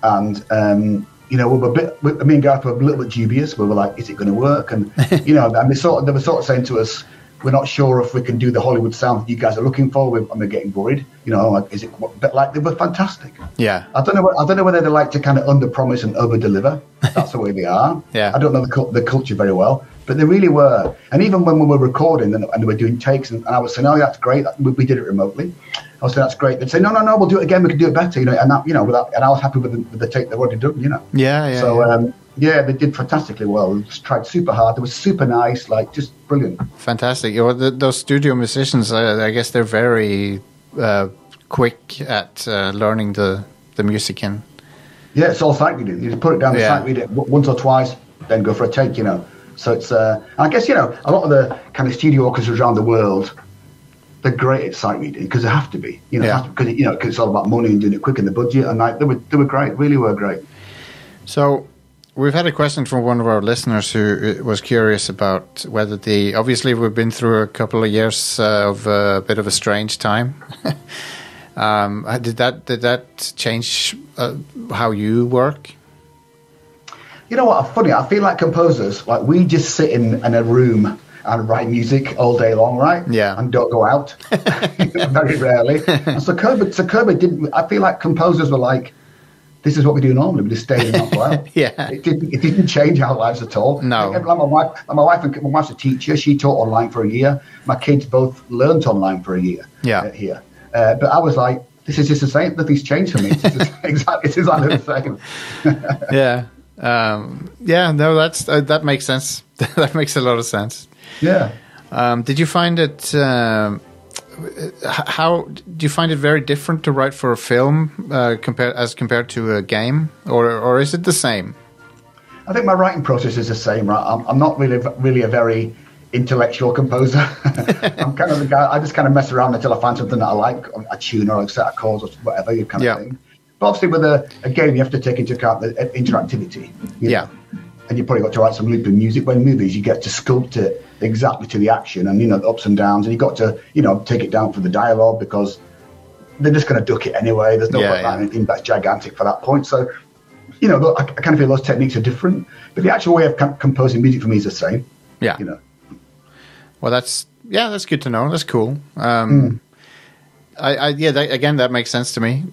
And um, you know, we were a bit. We, me and Garth were a little bit dubious. We were like, "Is it going to work?" And you know, and they sort of, they were sort of saying to us, "We're not sure if we can do the Hollywood sound that you guys are looking for." We're, and we're getting worried. You know, like, is it? But like, they were fantastic. yeah, I don't know. wh- I don't know whether they like to kind of under promise and over deliver. That's the way they are. Yeah. I don't know the, cul- the culture very well, but they really were. And even when we were recording and, and they were doing takes, and, and I was saying, "Oh, that's great. that- We, we did it remotely." I was saying, "That's great." They'd say, "No, no, no. We'll do it again. We can do it better." You know, and that, you know, without, and I was happy with the, with the take they've already done. You know. Oh, yeah, yeah. so yeah. Um, yeah, they did fantastically well. They Just tried super hard. They were super nice. Like just brilliant. Fantastic. You know, th those studio musicians, uh, I guess they're very uh, quick at uh, learning the the music in. Yeah, it's all sight reading. You just put it down the Yeah. sight, read it w- once or twice, then go for a take, you know. So it's, uh, I guess, you know, a lot of the kind of studio orchestras around the world, they're great at sight reading because they have to be, you know, Yeah. because, you know, 'cause it's all about money and doing it quick in the budget. And like, they were, they were great, really were great. So we've had a question from one of our listeners who uh, was curious about whether the obviously we've been through a couple of years uh, of a bit of a strange time. um, uh, did that did that change uh, how you work? You know what? Funny, I feel like composers, like we just sit in, in a room and write music all day long, right? Yeah. And don't go out very rarely. And so COVID, so COVID didn't. I feel like composers were like, "This is what we do normally. We just stay in and not go out." Yeah. It didn't. It didn't change our lives at all. No. Like, like my wife, like my wife, and my wife's a teacher. She taught online for a year. My kids both learnt online for a year. Yeah. uh, here, uh, but I was like. This is just the same. Nothing's changed for me. It's just exactly, it's exactly the same. yeah, um, yeah. No, that's uh, that makes sense. that makes a lot of sense. Yeah. Um, did you find it? Um, h- how do you find it very different to write for a film uh, compared as compared to a game, or or is it the same? I think my writing process is the same, right? I'm, I'm not really, really a very intellectual composer. I'm kind of the guy. I just kind of mess around until I find something that I like, a tune or a set of chords or whatever you kind of Yeah. thing. But obviously, with a, a game, you have to take into account the uh, interactivity. you Yeah. know. And you probably got to write some looping music. When movies, you get to sculpt it exactly to the action, and you know the ups and downs, and you got to you know take it down for the dialogue because they're just going to duck it anyway. There's no Yeah, point yeah. writing anything that's gigantic for that point. So, you know, I, I kind of feel those techniques are different, but the actual way of com- composing music for me is the same. Yeah. You know, Well, that's yeah, that's good to know. That's cool. Hmm. Um, I, I yeah, that, again, that makes sense to me.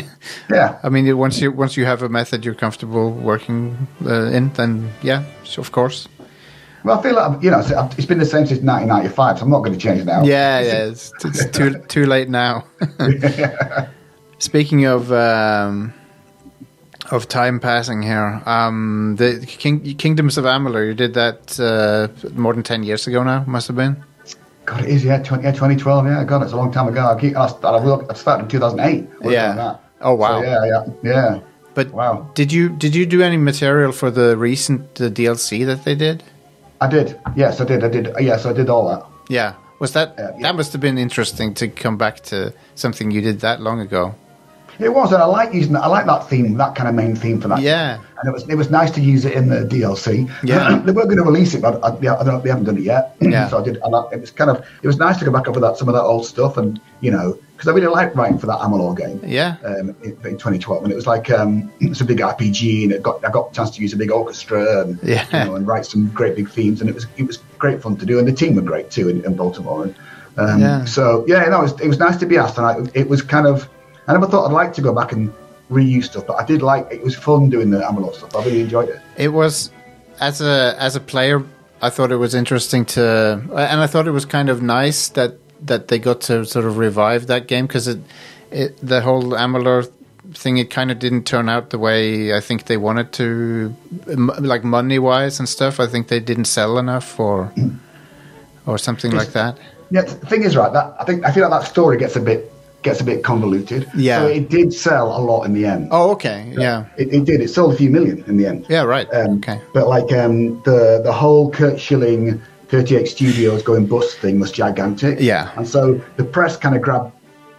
yeah, I mean, it- once you once you have a method you're comfortable working uh, in, then yeah, so of course. well, I feel like I've- you know it's- I've- it's been the same since 1995, so I'm not going to change now. Yeah, yeah, it's, it's too too late now. Speaking of um, of time passing here, um, the King, Kingdoms of Amalur, you did that uh, more than ten years ago now, must have been. God, it is. Yeah, 20, yeah, 2012. Yeah, God, it's a long time ago. I, keep, I, started, I will- I started in 2008. working Yeah. on that. Oh, wow. So, yeah, yeah, yeah. But Wow. did you did you do any material for the recent uh, DLC that they did? I did. Yes, I did. I did. Yes, I did all that. Yeah, was that Uh, yeah. that must have been interesting to come back to something you did that long ago? It was, and I like using that. I like that theme, that kind of main theme for that. Yeah. and it was it was nice to use it in the DLC. Yeah. they were going to release it, but I, yeah, I don't, they haven't done it yet. Yeah. so I did. I, like- it was kind of it was nice to go back over that some of that old stuff, and you know, because I really liked writing for that Amalur game. Yeah. Um, in, in 2012, and it was like um, it's a big RPG, and it got I got a chance to use a big orchestra, and Yeah. you know, and write some great big themes, and it was it was great fun to do, and the team were great too in, in Baltimore. And, um, Yeah. So yeah, no, it was, it was nice to be asked, and I, it was kind of I never thought I'd like to go back and reuse stuff, but I did like it was fun doing the Amalur stuff. I really enjoyed it. it was as a as a player i thought it was interesting to and i thought it was kind of nice that that they got to sort of revive that game because it, it the whole amalur thing it kind of didn't turn out the way i think they wanted to m- like money wise and stuff i think they didn't sell enough or or something like that Yeah, the thing is, right? That I think I feel like that story gets a bit gets a bit convoluted. Yeah. So it did sell a lot in the end. Oh, okay. Yeah. It, it did. It sold a few million in the end. Yeah, right. Um, okay. But like um, the the whole Kurt Schilling 38 Studios going bust thing was gigantic. Yeah. And so the press kind of grabbed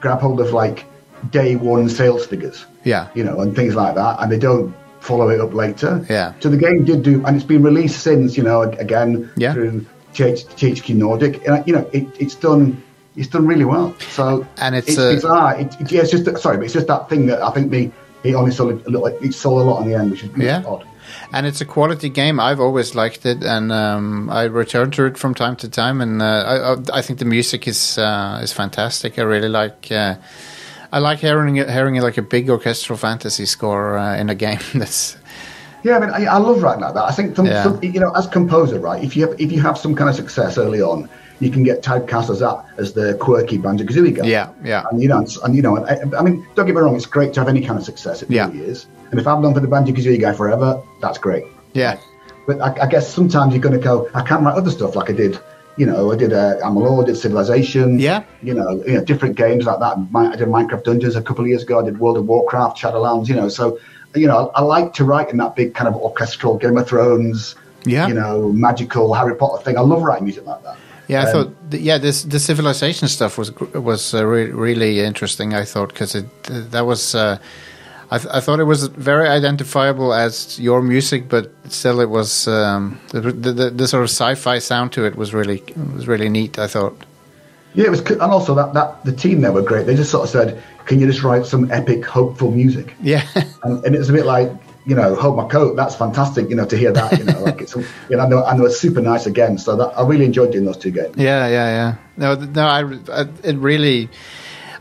grab hold of like day one sales figures. Yeah. You know, and things like that, and they don't follow it up later. Yeah. So the game did do, and it's been released since. You know, ag- again Yeah. through TH, THQ Nordic, and you know it, it's done. It's done really well. So And it's, it's uh, bizarre. It, it- yeah, it's just sorry, but it's just that thing that I think the it only sold a little. It sold a lot in the end, which is Yeah. odd. And it's a quality game. I've always liked it, and um, I return to it from time to time. And uh, I- I, I think the music is uh, is fantastic. I really like. Uh, I like hearing it, hearing like a big orchestral fantasy score uh, in a game. That's Yeah, I mean, I, I love writing like that. I think, some, Yeah. some, you know, as composer, right? If you have, if you have some kind of success early on, you can get typecast as that as the quirky Banjo Kazooie guy. Yeah, yeah. And you know, it's- and you know, and I, I mean, don't get me wrong, it's great to have any kind of success. It Yeah. really is. And if I'm known for the Banjo Kazooie guy forever, that's great. yeah, But I, I guess sometimes you're going to go, I can write other stuff like I did. You know, I did uh, Amalur, I did Civilization. Yeah. You know, you know, different games like that. My, I did Minecraft Dungeons a couple of years ago. I did World of Warcraft, Shadowlands. You know, so you know, I, I like to write in that big kind of orchestral Game of Thrones. Yeah. You know, magical Harry Potter thing. I love writing music like that. yeah. I thought th- yeah, this the civilization stuff was gr- was uh, re- really interesting. I thought because it th- that was. Uh, I, th- I thought it was very identifiable as your music, but still, it was um, the, the, the, the sort of sci-fi sound to it was really was really neat. I thought. Yeah, it was, co- and also that that the team there were great. They just sort of said, "Can you just write some epic, hopeful music?" Yeah, and, and it's a bit like you know hold my coat that's fantastic you know to hear that you know like it's you know and they were, and they were super nice again so that i really enjoyed doing those two games yeah, yeah, yeah. No, th- no. I, I it really,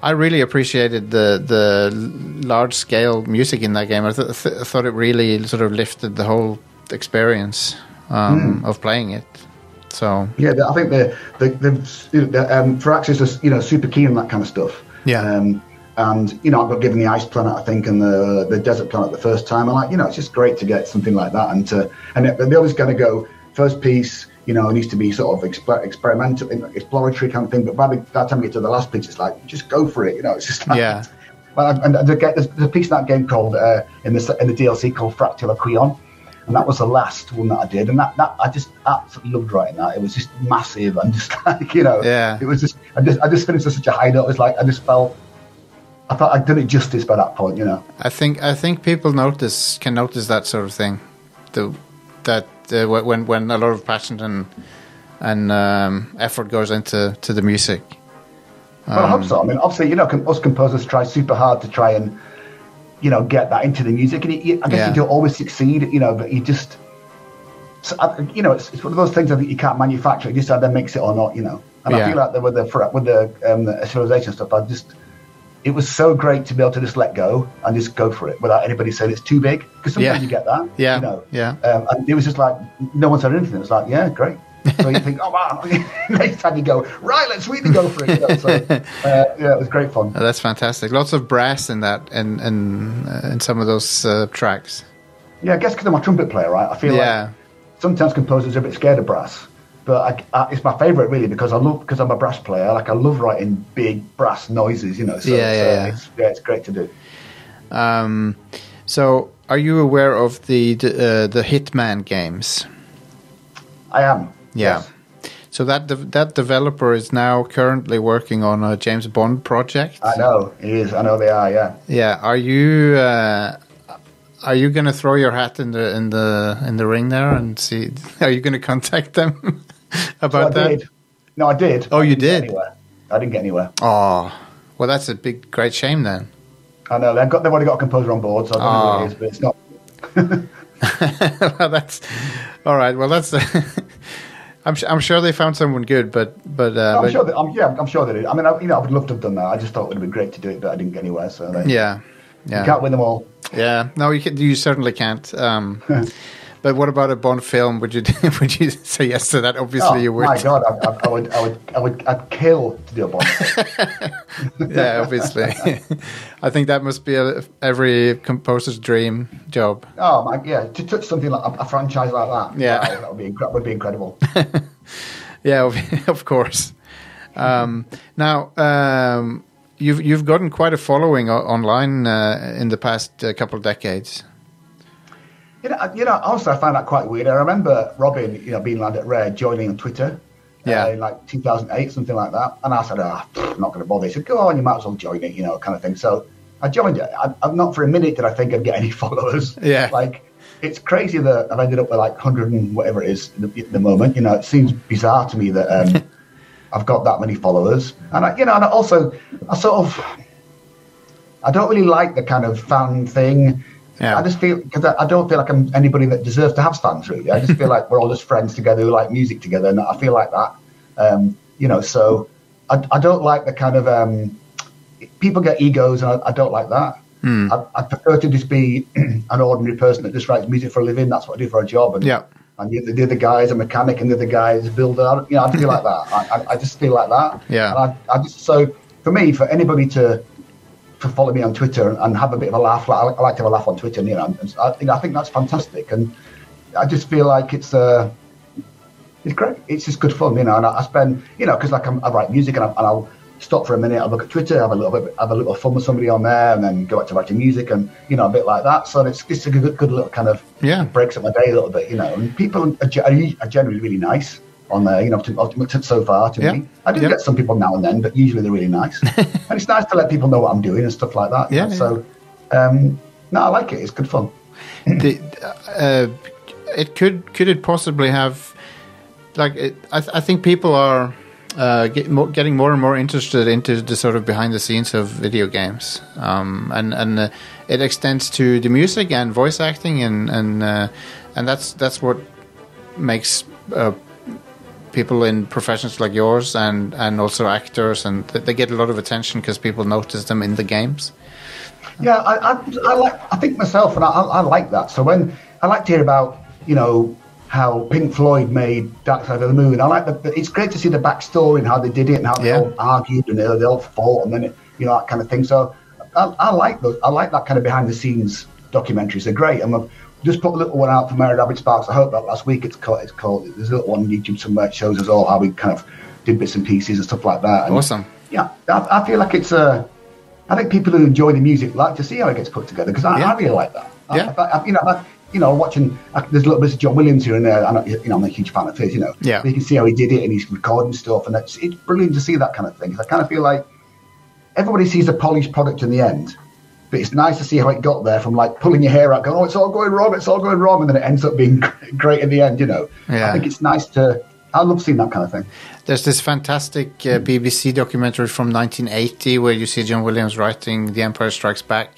I really appreciated the the large scale music in that game. I, th- th- thought it really sort of lifted the whole experience um, of playing it. So yeah the, i think the the, the, you know, the um Firaxis is you know super keen on that kind of stuff Yeah. um and you know i got given the ice planet i think and the the desert planet the first time and like you know it's just great to get something like that and to and they- they always kind of go first piece you know, it needs to be sort of exper- experimental, exploratory kind of thing. But by the by the time you get to the last piece, it's like just go for it. You know, it's just like, Yeah. Well, and the, there's there's a piece in that game called uh, in the in the DLC called Fractal Quion, and that was the last one that I did, and that, that I just absolutely loved writing that. It was just massive and just like you know, Yeah. It was just I just I just finished with such a high note. It was like I just felt I thought I'd done it justice by that point, you know. I think I think people notice can notice that sort of thing, the, that uh, wh- when when a lot of passion and and um, effort goes into to the music. Well, I hope so. I mean, obviously, you know, com- us composers try super hard to try and, you know, get that into the music, and you, you- I guess Yeah. you don't always succeed, you know, but you just, so, I- you know, it's, it's one of those things that you can't manufacture. You just either makes it or not, you know. And Yeah. I feel like the, with the fra- with the, um, the civilization stuff, I just, it was so great to be able to just let go and just go for it without anybody saying it's too big. Because sometimes Yeah. you get that, Yeah. you know. Yeah. Um, and it was just like no one said anything. It was like, yeah, great. So you think, oh wow. Next time you go, right, let's really go for it. You know, so, uh, yeah, it was great fun. Uh, That's fantastic. Lots of brass in that, and and uh, in some of those uh, tracks. Yeah, I guess because I'm a trumpet player, right? I feel Yeah. like sometimes composers are a bit scared of brass, but I, I, it's my favorite really because I love because I'm a brass player. Like I love writing big brass noises, you know. So, Yeah, yeah, so yeah. It's, yeah, it's great to do. Um, so, are you aware of the the, uh, the Hitman games? I am. Yeah. So that de- that developer is now currently working on a James Bond project. I know he is. I know they are. Yeah. Yeah. Are you uh, are you going to throw your hat in the in the in the ring there and see? Are you going to contact them about So I that? did. No, I did. Oh, I you didn't get did? anywhere. I didn't get anywhere. Oh, well, that's a big great shame then. I know they've got they've already got a composer on board, so I don't Oh. know what it is, but it's not. well, that's all right. Well, that's. I'm su- I'm sure they found someone good, but but, uh, I'm but- sure that I'm, yeah, I'm sure they did. I mean, I, you know, I would love to have done that. I just thought it would have been great to do it, but I didn't get anywhere. So they, yeah, you yeah, can't win them all. yeah. No, you can, you certainly can't. Um, but what about a Bond film? Would you would you say yes to that? Obviously, oh you would. my god, I, I, I would, I would, I would, I'd kill to do a bomb. yeah, obviously. I think that must be a, every composer's dream job. oh my, yeah, to touch something like a, a franchise like that. Yeah. wow, that would be incre- would be incredible. Yeah, of, of course. Um, now, um, you've you've gotten quite a following o- online uh, in the past uh, couple of decades. You know, I- you know, honestly, I find that quite weird. I remember Robin, you know, being land at Rare, joining on Twitter, Yeah. uh, in like 2008, something like that. And I said, ah, pff, I'm not going to bother. He said, go on, you might as well join it, you know, kind of thing. So I joined it. I, I'm not for a minute did I think I'd get any followers. Yeah. Like, it's crazy that I've ended up with like 100 and whatever it is at the, at the moment. You know, it seems bizarre to me that um, I've got that many followers. And I, you know, and I also, I sort of, I don't really like the kind of fan thing. Yeah. I just feel because I, I don't feel like I'm anybody that deserves to have fans. Really, I just feel like we're all just friends together who like music together, and I feel like that. Um, you know, so I, I don't like the kind of um, people get egos, and I, I don't like that. Hmm. I, I prefer to just be an ordinary person that just writes music for a living. That's what I do for a job. And, Yeah. And the, the other guy is a mechanic, and the other guy is a builder. I, don't- you know, I feel like that. I, I, I just feel like that. Yeah. And I, I just so for me, for anybody to to follow me on Twitter and, and have a bit of a laugh. Like, I, like- I like to have a laugh on Twitter, and, you know, and, and I, you know, I think that's fantastic. And I just feel like it's uh, it's great. It's just good fun, you know. And I, I spend, you know, because like I'm, I write music, and, I, and I'll stop for a minute, I'll look at Twitter, have a little bit, have a little fun with somebody on there, and then go back to writing music, and you know, a bit like that. So it's just a good, good little kind of Yeah. breaks up my day a little bit, you know. And people are, ge- are u- are generally really nice on there, you know, to, to, so far to Yeah. me. I do Yep. get some people now and then, but usually they're really nice. and it's nice to let people know what I'm doing and stuff like that. you Yeah, know. yeah. So, um, no, I like it. It's good fun. the, uh, it could could it possibly have like it, I, th- I think people are uh, get more, getting more and more interested into the sort of behind the scenes of video games um, and and uh, it extends to the music and voice acting and and uh, and that's that's what makes uh, people in professions like yours and and also actors and th- they get a lot of attention because people notice them in the games Yeah, I, I, I like. I think myself, and I, I I like that. So when I like to hear about, you know, how Pink Floyd made Dark Side of the Moon. I like that. that It's great to see the backstory and how they did it, and how they Yeah. all argued and they, they all fought, and then it, you know that kind of thing. So I, I like those. I like that kind of behind the scenes documentaries. They're great. And I've just put a little one out for Mary Rabbit Sparks. I hope that last week it's called. It's called. There's a little one on YouTube somewhere. It shows us all how we kind of did bits and pieces and stuff like that. And awesome yeah, I, I feel like it's Uh, I think people who enjoy the music like to see how it gets put together because I, Yeah. I really like that. I- Yeah. I, I- you know, I, you know, watching I, there's a little bit of John Williams here and there. I'm not, you know, I'm a huge fan of his. You know, Yeah. But you can see how he did it and he's recording stuff, and it's, it's brilliant to see that kind of thing. 'Cause I kind of feel like everybody sees the polished product in the end, but it's nice to see how it got there from like pulling your hair out, going, "Oh, it's all going wrong, it's all going wrong," and then it ends up being great in the end. You know, Yeah. I think it's nice to. I love seeing that kind of thing. There's this fantastic uh, BBC documentary from 1980 where you see John Williams writing "The Empire Strikes Back."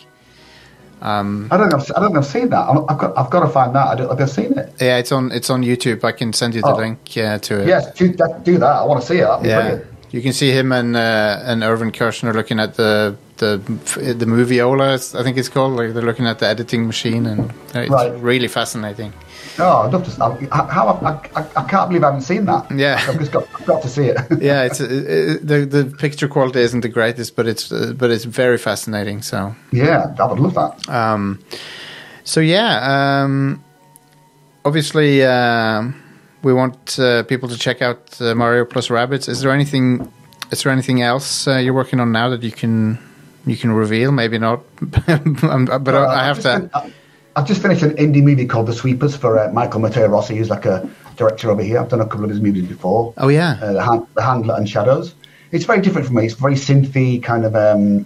I don't know. if- I don't know. if I've seen that. I've got. I've got to find that. I don't. think I've seen it. Yeah, it's on it's on YouTube. I can send you the Oh. link uh, to it. Yes, do that. Do that. I want to see it. That'd be yeah. brilliant. You can see him and uh, and Irvin Kershner looking at the the the movie Ola, it's- I think it's called. Like they're looking at the editing machine, and uh, it's Right. really fascinating. Oh, I'd love to. I, how I, I, I can't believe I haven't seen that. Yeah. I've just got, I've got to see it. Yeah, it's uh, uh, the the picture quality isn't the greatest, but it's uh, but it's very fascinating. So. yeah, I would love that. Um, so yeah, um, obviously um we want uh, people to check out uh, Mario plus Rabbits. Is there anything? Is there anything else uh, you're working on now that you can you can reveal? Maybe not, Um, but I, I have I've just to. fin- I- I've just finished an indie movie called The Sweepers for uh, Michael Matteo Rossi, who's like a director over here. I've done a couple of his movies before. Oh yeah, uh, the, hand, the Handler and Shadows. It's very different for me. It's very synthy, kind of um,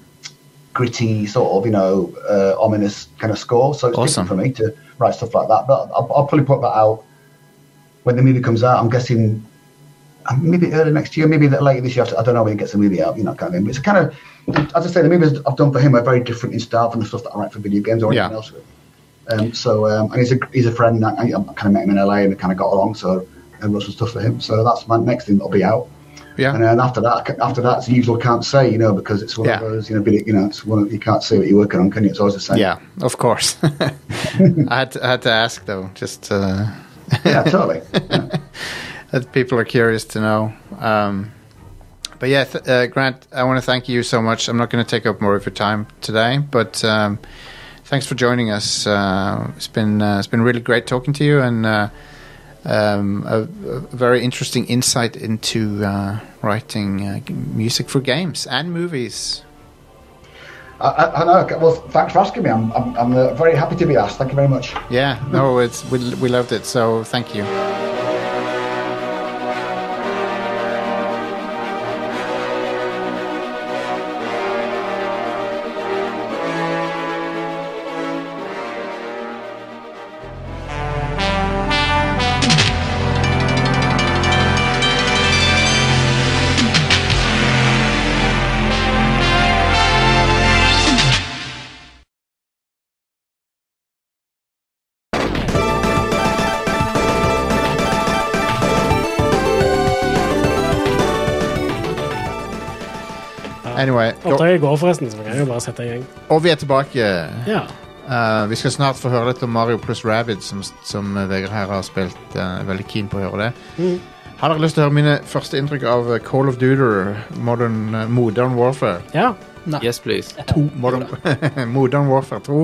gritty, sort of you know, uh, ominous kind of score. So it's Awesome. different for me to write stuff like that. But I'll, I'll probably put that out when the movie comes out. I'm guessing uh, maybe early next year, maybe that later this year. I don't know when he gets the movie out. You know, kind of. thing. But it's kind of, as I say, the movies I've done for him are very different in style from the stuff that I write for video games or Yeah. anything else. Really. Um, so, um, and he's a, he's a friend. I, I kind of met him in LA and we kind of got along. So, I wrote some stuff for him. So that's my next thing that'll be out. And yeah, then after that, after that, it's the usual can't say, you know, because it's one Yeah. of those, you know, bit- you know, it's one of, you can't say what you're working on, can you? It's always the same. yeah. Of course, I had to, I had to ask though, just uh, yeah, totally. that people are curious to know. Um, but yeah, th- uh, Grant, I want to thank you so much. I'm not going to take up more of your time today, but um, thanks for joining us. Uh, it's been uh, it's been really great talking to you, and uh, um, a, a very interesting insight into uh, writing uh, g- music for games and movies. I, I, I know. Well, thanks for asking me. I'm, I'm, I'm uh, very happy to be asked. Thank you very much. Yeah, no, it's we, we loved it, so thank you. Anyway, go, Oppdraget går, forresten, så vi kan jo bare sette i gang. og vi er tilbake. Ja. Eh, vi skal snart få høre litt om Mario pluss Rabbids, som, som Vegard her har spilt. eh, er veldig keen på å høre det. Mm. Har dere lyst til å høre mine første inntrykk av eh, Call of Duty, Modern, eh, Modern Warfare? ja. Yes, please. Modern, Modern Warfare 2.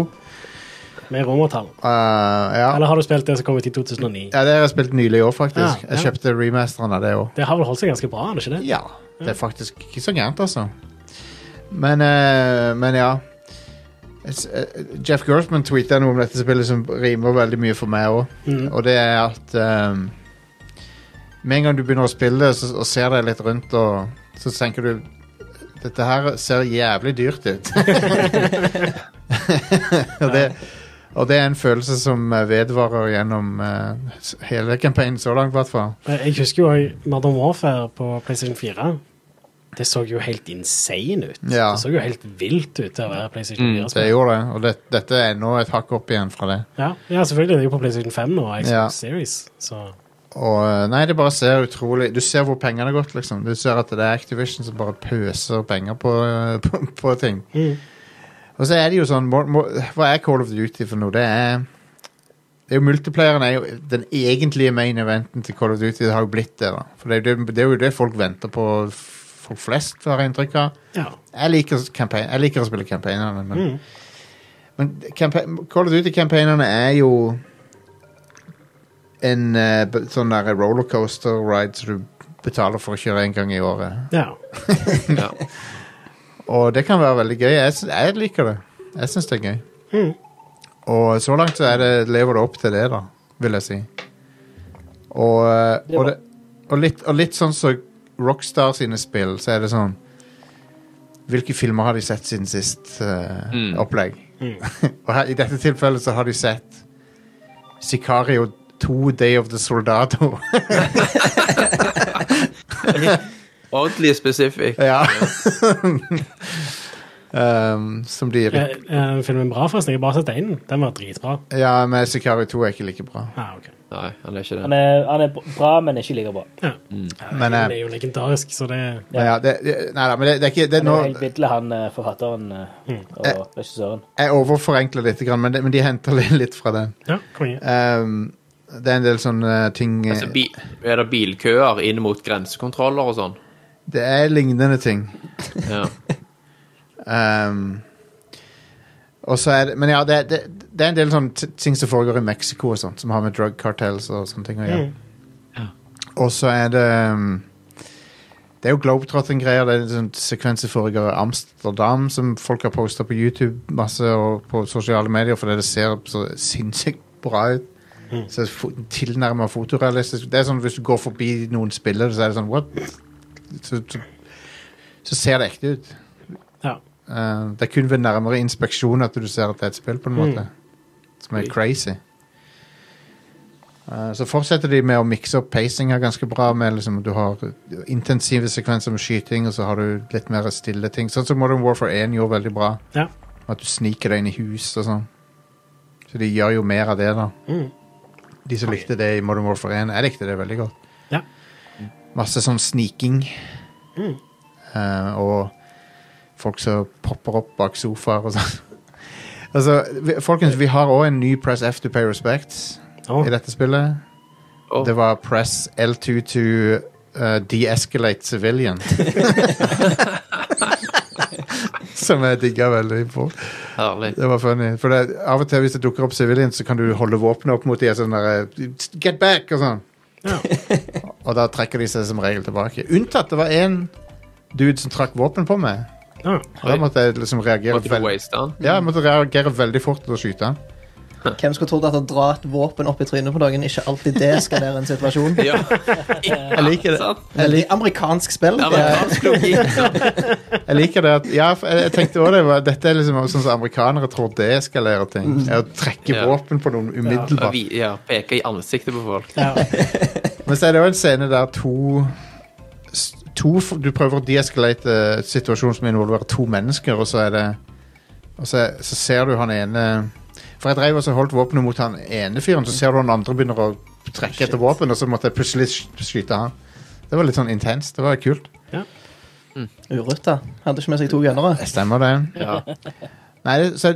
Med romertall. Eh, ja. Eller har du spilt det som kom ut i 2009? ja, det har jeg spilt nylig i år, Ja, faktisk. Jeg Ah, ja. kjøpte remasteren av det òg. Det har vel holdt seg ganske bra, er det ikke det? Ja, det er faktisk ikke så gærent, altså. Men, eh, men ja. Es- eh, Jeff Gerfman tweeta noe om dette spillet som rimer veldig mye for meg òg. Og det er at ehm, med en gang du begynner å spille så, og ser deg litt rundt, og, så tenker du Dette her ser jævlig dyrt ut. og, det, og det er en følelse som eh, vedvarer gjennom eh, s- hele campaignen så langt, i hvert fall. Eh, Jeg husker jo også Modern Warfare på PlayStation 4. Det så jo helt insane ut. Ja. Det så jo helt vilt ut til å være PlayStation 4. Det gjorde det, og det, dette er nå et hakk opp igjen fra det. ja. ja, selvfølgelig. Det er jo på PlayStation 5 nå, Xbox Ja. Series. Så Og eh, nei, det bare ser utrolig Du ser hvor pengene har gått, liksom. Du ser at det er Activision som bare pøser penger på, eh, på, på ting. Mm. Og så er det jo sånn må, må, Hva er Call of Duty for noe? Det er det er jo Multiplayeren er jo den egentlige main eventen til Call of Duty. Det har jo blitt det, da. For det er, jo det, det er jo det folk venter på, f- folk flest, har jeg inntrykk av. ja. Mm. Jeg liker, campaign, jeg liker å spille campaignerne, men, men campa- Call of Duty-campaignerne er jo en eh, b- sånn der rollercoaster ride som du betaler for å kjøre en gang i året. ja. Ja. Og det kan være veldig gøy. Jeg, sy- jeg liker det. Jeg syns det er gøy. Og så langt så er det, lever det opp til det, da, vil jeg si. Og, eh, og, det, og, litt, og litt sånn som Rockstar sine spill, så er det sånn Hvilke filmer har de sett siden sist eh, Mm. opplegg? og her, i dette tilfellet så har de sett Sicario 2 Day of the Soldado. Oddly specific. ja. um, som de Eh, eh, filmen bra, forresten. Jeg har bare sett én. Den var dritbra. Ja, men Sicario 2 er ikke like bra. Ah, ok. Nei, han er ikke Han det. er, han er bra, men ikke like bra. ja. Men, Den eh, er jo legendarisk, så det men ja, det, det, nei, nei, men det, det er ikke det, er Han nå, er jo helt bidle, han eh, forfatteren eh, og regissøren. Jeg overforenkler litt, grann, men, det, men de henter litt, litt fra den. Ja, konge. Ehm, det er en del sånne ting eh, Altså, bi er det bilkøer inn mot grensekontroller og sånn? Det er lignende ting. Ja. Ehm, og så er det Men ja, det, det, det er en del sånne t- ting som foregår i Mexico og sånt, som har med drug cartels og sånne ting å gjøre. Og så er det um, Det er jo globetrotting-greier. Det er en sånn sekvens som foregår i Amsterdam, som folk har posta på YouTube masse og på sosiale medier fordi det ser så sinnssykt bra ut. Så fo tilnærma fotorealistisk. Det er sånn Hvis du går forbi noen spillere, så er det sånn What? Så, så, så ser det ekte ut. Ja. Eh, det er kun ved nærmere inspeksjon at du ser at det er et spill, på en måte. Som er crazy. Eh, så fortsetter de med å mikse opp pacinga ganske bra. med liksom, Du har intensive sekvenser med skyting, og så har du litt mer stille ting. Sånn som Modern Warfare 1 gjorde veldig bra. Ja. At du sniker deg inn i hus og sånn. Så de gjør jo mer av det, da. Mm. De som likte det i Modern Warfare 1. Jeg likte det veldig godt. Ja. Mm. Masse sånn sniking. Eh, og folk som popper opp bak sofaer og sånn. altså, vi, folkens, vi har òg en ny Press F to Pay Respects Å. i dette spillet. Å. Det var Press L2 to eh, De-escalate civilian. Som jeg digga veldig på. Herlig. Det var funny. For det, av og til hvis det dukker opp civilians, så kan du holde våpenet opp mot de og sånn der, Get back! og sånn. Ja. og da trekker de seg som regel tilbake. Unntatt det var én dude som trakk våpen på meg. Ah, Og Da måtte jeg liksom reagere Måtte du veldig waste den? Ja, jeg måtte reagere veldig fort og skyte han. Hvem skulle trodd at å dra et våpen opp i trynet på noen ikke alltid deeskalerer en situasjon? Ja. Jeg liker det. Veldig amerikansk spill. Ja, det men, er- fransk logikk. Jeg liker det at Ja, for jeg jeg tenkte også det var Dette er liksom sånn som amerikanere tror deeskalerer ting. Er å trekke Mm. Ja. våpen på noen Og umiddelbart. vi- Ja, peke i ansiktet på folk. Men så er det jo en scene der to s- To f- Du prøver å deeskalate en situasjon som involverer to mennesker, og så er det Og så, så ser du han ene For jeg drev og så holdt våpenet mot han ene fyren, så ser du han andre begynner å trekke etter våpen, og så måtte jeg plutselig sk- skyte han. Det var litt sånn intenst. Det var kult. Urutta. Hadde ikke med seg to gønnere. Det stemmer, det. Ja. Nei, det- så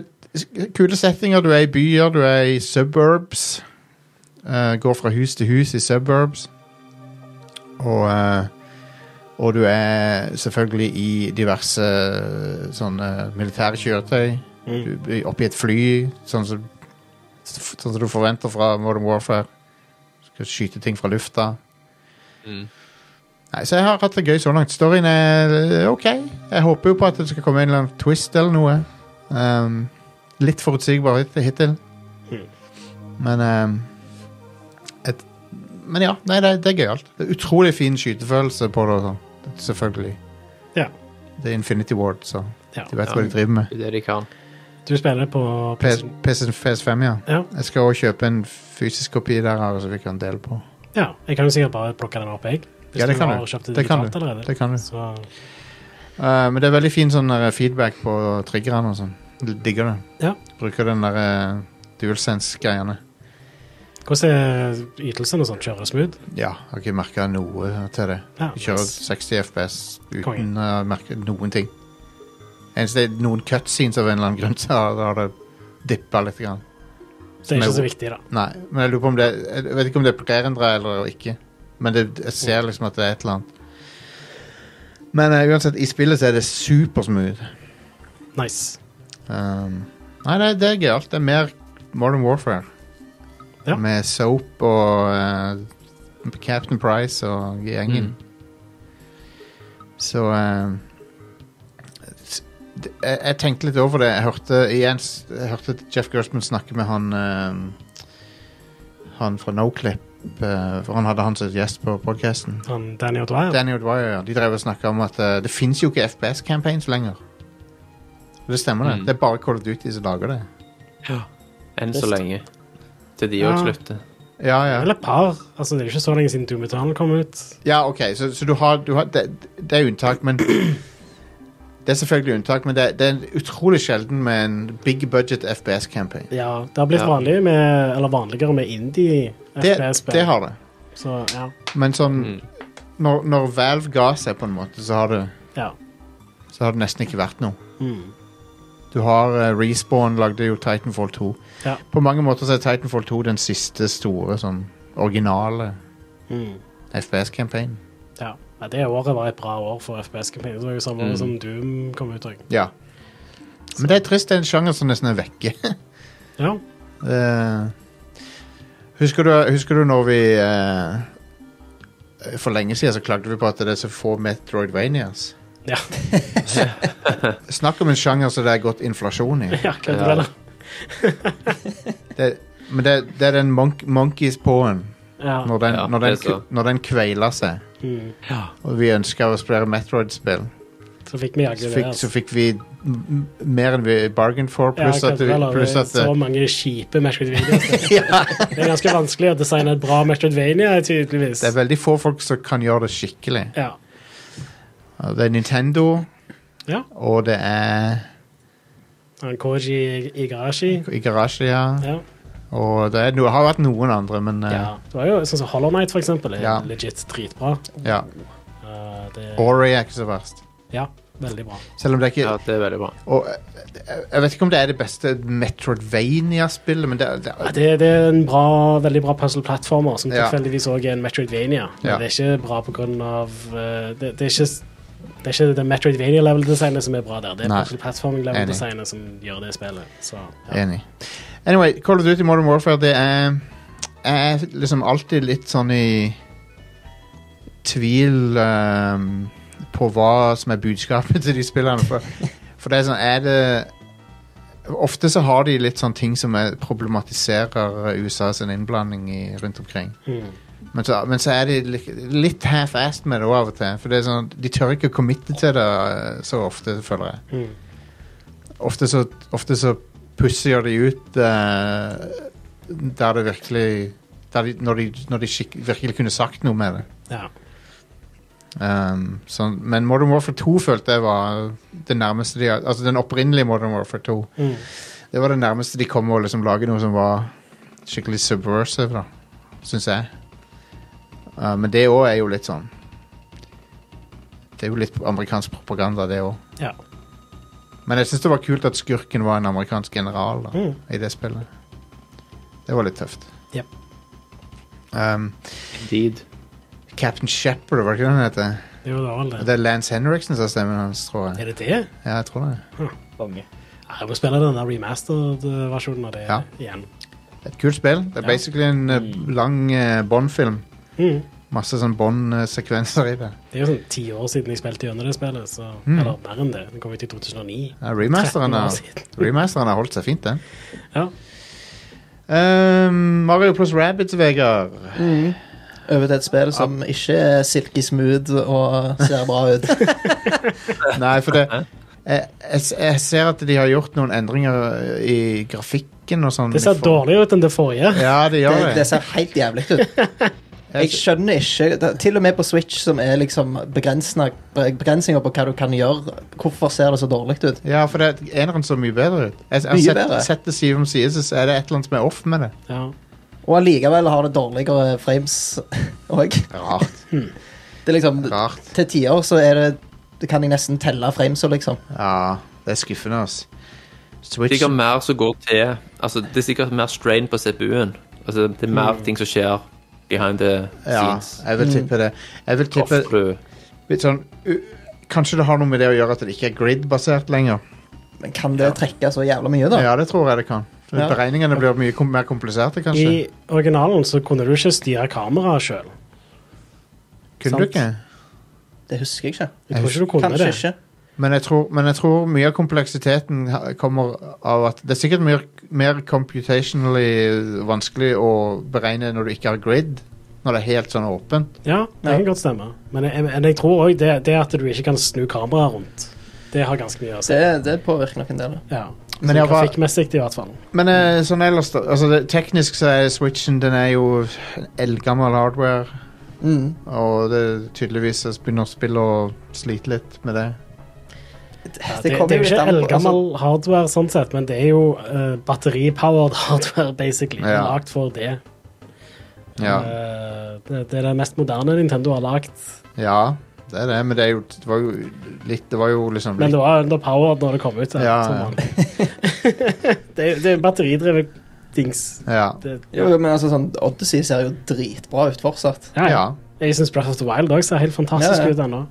kule settinger. Du er i byer, du er i suburbs. Eh, går fra hus til hus i suburbs. Og eh, Og du er selvfølgelig i diverse eh, sånne militære kjøretøy. Du blir Oppi et fly, sånn som Sånn som du forventer fra Modern Warfare. Skal skyte ting fra lufta. Mm. Nei, Så jeg har hatt det gøy så langt. Storyen er eh, OK. Jeg håper jo på at det skal komme en eller annen twist eller noe. Ehm, litt forutsigbar hit- hittil. Hmm. Men ehm, et, Men ja, nei, det, det er gøyalt. Det er Utrolig fin skytefølelse på det. og sånn. Selvfølgelig. Ja. Det er Infinity Ward, så Ja. de vet hva de driver med. Det er det de kan. Du spiller på PS, PC. PS5, ja. Ja. Jeg skal også kjøpe en fysisk kopi der, her, så vi kan dele på. ja. Jeg kan jo sikkert bare plukke den opp, jeg. Hvis Ja, det kan du du. har kjøpt det Det kan digitalt allerede. Det kan du. Så Eh, men det er veldig fin sånn der feedback på triggerne og sånn. L- Digger det. Ja. Bruker den der eh, DualSense-greiene. hvordan er ytelsen og sånn? Kjører smooth? Ja, har ikke merka noe til det. Ja, Jeg kjører nice. 60 FPS uten Konge. å merke noen ting. Eneste det er noen cutscenes av en eller annen grunn, så har- har det dippa litt. Grann. Det er med- ikke så viktig, da. Nei, men jeg lurer på om det Jeg vet ikke om det er plerendra eller ikke. Men det, jeg ser liksom at det er et eller annet. Men eh, uansett, i spillet så er det supersmooth. Nice. Um, nei, det, det er gøyalt. Det er mer Modern Warfare. Ja. Med Soap og eh, Captain Price og gjengen. Så eh, s- det- jeg, jeg tenkte litt over det. Jeg hørte, igjen, s- jeg hørte Jeff Gerstmann snakke med han eh, Han fra Noclip. eh, for han hadde han som gjest på podkasten. Han Danny O'Dwyer. Danny O'Dwyer, ja. De drev og snakka om at eh, det fins jo ikke FPS-campaigns lenger. Og det stemmer, det. Mm. Det er bare Call of Duty som lager det. Enn så Best. lenge. Til de Ja. òg slutter. Ja, ja. Eller par. Altså, det er jo ikke så lenge siden Doom Eternal kom ut. ja OK, så, så du har, du har det, det er unntak, men Det er selvfølgelig unntak, men det, det er utrolig sjelden med en big budget FPS-campaign. Ja, Det har blitt Ja. vanlig med, eller vanligere med indie Det, FPS-spill. det har det. Så ja. Men sånn Mm. når, når Valve ga seg, på en måte, så har det, ja. så har det nesten ikke vært noe. Mm. Du har eh, Respawn lagde jo Titanfall 2. Ja. På mange måter så er Titanfall 2 den siste store sånn originale Mm. FPS-campaign. ja. ja. Det året var et bra år for FPS-kampanjen. Det var jo samme Mm. år som Doom kom ut òg. Ja. Men det er trist, det er en sjanger som nesten er vekke. Ja. Eh, husker, du, husker du når vi eh, For lenge siden så klagde vi på at det er så få Metroidvanias. Ja. Snakk om en sjanger som det er gått inflasjon i. ja, hva er det da? Ja. Det, men det, det er den monk, monkeys pawen Ja. når, den- Ja, når, den det er så. ku- når den kveiler seg. Mm. Og vi ønsker å spille Metroid-spill. Så fikk vi jaggu Så det. fikk, så altså. fikk vi m- mer enn vi bargained for, pluss ja, at, vi- Kantarella, pluss det er at eh, så mange kjipe Meshwood-videoer. Det er ganske vanskelig å designe et bra Meshwoodvania, tydeligvis. Det er veldig få folk som kan gjøre det skikkelig. Ja. Det er Nintendo, Ja. og det er Han Koji Igarashi. Igarashi, ja. Ja. Og det er, no- har vært noen andre, men eh, Ja. Det var jo sånn som Hollow Knight, for eksempel, er Ja. legit dritbra. ja. Eh, det, Ori er ikke så verst. ja, veldig bra. Selv om det er ikke Ja, det er veldig bra. og, eh, Jeg vet ikke om det er det beste Metroidvania-spillet, men det, det, Ja, det, det er en bra, veldig bra puzzle-plattformer, som Ja. tilfeldigvis også er en Metroidvania. Men Ja. det er ikke bra på grunn av eh, det, det er ikke s- det er ikke det Metroidvania-level-designet som er bra der. Det er Nei. plattforming-level-designet som gjør det spillet. Så, ja. Enig. Anyway, Call of Duty Modern Warfare, det er Jeg er liksom alltid litt sånn i tvil ehm, på hva som er budskapet til de spillerne. For, for det er sånn Er det Ofte så har de litt sånn ting som er, problematiserer USA sin innblanding i, rundt omkring. Mm. Men, så, men så er de li- litt half-assed med det også av og til. For det er sånn, de tør ikke å committe til det eh, så ofte, føler jeg Mm. ofte så, ofte så pusser de ut eh, der det virkelig der de, Når de, når de skikk, virkelig kunne sagt noe med det. Ja. Um, sånn, men Modern Warfare 2 følte jeg var det nærmeste de Altså den opprinnelige Modern Warfare 2. Det var det nærmeste de kom å liksom lage noe som var skikkelig subversive, da. Syns jeg. Uh, men det òg er jo litt sånn Det er jo litt amerikansk propaganda, det òg. ja. Men jeg syns det var kult at skurken var en amerikansk general da, i det spillet. Det var litt tøft. Jep. Um, Indeed. Captain Shepherd, var det ikke det han heter? Det var da vel det. Det er Lance Henriksen som har stemmen hans, tror jeg. Er det det? Ja, jeg tror det. Konge. Ja, Jeg må spille den der remastered-versjonen av det Ja. igjen. Et kult spill. Det er Ja. basically en eh, lang uh, Bond-film. Mm. Masse sånn Bond-sekvenser i det. Det er jo sånn ti år siden jeg spilte gjennom det spillet. Så, Eller mer enn det. Den kom ut i 2009. Mm. Ja, remasteren, 13 år har, siden. remasteren har holdt seg fint, den. Ja. Um, Mario pluss Rabbids, Vegard. Over til et spill som ikke er silky smooth og ser bra ut. Nei, for det jeg, jeg, jeg ser at de har gjort noen endringer i grafikken og sånn. Det ser dårligere ut enn det forrige. Ja, de gjør Det, det. det ser helt jævlig ut. Jeg skjønner ikke da- Til og med på Switch, som er liksom begrensna- begrensninger på hva du kan gjøre, hvorfor ser det så dårlig ut? Ja, for det, eneren så mye bedre ut. Jeg, jeg har Mye sett, bedre. sett det side om side, så er det et eller annet som er off med det. Ja. Og allikevel har det dårligere frames òg. Rart. Det er liksom Rart. Til tider så er det det kan jeg nesten telle framesa, liksom. Ja, det er skuffende, altså. Switch Sikkert mer som går til altså, Det er sikkert mer strain på CPU-en. Altså, det er mer ting som skjer behind the Mm. Ja, scenes. jeg vil tippe det. Jeg vil tippe Ofte du litt sånn u- Kanskje det har noe med det å gjøre at det ikke er grid-basert lenger. Men kan det trekke så jævla mye, da? Ja, det tror jeg det kan. For Ja. Beregningene blir mye kom mer kompliserte, kanskje. I originalen så kunne du ikke styre kameraet sjøl. Kunne du sant. ikke? Det husker jeg ikke. Jeg tror ikke du kunne Kanskje det. ikke. Men jeg, tror, men jeg tror mye av kompleksiteten ha- kommer av at det er sikkert mer, mer computationally vanskelig å beregne når du ikke har grid, når det er helt sånn åpent. Ja, det Ja. kan godt stemme. Men jeg, men jeg tror òg det, det at du ikke kan snu kameraet rundt, det har ganske mye å si. Det, det påvirker nok en del. Ja. Men Så jeg var- Grafikkmessig, i hvert fall. Men eh, sånn ellers, da, altså det, teknisk så er switchen den er jo eldgammel hardware, Mm. og det tydeligvis så begynner spillet å slite litt med det. Det, Ja, det det, det kommer er jo jo litt ikke an på eldgammel altså, hardware, sånn sett, men det er jo eh, batteripowered hardware, basically. Ja. Lagt for det. Ja, Eh, det. Det er det mest moderne Nintendo har lagt. ja det er det, men det, er jo, det var jo litt Det var jo liksom Men litt, det var underpowered når det kom ut. da, Ja, som ja. vanlig. det, er- det er batteridrevet dings. ja, Det, jo, men altså sånn Odyssey ser jo dritbra ut fortsatt. ja, ja. ja. Jeg syns Breath of the Wild òg ser helt fantastisk Ja, ja. ut ennå.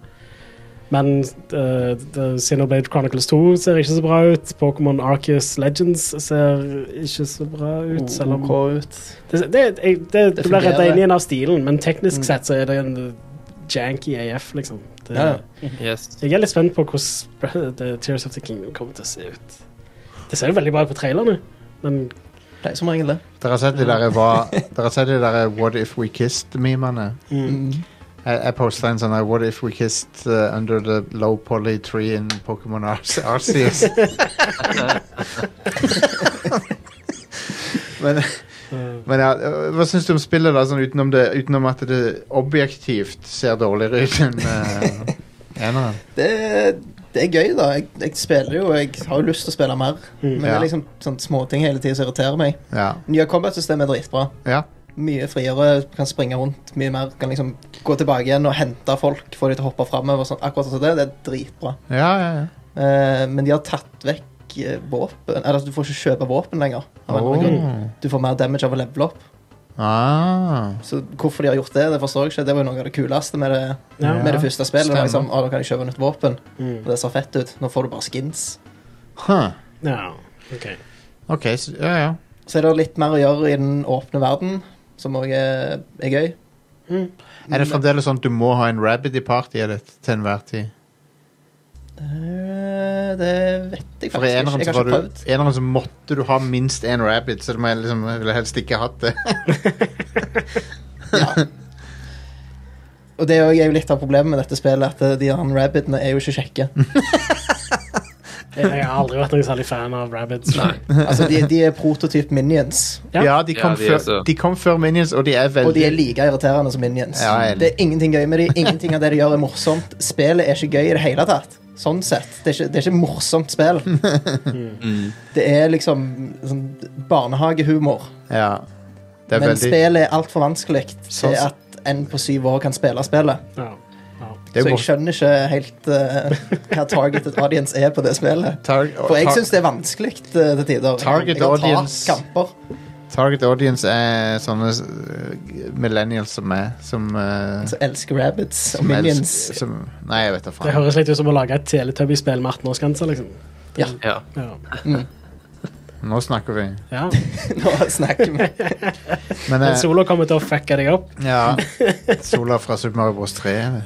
Men eh, The Xenoblade Chronicles 2 ser ikke så bra ut. Pokémon Arceus Legends ser ikke så bra ut. Selv om OK ut. Det, det, jeg, det, det, blir fungerer. Mm. redda inn igjen av stilen, men teknisk sett så er det en eh, janky AF, liksom. Det, Ja, ja. Yes. Jeg er litt spent på hvordan Br- The Tears of the Kingdom kommer til å se ut. Det ser jo veldig bra ut på trailerne, men Det er som regel det. Dere har sett de der, hva, dere har sett de der eh, What if we kissed-memene? Mm. Jeg, jeg posta en sånn her, What if we kissed uh, under the low poly tree in Pokémon Arce- Arceus? men men ja, eh, hva syns du om spillet, da? Sånn utenom, det, utenom at det objektivt ser dårligere ut enn uh, eneren? Det, det er gøy, da. Jeg, jeg spiller jo, og jeg har jo lyst til å spille mer. Mm. Men det Ja. er liksom sånn småting hele tida som irriterer meg. Ja. Nye combat-systemet er dritbra. ja. Mye friere, kan springe rundt mye mer. Kan liksom gå tilbake igjen og hente folk, få de til å hoppe framover. Sånn, akkurat sånn som det. Det er dritbra. Ja, ja, ja. Eh, men de har tatt vekk eh, våpen. Eller altså, du får ikke kjøpe våpen lenger. av en eller annen grunn. Åh. Du får mer damage av å levele opp. Ah. Så hvorfor de har gjort det, det forstår jeg ikke. Det var jo noe av det kuleste med det, Ja. med det første spillet. Det var Stemmer. liksom, å, da kan jeg kjøpe nytt våpen. Mm. Og det ser fett ut. Nå får du bare skins. Huh. ja. OK. OK, så ja, ja. Så er det litt mer å gjøre i den åpne verden, som òg er, er gøy. Er det fremdeles sånn at du må ha en rabbit i partyet ditt til enhver tid? Eh, Det vet jeg For i eneren faktisk ikke. Jeg har så, ikke var du, prøvd. eneren så måtte du ha minst én rabbit, så du må liksom, jeg ville helst ikke hatt det. Og det er jo- er jo litt av problemet med dette spillet, at eh, de her rabbitene er jo ikke kjekke. Jeg jeg har aldri vært noen særlig fan av rabbits. Altså, de, de er prototyp minions, Ja, Ja. de, kom Ja, de er før, så- de kom før Minions, og de er veldig og de er like irriterende som minions. Ja, jeg- Det er ingenting gøy med de, ingenting av det de gjør er morsomt. Spillet er ikke gøy i det hele tatt. Sånn sett. Det er ikke, det er ikke morsomt spill. Mm. Det er liksom sånn barnehagehumor. Ja. Det er Men veldig spillet er altfor vanskelig til Sånn- at en på syv år kan spille spillet. Ja. det Så er jeg mors- skjønner ikke helt eh, hva targeted audience er på det spillet. tar, For jeg tar- syns det er vanskelig eh, til tider. Target jeg har tapt audience. kamper. Target audience er sånne eh, millennials som er Som, eh, Så elsker rabbits og som elsker- minions. som, Nei, jeg vet da Det faen. høres litt ut som å lage et Teletubby-spill med 18-årsgrense, liksom. Ja. Ja. Nå snakker vi. ja. Nå snakker vi. Men Men eh, Solo kommer til å fucke deg opp. ja Sola fra Super Mario Bros. 3. er det.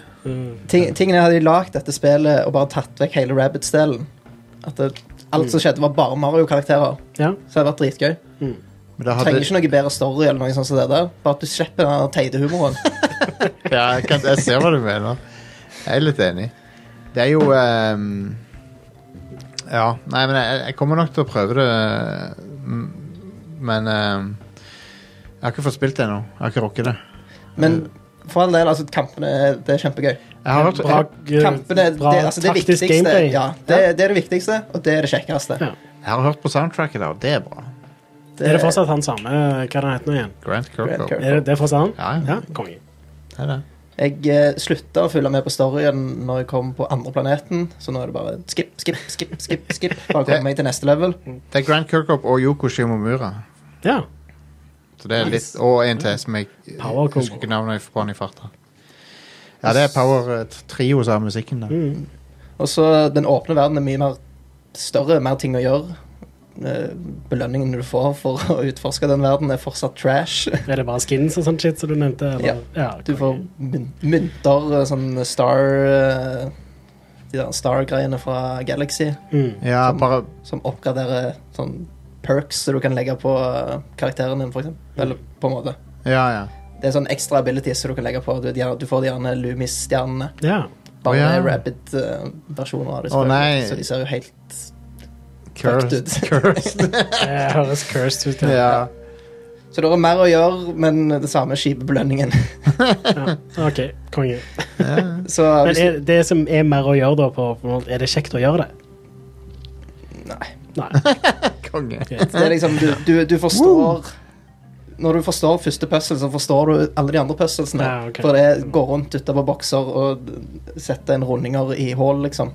Ting, tingene hadde de lagd dette spillet og bare tatt vekk hele rabbits-delen. At det, alt som skjedde, var bare Mario-karakterer. Ja. Så det hadde vært dritgøy. Men da Trenger hadde, ikke noe bedre story eller noe sånt som det der. Bare at du slipper den der teite humoren. ja, jeg, kan, jeg ser hva du mener. Jeg er litt enig. Det er jo ehm, Ja. Nei, men jeg, jeg kommer nok til å prøve det. mm, Men ehm, jeg har ikke fått spilt det ennå. Jeg har ikke rukket det. Men for all del, altså, kampene er- det er kjempegøy. Jeg har hørt, Bra, eh, Kampene det, bra altså, det taktisk viktigste. gameplay. Ja, det, det er det viktigste, og det er det kjekkeste. Ja. jeg har hørt på soundtracket der, og det er bra. Er det fortsatt han samme? Hva er det han heter nå igjen? Grant Kirko. Grant Kirk. Er det, det er fortsatt han? Ja, ja. konge. Det er det. Jeg eh, slutta å følge med på storyen når jeg kom på andre planeten, så nå er det bare skip, skip, skip, skip. skip Bare Det- komme meg til neste level. Det er Grant Kirkhope og Yoko Shimomura. Ja. Så det er litt, og en til som jeg Power jeg husker ikke navnet på han i farta. Ja, det er Power eh, Trio som har musikken Mm. der. Og så den åpne verden er mye mer større, mer ting å gjøre. Eh, Belønningen du får for å utforske den verden, er fortsatt trash. Er det bare skins og sånn shit som du nevnte? Eller? Ja. Du får konge. myn- mynter, eh, sånn star eh, De der star-greiene fra Galaxy Mm. Ja, bare som oppgraderer sånn perks som du kan legge på eh, karakteren din, for eksempel. Eller på en måte. Ja, ja. Det er sånn ekstra abilities som du kan legge på. Du, du får de gjerne Lumis-stjernene. ja. Å, Bare ja. med Rabbit-versjoner av det. Å, nei. Så de ser jo helt Cursed. Fucked ut. Cursed. Det høres cursed ut. Ja. ja. Så det er mer å gjøre, men det samme skipe belønningen. Ja. OK, konge. Så Men hvis, er, det som er mer å gjøre, da, på, på en måte, er det kjekt å gjøre det? Nei. Nei. Konge. det er liksom, du, du, du forstår Når du forstår første puzzle, så forstår du alle de andre puzzlesene. Ja, ok. For det går rundt utover bokser og setter en rundinger i hull, liksom.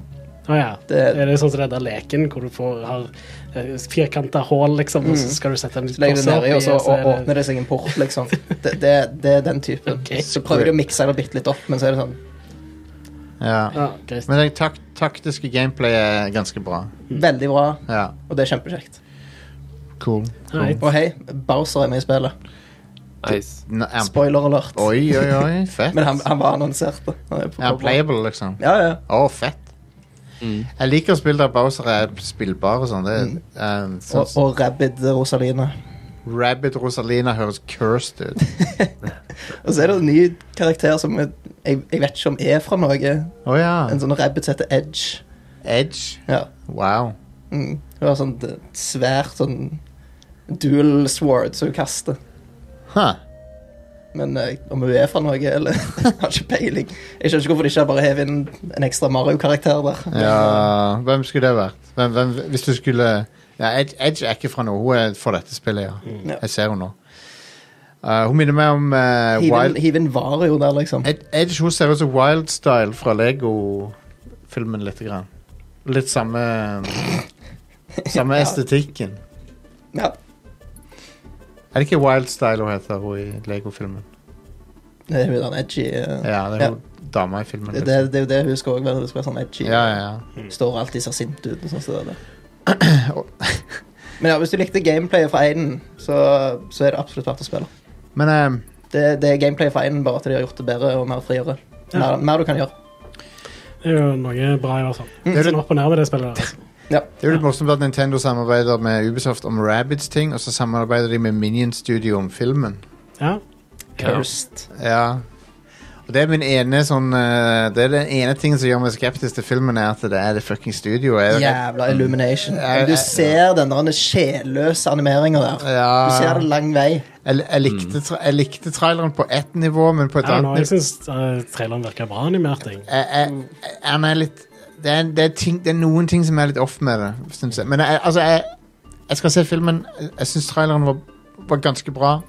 Å ja. Det- er det sånn som den der leken hvor du får, har firkanta hull, liksom, og så skal du sette en Mm. Så legger du pose det nedi, og så å- er det- åpner det seg en port, liksom. Det, det, det er den typen. Ok. Så prøver de å mikse det bitte litt opp, men så er det sånn Ja. Ja, greit. Men det tak taktiske gameplayet er ganske bra. Veldig bra, Ja. og det er kjempekjekt. Cool. Alright. Og hei, Bowser er med i spillet. Nice. N- er han- Spoiler alert. Oi, oi, oi. Fett. Men han, han var annonsert. da. Han er på Er han coveret. playable, liksom? Ja, ja. Å, fett. Mm. Jeg liker spill der Bowser er spillbar og sånn. Det er, um, Og, sånn Mm. og Rabid Rosalina. Rabbit Rosalina høres cursed ut. Og så er det en ny karakter som jeg, jeg jeg vet ikke om er fra Norge. Å ja. En sånn rabbit som heter Edge. Edge. Ja. Wow. Mm. Hun har sånn d- svært sånn dual sword som hun kaster. Huh. Men eh, om hun er fra Norge, eller jeg har ikke peiling. Jeg skjønner ikke hvorfor de ikke bare hever inn en ekstra Mario-karakter der. Ja, hvem skulle det vært? Hvem, hvem, hvis du skulle ja, Edge, Edge er ikke fra noe hun er for dette spillet, ja. Ja. Jeg ser henne nå. Uh, hun minner meg om uh, Hiv inn- Wild Hiv inn Vario der, liksom. Ed, Edge hun ser ut som Wildstyle fra Lego-filmen litt. Grann. Litt samme Samme estetikken. Ja. Er det ikke Wildstyle hun heter, hun i Lego-filmen? Det er hun der edgy eh. Ja, det er hun dama i filmen. Det, Liksom. det, det er jo det hun skal også være. Hun skal være sånn edgy. Ja, ja, ja. Står alltid så sint ut. og Sånn, så det. Men ja, hvis du likte gameplayet fra Aiden, så, så er det absolutt verdt å spille. Men ehm, Det, det er gameplay fra én, bare at de har gjort det bedre og mer friere. Ja. Mer, mer du kan gjøre. Det er jo noe bra, i hvert fall. Det Mm. er jo Sånn opp og ned med det spillet. der, Altså. Det er jo litt morsomt at Nintendo samarbeider med Ubisoft om Rabbids ting, og så samarbeider de med Minion Studio om filmen. Ja. Cursed. Ja. Og det er min ene sånn eh, Det er den ene tingen som gjør meg skeptisk til filmen, er at det er det fucking studioet. Jeg- Jævla illumination. Jeg- Du jeg- ser den der sjelløse animeringa der. Du ser Ja, det lang vei. jeg, jeg, likte, tra- jeg likte traileren på ett nivå, men på et Ja, annet nå, nivå jeg syns traileren virker bra animert. Jeg. jeg, jeg, jeg- han er litt det er, det, er ting, det er noen ting som er litt off med det, synes jeg. Men jeg, altså, jeg, jeg skal se filmen. Jeg- Jeg syns traileren var, var ganske bra.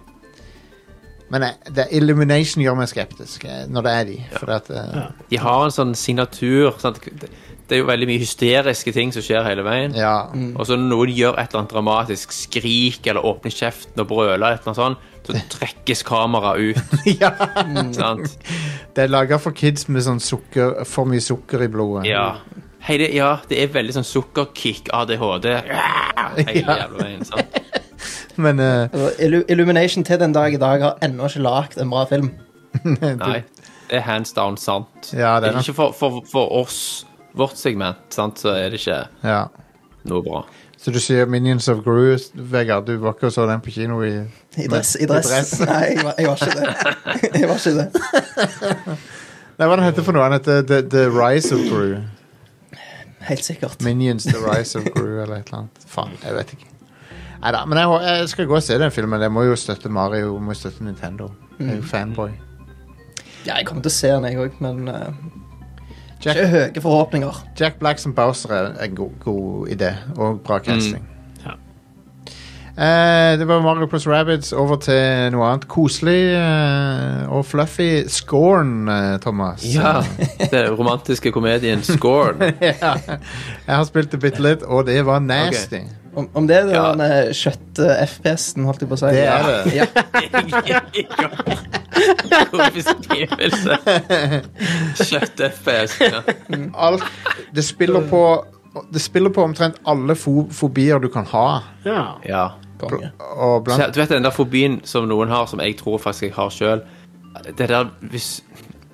Men jeg, det, Illumination gjør meg skeptisk eh, når det er de. For at, eh, De har en sånn signatur. Sant? Det det er jo veldig mye hysteriske ting som skjer hele veien. ja. Mm. Og så når noen gjør et eller annet dramatisk, skrik eller åpner kjeften og brøler, et eller annet sånt, så trekkes kameraet ut. ja. Mm. sant? Det er laga for kids med sånn sukker, for mye sukker i blodet. Ja. Hei, det, ja, det er veldig sånn sukkerkick, ADHD, hele Ja. jævla veien. sant? Men eh, Altså, Illu- Illumination til den dag i dag har ennå ikke lagd en bra film. Nei, det er hands down sant. Ja, det er ikke for, for, for oss, vårt segment, sant, så er det ikke ja. noe bra. Så du sier Minions of Gru, Vegard. Du var ikke og så den på kino i I dress. I I dress. dress. Nei, jeg var, jeg var ikke det. Jeg var ikke det. Nei, hva den heter for noe? Den heter The, The Rise of Gru. Helt sikkert. Minions The Rise of Gru eller et eller annet. Faen, jeg vet ikke. Neida, men jeg, hå- jeg skal gå og se den filmen. Jeg må jo støtte Mario, jeg må jo støtte Nintendo. Jeg er jo fanboy. Ja, jeg kommer til å se den, jeg òg, men eh, Jack, ikke høye forhåpninger. Jack Black som Bowser er en god, god idé, og bra casting. Ja. Eh, det var Mario pluss Rabbids. Over til noe annet koselig eh, og fluffy. Scorn, eh, Thomas. Ja, det er romantiske komedien Scorn. Ja. Jeg har spilt det bitte litt, og det var nasty. Om, om det er Ja. den eh, kjøtt-FPS-en, holdt jeg på å si. Det er det. Ja. God beskrivelse. Kjøtt-FPS. Ja. Alt, det spiller på Det spiller på omtrent alle fo fobier du kan ha. Ja. ja. Konge. Og blant Så, du vet den der fobien som noen har, som jeg tror faktisk jeg har sjøl. Det der hvis,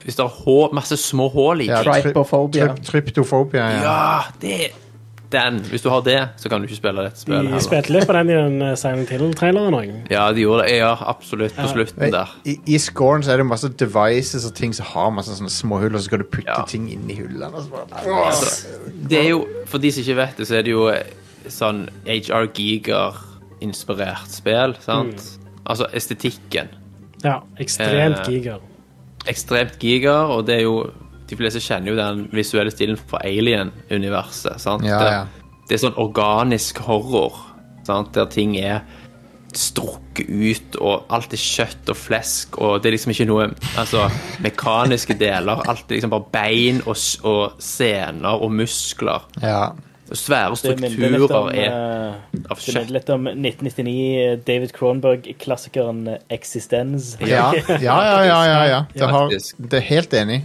hvis det er hå, masse små hull i Ja, ting. tryp- Trypophobia. tryp- Tryptofobia, ja. Ja, det Den. Hvis du har det, så kan du ikke spille dette spillet. De heller. spilte litt på den i den eh, Silent Hill-traileren òg. Ja, de gjorde det. Ja, absolutt. På slutten der. I, I scoren så er det masse devices og ting som har masse sånne små hull, og så skal du putte Ja. ting inn i hullene. og så bare- Altså, det er jo, for de som ikke vet det, så er det jo eh, sånn HR Giger-inspirert spill, sant? Altså estetikken. Ja, ekstremt Eh. giger. Ekstremt giger, og det er jo De fleste kjenner jo den visuelle stilen fra Alien-universet, sant? Ja, Det- ja. Det er sånn organisk horror, sant? Der ting er strukket ut, og alt er kjøtt og flesk, og det er liksom ikke noe altså, mekaniske deler. Alt er liksom bare bein og, s- og sener og muskler. ja. Og Svære Det minner litt om, strukturer er eh, av det minner kjøtt. litt om 1999, eh, David Cronberg-klassikeren eh, Existence. Ja, ja, ja, ja, ja, ja. Det, har, Faktisk. det er helt enig.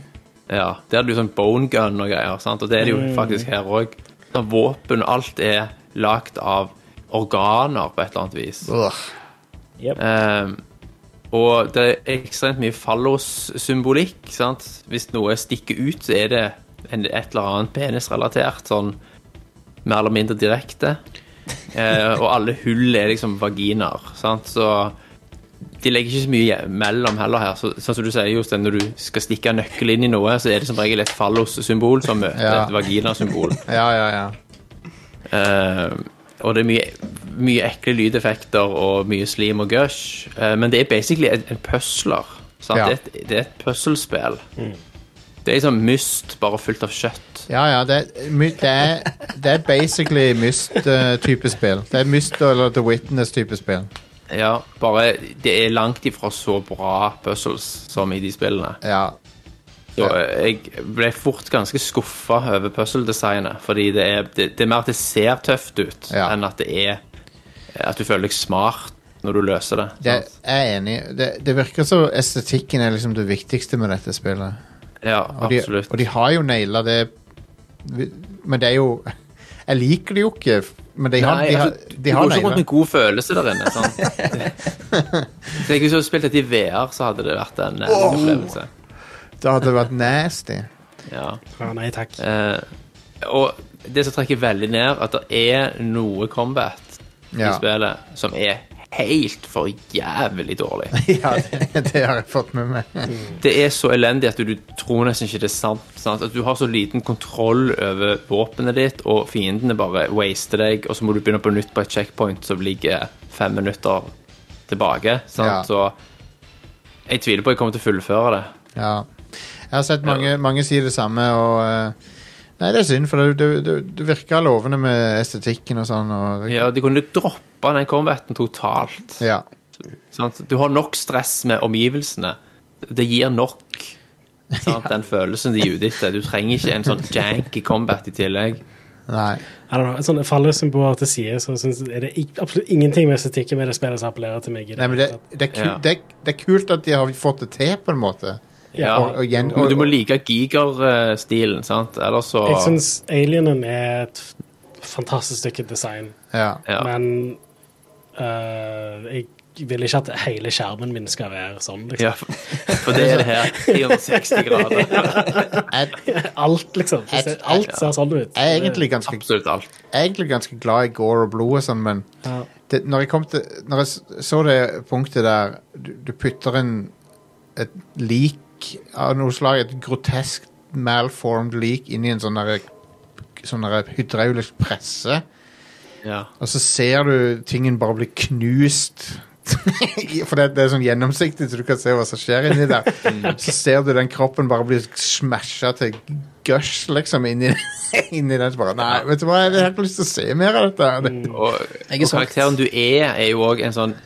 Ja, Der er det jo sånn bone gun og greier, sant? og det er det jo faktisk her òg. Våpen og alt er lagd av organer på et eller annet vis. Ugh. Ehm, og det er ekstremt mye fallossymbolikk. sant? Hvis noe stikker ut, så er det en, et eller annet penisrelatert, sånn mer eller mindre direkte. Eh, og alle hull er liksom vaginaer, sant? så de legger ikke så mye mellom heller her. Så, sånn som du sier, Jostein, når du skal stikke en nøkkel inn i noe, så er det som regel et fallossymbol som møter Ja. et vaginasymbol. Ja, ja, ja. Eh, og det er mye, mye ekle lydeffekter og mye slim og gush. Eh, men det er basically en, en puzzler. Sant? Ja. Mm. Det, er et, det er et puzzlespill. Det er liksom myst, bare fylt av kjøtt. Ja, ja, det er, my- det er, det er basically Myst-type spill. Det er Myst eller The Witness-type spill. Ja, bare Det er langt ifra så bra puzzles som i de spillene. Ja, Så eh, jeg ble fort ganske skuffa over puzzle-designet. Fordi det er, det, det er mer at det ser tøft ut Ja. enn at det er At du føler deg smart når du løser det. det, sant? jeg er enig. Det, det virker som estetikken er liksom det viktigste med dette spillet. ja, Og de, absolutt. og de har jo naila det vi- Men det er jo Jeg liker det jo ikke Men de har, Nei, de har, altså, de Du har går ikke rundt nailer. med god følelse der inne. sant? Så jeg Hvis du hadde spilt dette i VR, så hadde det vært en eh, opplevelse. Det hadde vært nasty. Ja. Ja, nei takk. Eh, og det som trekker veldig ned, at det er noe combat i Ja, spillet som er helt for jævlig dårlig. ja det, det har jeg fått med meg. Det er så elendig at du, du tror nesten ikke det er sant, sant. At du har så liten kontroll over våpenet ditt, og fiendene bare waster deg, og så må du begynne på nytt på et checkpoint som ligger fem minutter tilbake. Ja. Sant? Så jeg tviler på at jeg kommer til å fullføre det. Ja. Jeg har sett mange, mange si det samme, og eh, Nei, det er synd, for det, det, det- det virka lovende med estetikken og sånn. Og, Ja, De kunne droppa den combaten totalt. ja. Sant? Du har nok stress med omgivelsene. Det gir nok sant? den følelsen de er ute etter. Du trenger ikke en sånn janky combat i tillegg. Nei. I don't know, sånne fallosymboler til side, så synes, jeg- er det ik- absolutt ingenting med estetikken med det spillet som appellerer til meg. i Nei, men det, hele tatt. det, er ku, Ja. det, er- det er kult at de har fått det til, på en måte. Ja. Og, og, gjen- Men du må og- like gigerstilen, sant? Ellers så Jeg syns Alienen er et f- fantastisk stykke design, ja. ja. men øh, jeg vil ikke at hele skjermen min skal være sånn. Liksom. ja, for- for det er det her. 360 grader. Jeg, Alt, liksom. Det ser- Alt ser sånn ut. jeg er egentlig ganske Absolutt alt. jeg er egentlig ganske glad i gore og blod og sånn, men Ja. det, når, jeg kom til, når jeg s- så det punktet der du, du putter en et lik av noe slag, et grotesk malformed lik inn i en sånn derre- sånn derre hydraulisk presse, Ja. og så ser du tingen bare bli knust. I- For det, det er sånn gjennomsiktig, så du kan se hva som skjer inni der. Så ser du den kroppen bare bli smasha til gush, liksom, inni, inni den. Så bare Nei, vet du hva, jeg har ikke lyst til å se mer av dette. Det, Og, Jeg er solgt. og karakteren du er, er jo òg en sånn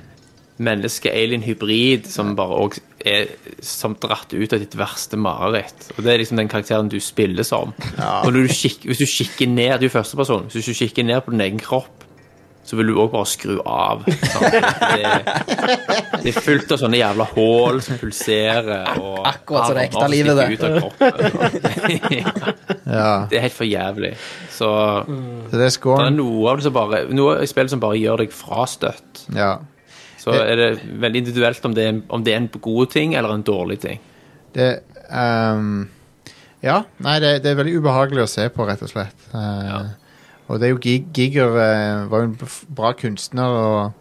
menneske-alien-hybrid som bare også er som dratt ut av ditt verste mareritt. Og det er liksom den karakteren du spiller som. Og når du kikk, hvis du kikker ned, du er førsteperson, hvis du kikker ned på din egen kropp, så vil du òg bare skru av. sant? Det, det er fullt av sånne jævla hål som pulserer, og Akkurat som det ekte armer som livet, det. stikker ut av kroppen. ja. Det er helt for jævlig. Så Mm. Så det er det er scoren. noe av det som bare Noe i spillet som bare gjør deg frastøtt. Ja. Så er det veldig individuelt om det er, om det er en god ting eller en dårlig ting. Det ehm, Ja. Nei, det, det er veldig ubehagelig å se på, rett og slett. Eh, Ja. Og det er jo Gig Giger eh, var jo en f- bra kunstner og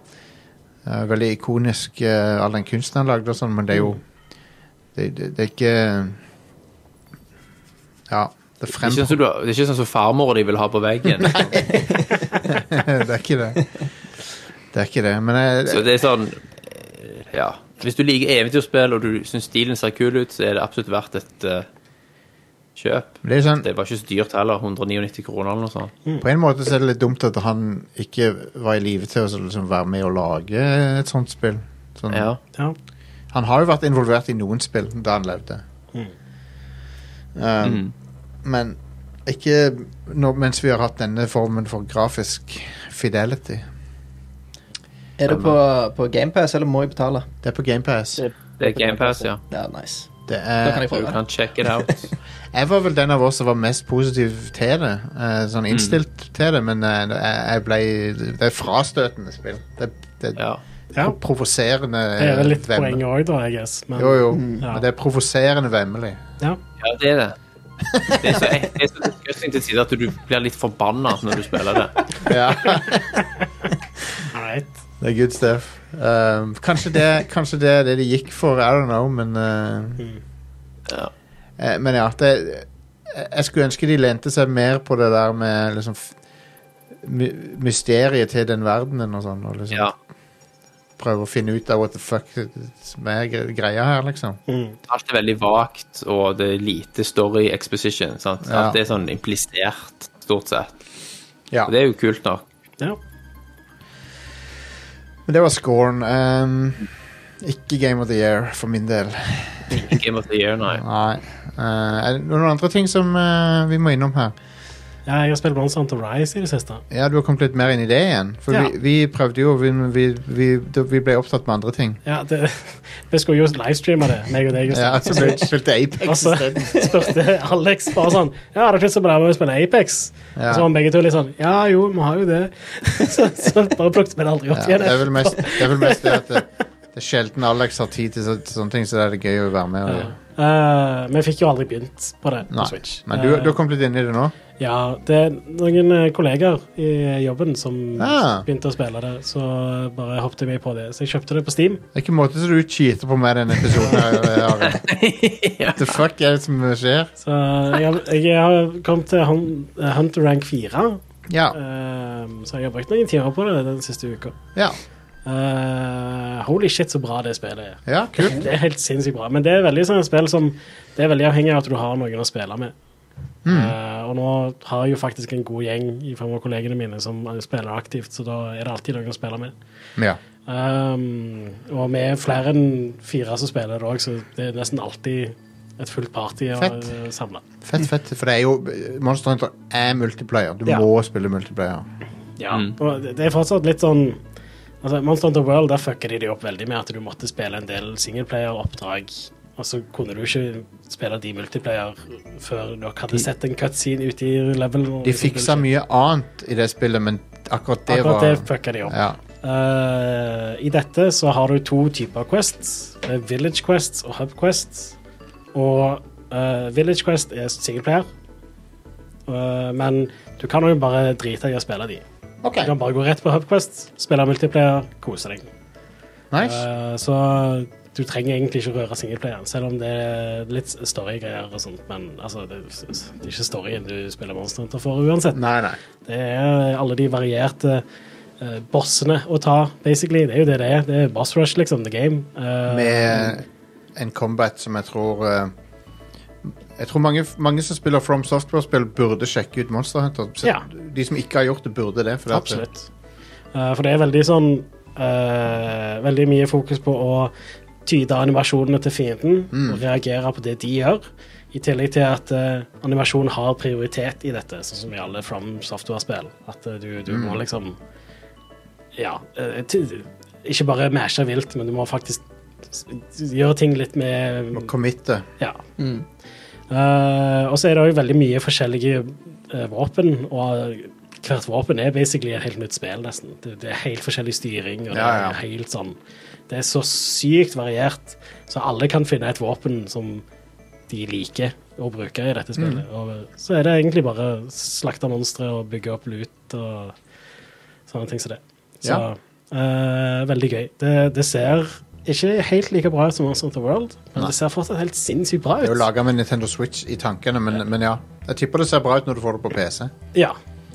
eh, veldig ikonisk, eh, all den kunsten han lagde og sånn, men det er jo det, det, det er ikke Ja. Det Det er ikke fremgår sånn som, du, det er ikke sånn som farmor de vil ha på veggen. Det er ikke det. Det er ikke det, men Så jeg, det er sånn eh, Ja. Hvis du liker eventyrspill og du syns stilen ser kul ut, så er det absolutt verdt et eh, kjøp. det er sånn, Det var ikke så dyrt heller. 199 kroner eller noe sånt. på en måte så er det litt dumt at han ikke var i live til å liksom være med og lage et sånt spill. Sånn, Ja. Ja. Han har jo vært involvert i noen spill da han levde. Um, Mm. Men ikke nå, mens vi har hatt denne formen for grafisk fidelity. Er det på, på GamePass, eller må jeg betale? Det er på GamePass. Det er GamePass, ja. Ja, nice. Det Da kan er, jeg få Du det. kan check it out. jeg var vel den av oss som var mest positiv til det. eh, sånn Mm. innstilt til det, men eh, jeg, jeg ble Det er frastøtende spill. Det, det er Ja. Ja. pro- provoserende Det er vel litt vemmelig. poenget òg, da, I guess. Men, Eh, Jo, jo. Ja. Men det er provoserende vemmelig. Ja. Ja, det er det. Det er så, det er så disgusting til tider at du blir litt forbanna når du spiller det. Ja. Alright. Det er good stuff. Um, kanskje, det, kanskje det er det de gikk for, I don't know, men uh, Ja. eh, Men ja, det, jeg jeg skulle ønske de lente seg mer på det der med liksom f- my, mysteriet til den verdenen og sånn, og liksom ja. prøve å finne ut av what the fuck som er gre- greia her, liksom. Alt er veldig vagt, og det er lite story exposition. Sant? Ja. Alt er sånn implisert, stort sett. Ja. Og det er jo kult nok. Ja. Men det var scoren. Um, ikke Game of the Year for min del. Game of the year, nei. Nei. Eh, er det noen andre ting som eh, vi må innom her? Ja, jeg har spilt Monster Hunter Rise i det siste. Ja, du har kommet litt mer inn i det igjen. For Ja. vi, vi prøvde jo, vi, vi, vi, da- vi ble opptatt med andre ting. Ja, det, vi skulle jo livestreame det, meg og deg. Ja, så ble, spilte Og Apex så isteden. Altså, spurte Alex bare sånn Ja, det er ikke så bra med å spille Apex. Ja. Og så var begge to litt sånn Ja, jo, vi har jo det. så, så bare plukket vi det aldri opp Ja, igjen. det er vel mest det, er vel mest det at det, det er sjelden Alex har tid til så, til sånne ting, så da er det gøy å være med. Og, Ja. Eh, vi fikk jo aldri begynt på det på Nei. Switch. Men du, Eh, du har kommet litt inn i det nå? ja, det er noen eh, kolleger i jobben som Ah. begynte å spille det, så bare hoppet jeg med på det. Så jeg kjøpte det på Steam. Det er ikke måte så du cheater på meg denne episoden. her, eh, Are. Ja. The fuck er det som skjer? Så jeg, jeg har kommet til hun- eh, Hunter Rank 4, Ja. eh, så jeg har brukt noen timer på det den siste uka. Ja, Eh, holy shit, så bra det spillet er. ja kult. Det er helt sinnssykt bra. Men det er veldig sånn et spill som Det er veldig avhengig av at du har noen å spille med. Hmm. Eh, og nå har jeg jo faktisk en god gjeng i form av kollegene mine som spiller aktivt, så da er det alltid noen å spille med. Ja. Um, og vi er flere enn fire som spiller det òg, så det er nesten alltid et fullt party å Fett. eh, samle. Fett, fett. For det er jo Monster Hunter er multiplayer. Du Ja. må spille multiplayer. Ja. Mm. Og det- det er fortsatt litt sånn altså Monster Hunter World, der fucker de det opp veldig med at du måtte spille en del singleplayer-oppdrag. Og så kunne du ikke spille de multiplayer før dere hadde sett en cutscene ute i level. De fiksa mye annet i det spillet, men akkurat det Akkurat var det fucka de opp. ja. Eh, I dette så har du to typer quests. Det er Village Quests og Hub Quests. Og eh, Village Quest er singleplayer, Eh, men du kan jo bare drite i å spille de. OK, Du kan bare gå rett på Hub Quest, spille multiplayer, kose deg. nice. Eh, så du trenger egentlig ikke røre singleplayeren, selv om det er litt storygreier og sånt, men altså, det, det er ikke storyen du spiller Monster Hunter for uansett. Nei, nei. Det er alle de varierte eh, bossene å ta, basically. Det er jo det det er. Det er boss rush, liksom, the game. Eh, Med en combat som jeg tror eh, Jeg tror mange, mange som spiller From Software-spill, burde sjekke ut Monster Hunter. Så Ja. De som ikke har gjort det, burde det. For Absolutt. Eh, for det er veldig sånn eh, Veldig mye fokus på å tyde animasjonene til fienden og reagere på det de gjør. I tillegg til at eh, animasjon har prioritet i dette, sånn som i alle From Software-spill. At eh, du, du må liksom Ja. eh, ty- ikke bare mashe vilt, men du må faktisk s- gjøre ting litt med At, å committe. ja. Mm. Eh, og så er det òg veldig mye forskjellige eh, våpen, og hvert våpen er basically et helt nytt spill, nesten. Det, det er helt forskjellig styring, og det Ja, ja. er helt sånn Det er så sykt variert, så alle kan finne et våpen som de liker å bruke i dette spillet. Mm. Og så er det egentlig bare slakte monstre og bygge opp lut og sånne ting som det. Så Ja. eh, veldig gøy. Det, det ser ikke helt like bra ut som Monster Hunter World, men Nei. det ser fortsatt helt sinnssykt bra Det er jo ut. laga med Nintendo Switch i tankene, men, men ja. Jeg tipper det ser bra ut når du får det på PC. Ja.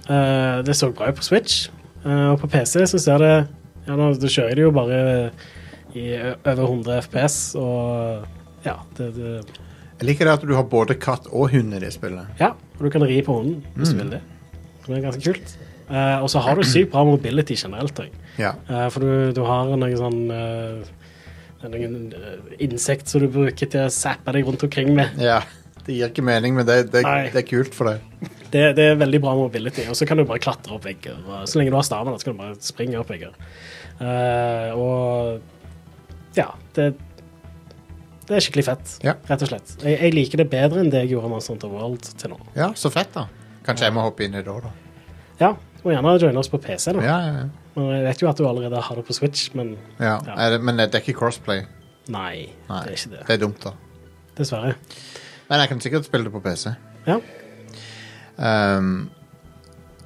Eh, det så bra ut på Switch, Eh, og på PC så ser det Ja, nå da kjører jeg det jo bare i ø- over 100 FPS, og ja, det, det Jeg liker det at du har både katt og hund i det spillet. Ja, og du kan ri på hunden hvis du vil det. Så Det er ganske kult. Eh, og så har du sykt bra mobility generelt òg. Ja. for du, du har noen sånn eh, noen eh, insekt som du bruker til å zappe deg rundt omkring med. ja. Det gir ikke mening, men det, det, Nei. det er kult for deg. Det, det er veldig bra mobility. Og så kan du bare klatre opp vegger. Og så lenge du har staven, så kan du bare springe opp vegger. Eh, og ja, det det er skikkelig fett, Ja. rett og slett. Jeg, jeg liker det bedre enn det jeg gjorde med Monster Hunter World til nå. Ja, så fett, da. Kanskje jeg må hoppe inn i det òg, da. Ja, og gjerne joine oss på PC. da. Ja, ja, ja. Men jeg vet jo at du allerede har det på Switch, men Ja, Ja. er det- Men det er ikke crossplay. nei, Nei, det er ikke det. Det er dumt, da. Dessverre. Men jeg kan sikkert spille det på PC. Ja. Ehm,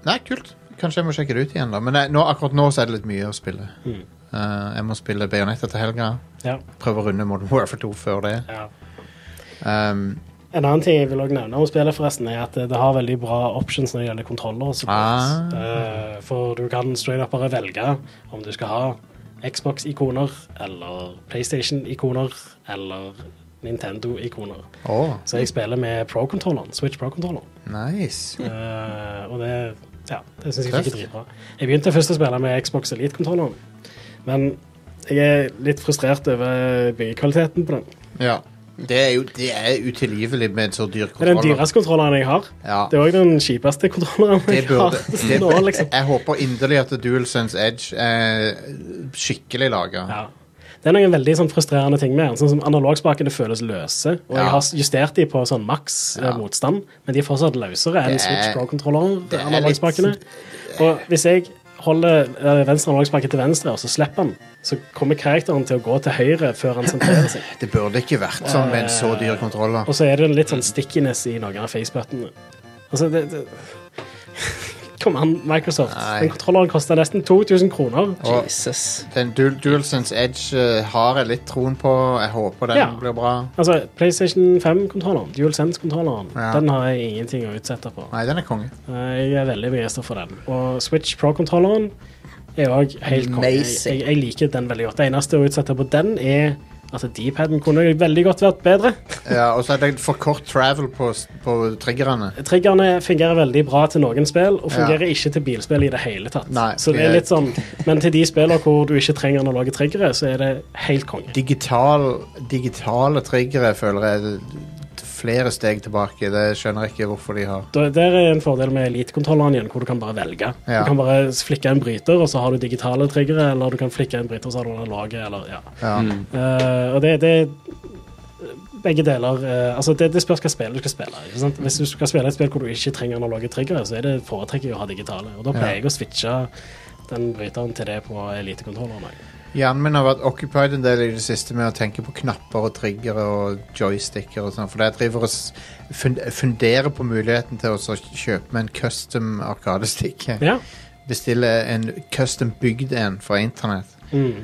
nei, kult. Kanskje jeg må sjekke det ut igjen, da. Men nei, nå, akkurat nå så er det litt mye å spille. Mm. Eh, jeg må spille Bayonetta til helga. Ja, Prøve å runde Modern Warfare 2 før det. ja. Ehm, En annen ting jeg vil også nevne om spillet, forresten, er at det har veldig bra options når det gjelder kontroller. og support. Eh, for du kan straight up bare velge om du skal ha Xbox-ikoner eller PlayStation-ikoner eller Nintendo-ikoner. Åh, Så jeg spiller med pro-kontrolleren, Switch pro-kontrolleren. nice. Eh, og det, ja, det syns jeg Tøft. ikke er dritbra. Jeg begynte først å spille med Xbox Elite-kontrolleren, men jeg er litt frustrert over byggekvaliteten på den. Ja. Det er jo det er utilgivelig med en så dyr Det er den kontroller. dyreste kontrolleren jeg har. Ja. Det er òg den kjipeste kontrolleren Det jeg burde, det, har. Nå, liksom. Jeg håper inderlig at DualSense Edge er skikkelig laga. ja. Det er noen veldig sånn, frustrerende ting med den. Sånn som Analogspakene føles løse. Og Ja. jeg har justert de på sånn maks eh, motstand, men de er fortsatt løsere enn Det er- det Switch er Pro-kontrolleren. analogspakene. litt- Og hvis jeg holder eh, venstre analogspake til venstre, og så slipper den, så kommer karakteren til å gå til høyre før han sentrerer seg. Det burde ikke vært sånn med en så dyr kontroller. Eh, Og så er det litt sånn stickiness i noen av facebuttonene. Altså, det, det Kom an, Microsoft. Nei. Den kontrolleren koster nesten 2000 kroner. Og Jesus. den Dual, DualSense Edge eh, har jeg litt troen på. Jeg håper den Ja. blir bra. Altså, PlayStation 5-kontrolleren, DualSense-kontrolleren, Ja. den har jeg ingenting å utsette på. Nei, den er konge. Eh, Jeg er veldig begeistra for den. Og Switch Pro-kontrolleren er òg helt konge. Jeg, Amazing. jeg, jeg liker den veldig godt. Det eneste å utsette på den, er at D-paden kunne jo veldig godt vært bedre. Ja, og så er det for kort travel på, s- på triggerne. Triggerne fungerer veldig bra til noen spill, og fungerer Ja. ikke til bilspill i det hele tatt. Nei, så det det- er litt sånn, Men til de spillene hvor du ikke trenger analoge triggere, så er det helt konge. Digital, digitale triggere føler jeg er flere steg tilbake. Det skjønner jeg ikke hvorfor de har. Da- Der er en fordel med elitekontrolleren igjen, hvor du kan bare velge. Ja. Du kan bare flikke en bryter, og så har du digitale triggere, eller du kan flikke en bryter, og så har du analoge, eller ja. Ja. Eh, og det, det Begge deler eh, Altså, det, det spørs hva spill du skal spille. Ikke sant? Hvis du skal spille et spill hvor du ikke trenger analoge triggere, så er det foretrekker jeg å ha digitale. Og da pleier jeg å switche den bryteren til det på elitekontrolleren. også. Hjernen min har vært occupied en del i det siste med å tenke på knapper og triggere og joysticker og sånn, for jeg driver og s- fun- funderer på muligheten til å så kjøpe meg en custom arkadestikk. Ja. Bestille en custom bygd en fra internett. Mm.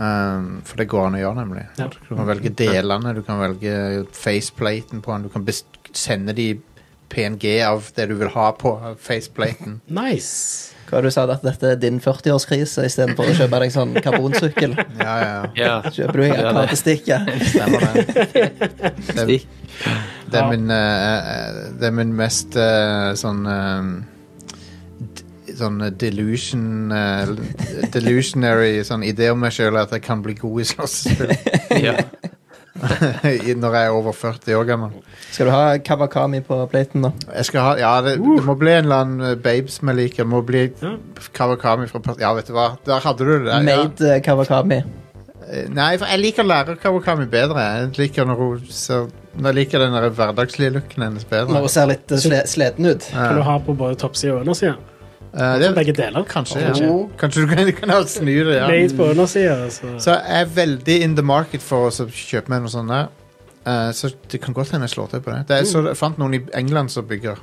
Um, for det går an å gjøre, nemlig. Ja. Du kan velge delene, du kan velge faceplaten på den, du kan best sende de PNG av det du vil ha på faceplaten. Nice. Hva var det du sa du at dette er din 40-årskrise istedenfor å kjøpe deg sånn karbonsykkel? Ja, ja, ja. Ja. Kjøper du en Ja, det- arkadestikk? Ja, Stemmer det. det Stikk. Det er Ja. min, eh, eh, det er min mest eh, sånn eh, d- Sånn eh, delusion eh, Delusionary sånn idé om meg sjøl at jeg kan bli god i slåssespill Ja. i- når jeg er over 40 år gammel. Skal du ha Kawakami på platen, da? Jeg skal ha, ja, det, det må bli en eller annen eh, babe som jeg liker. Det må bli Uh. Ja. Kawakami fra Pers- Ja, vet du hva, der hadde du det. der, Ja. Made eh, Kawakami. Eh, Nei, for jeg liker lærer Kawakami bedre. Jeg liker når hun ser Jeg liker den der hverdagslige looken hennes bedre. Når hun ser litt eh, sle sliten ut. Kan du Ja. ha på både toppside og underside? Eh, det, Begge deler. Kanskje, ja. Kanskje du kan, du kan snu det, ja. Made på undersida, så Så jeg er veldig in the market for å så kjøpe meg noe sånt der. Eh, så det kan godt hende jeg slår til på det. det er, så jeg fant noen i England som bygger,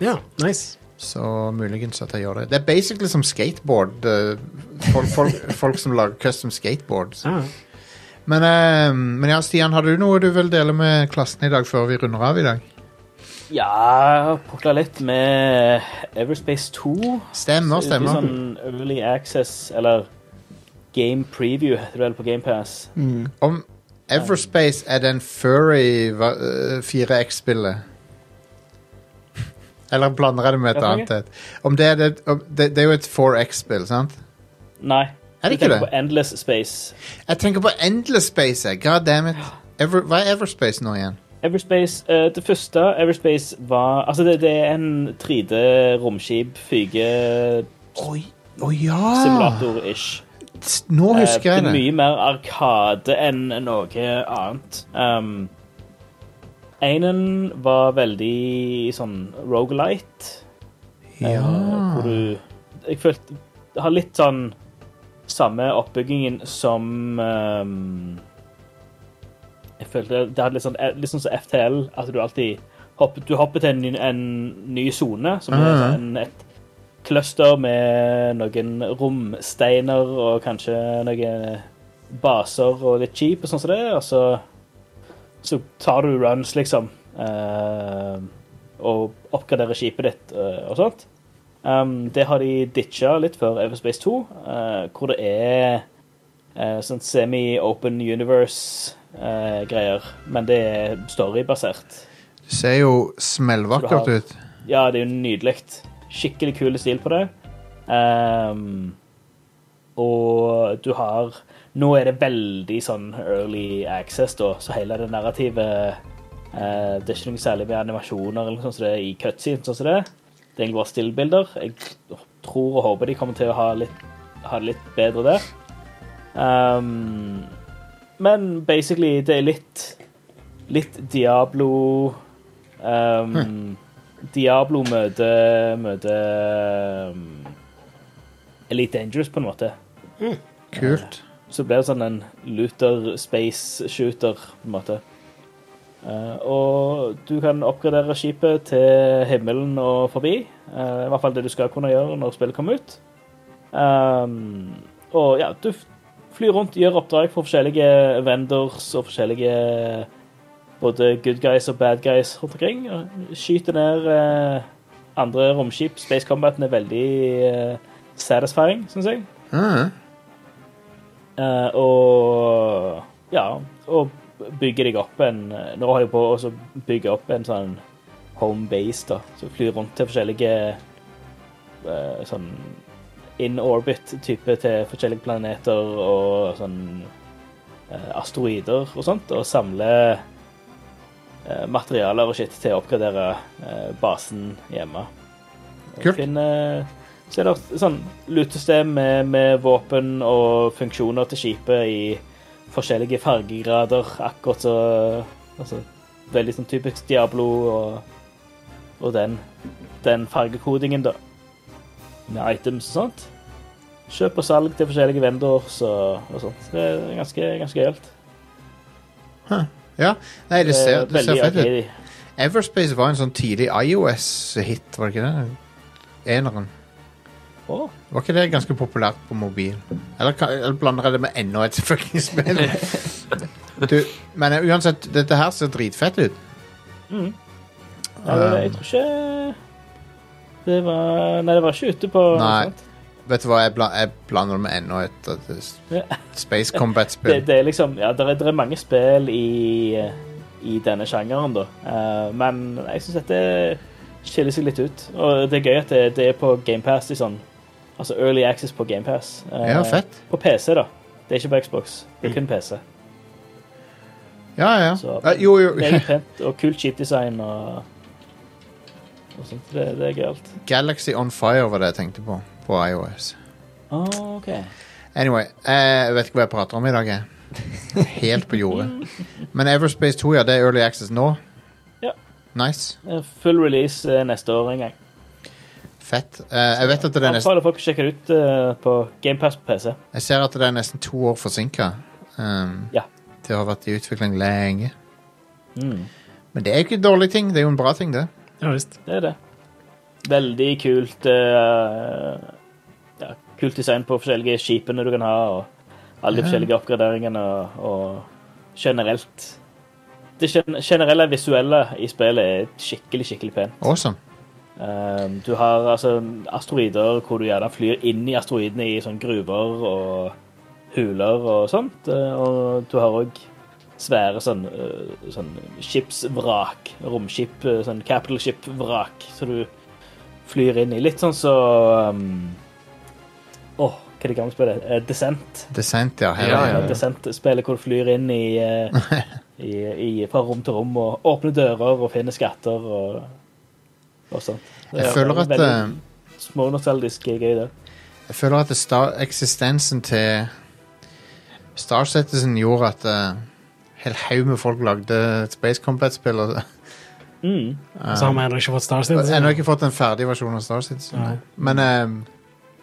Ja, nice. så muligens at jeg gjør det. Det er basically som skateboard. eh, folk, folk, folk som lager custom skateboard. Ja. Men, eh, men ja, Stian, har du noe du vil dele med klassen i dag før vi runder av i dag? Ja, pukla litt med Everspace 2. Stemmer, Så det er stemmer. Sånn early access, eller game preview, heter det vel på GamePass. Om Everspace er den furry va- øh, 4X-spillet Eller blander jeg det med et Hva for annet et? Om det, er det, om det, det er jo et 4X-spill, sant? Nei. Er det jeg ikke tenker det? På Endless Space. Jeg tenker på Endless Space. jeg. God damn it. Ever, hva er Everspace nå igjen? Everspace, eh, Det første Everspace var Altså, det, det er en 3D-romskip-fyge-simulator-ish. Oi, å ja! S- Nå Eh, husker jeg det. det. er mye mer arkade enn noe annet. Um, Einen var veldig sånn roguelite. eh, Ja. hvor du Jeg følte det har litt sånn samme oppbyggingen som um, Jeg følte det hadde litt sånn, litt sånn som FTL, at du alltid hopper, du hopper til en ny- en ny sone, som er sånn Ah. en, et cluster med noen romsteiner og kanskje noen baser og litt skip og sånn som det, og så, så tar du runs, liksom, eh, og oppgraderer skipet ditt eh, og sånt. Um, det har de ditcha litt før Everspace 2, eh, hvor det er eh, sånn semi-open universe-greier, men det er storybasert. Det ser jo Så smellvakkert du har- ut. Ja, det er jo nydelig. Skikkelig kul stil på det. Ehm, og du har Nå er det veldig sånn early access, da, så hele det narrativet eh, Det er ikke noe særlig med animasjoner eller noe sånt som det er i cutscenes. Sånn som det. er. det er egentlig bare stillbilder. Jeg tror og håper de kommer til å ha, litt, ha det litt bedre der. Ehm, men basically, det er litt Litt Diablo ehm, Diablo møter møter ehm, Elite Dangerous, på en måte. Kult. Så det blir det sånn en looter space shooter, på en måte. Eh, og du kan oppgradere skipet til himmelen og forbi. Eh, I hvert fall det du skal kunne gjøre når spillet kommer ut. Ehm, og ja, du f- flyr rundt, gjør oppdrag for forskjellige vendors og forskjellige både good guys og bad guys rundt omkring. og Skyter ned eh, andre romskip. Space combaten er veldig eh, satisfying, syns jeg. Ah, Eh, og ja, og bygger deg opp en eh, Nå holder jeg på å så bygge opp en sånn home base, da. Så flyr rundt til forskjellige eh, sånn in orbit-type til forskjellige planeter og sånn eh, asteroider og sånt, og samler eh, materialer og shit til å oppgradere eh, basen hjemme. eh, Kult. Finner, så er det sånn lutesystem med, med våpen og funksjoner til skipet i forskjellige fargegrader, akkurat så altså, Veldig sånn typisk Diablo og, og den, den fargekodingen, da. Med items og sånt. Kjøp og salg til forskjellige vendors og, og sånt. Det er ganske, ganske gøyalt. ja. Nei, det ser, det ser Eh, veldig fett ut. arcade. Everspace var en sånn tidlig IOS-hit, var det ikke det? Eneren. Å, Var ikke det ganske populært på mobil? Eller, kan- eller blander jeg det med enda et fucking spill? du, men eh, uansett, dette her ser dritfett ut. ja, det- Um. jeg tror ikke Det var Nei, det var ikke ute på Nei. sånt. Vet du hva, jeg, bla, jeg blander det med enda et, et, et Ja. Space det, Combat-spill. det er liksom Ja, det er, det er mange spill i, i denne sjangeren, da. Eh, men jeg syns dette skiller seg litt ut. Og det er gøy at det, det er på GamePass. Sånn, altså Early Access på GamePass. Uh, Ja, fett. Mm. På PC, da. Det er ikke på Xbox. Det er kun PC. Ja, ja. Så- Eh, Jo, jo. Meget pent og kult chipdesign og, og sånt. Det, det er gøyalt. Galaxy On Fire var det jeg tenkte på, på IOS. Oh, okay. Anyway, eh, jeg vet ikke hva jeg prater om i dag, jeg. Helt på jordet. Men Everspace 2, ja, det er Early Access nå. Ja. Nice. Eh, Full release eh, neste år en gang. Fett. Eh, jeg vet at det er nesten Anbefaler folk å sjekke det ut eh, på GamePass på PC. Jeg ser at det er nesten to år forsinka. Um, Ja. Det har vært i utvikling lenge. Men det er jo ikke en dårlig ting. Det er jo en bra ting, det. Ja visst. Det er det. Veldig kult eh, ja, Kult design på forskjellige skipene du kan ha, og alle de forskjellige oppgraderingene, og, og generelt Det gen generelle visuelle i spillet er skikkelig, skikkelig pent. Awesome. Um, du har altså asteroider hvor du gjerne flyr inn i asteroidene i sånn gruver og huler og sånt. Uh, Og du har òg svære sånn, uh, sånn skipsvrak, romskip, uh, sånn capital ship-vrak, så du flyr inn i. Litt sånn så um, Åh, hva er det gamle spillet? Uh, Descent. Descent, ja. Her, Ja, er ja. det. Descent-spillet hvor du flyr inn i, eh, i, i, fra rom til rom og åpner dører og finner skatter og, og sånt. Det Jeg er føler at veldig eh, Smånostaldisk gøy, det. Jeg føler at det sta- eksistensen til Starsettelsen gjorde at eh, hel haug med folk lagde et Space Combat-spill. og- Mm. Så Um, har vi ennå ikke fått Star Jeg har ennå Citizen. ikke fått en ferdig versjon av Star Citizen. eh, Nei. Men eh,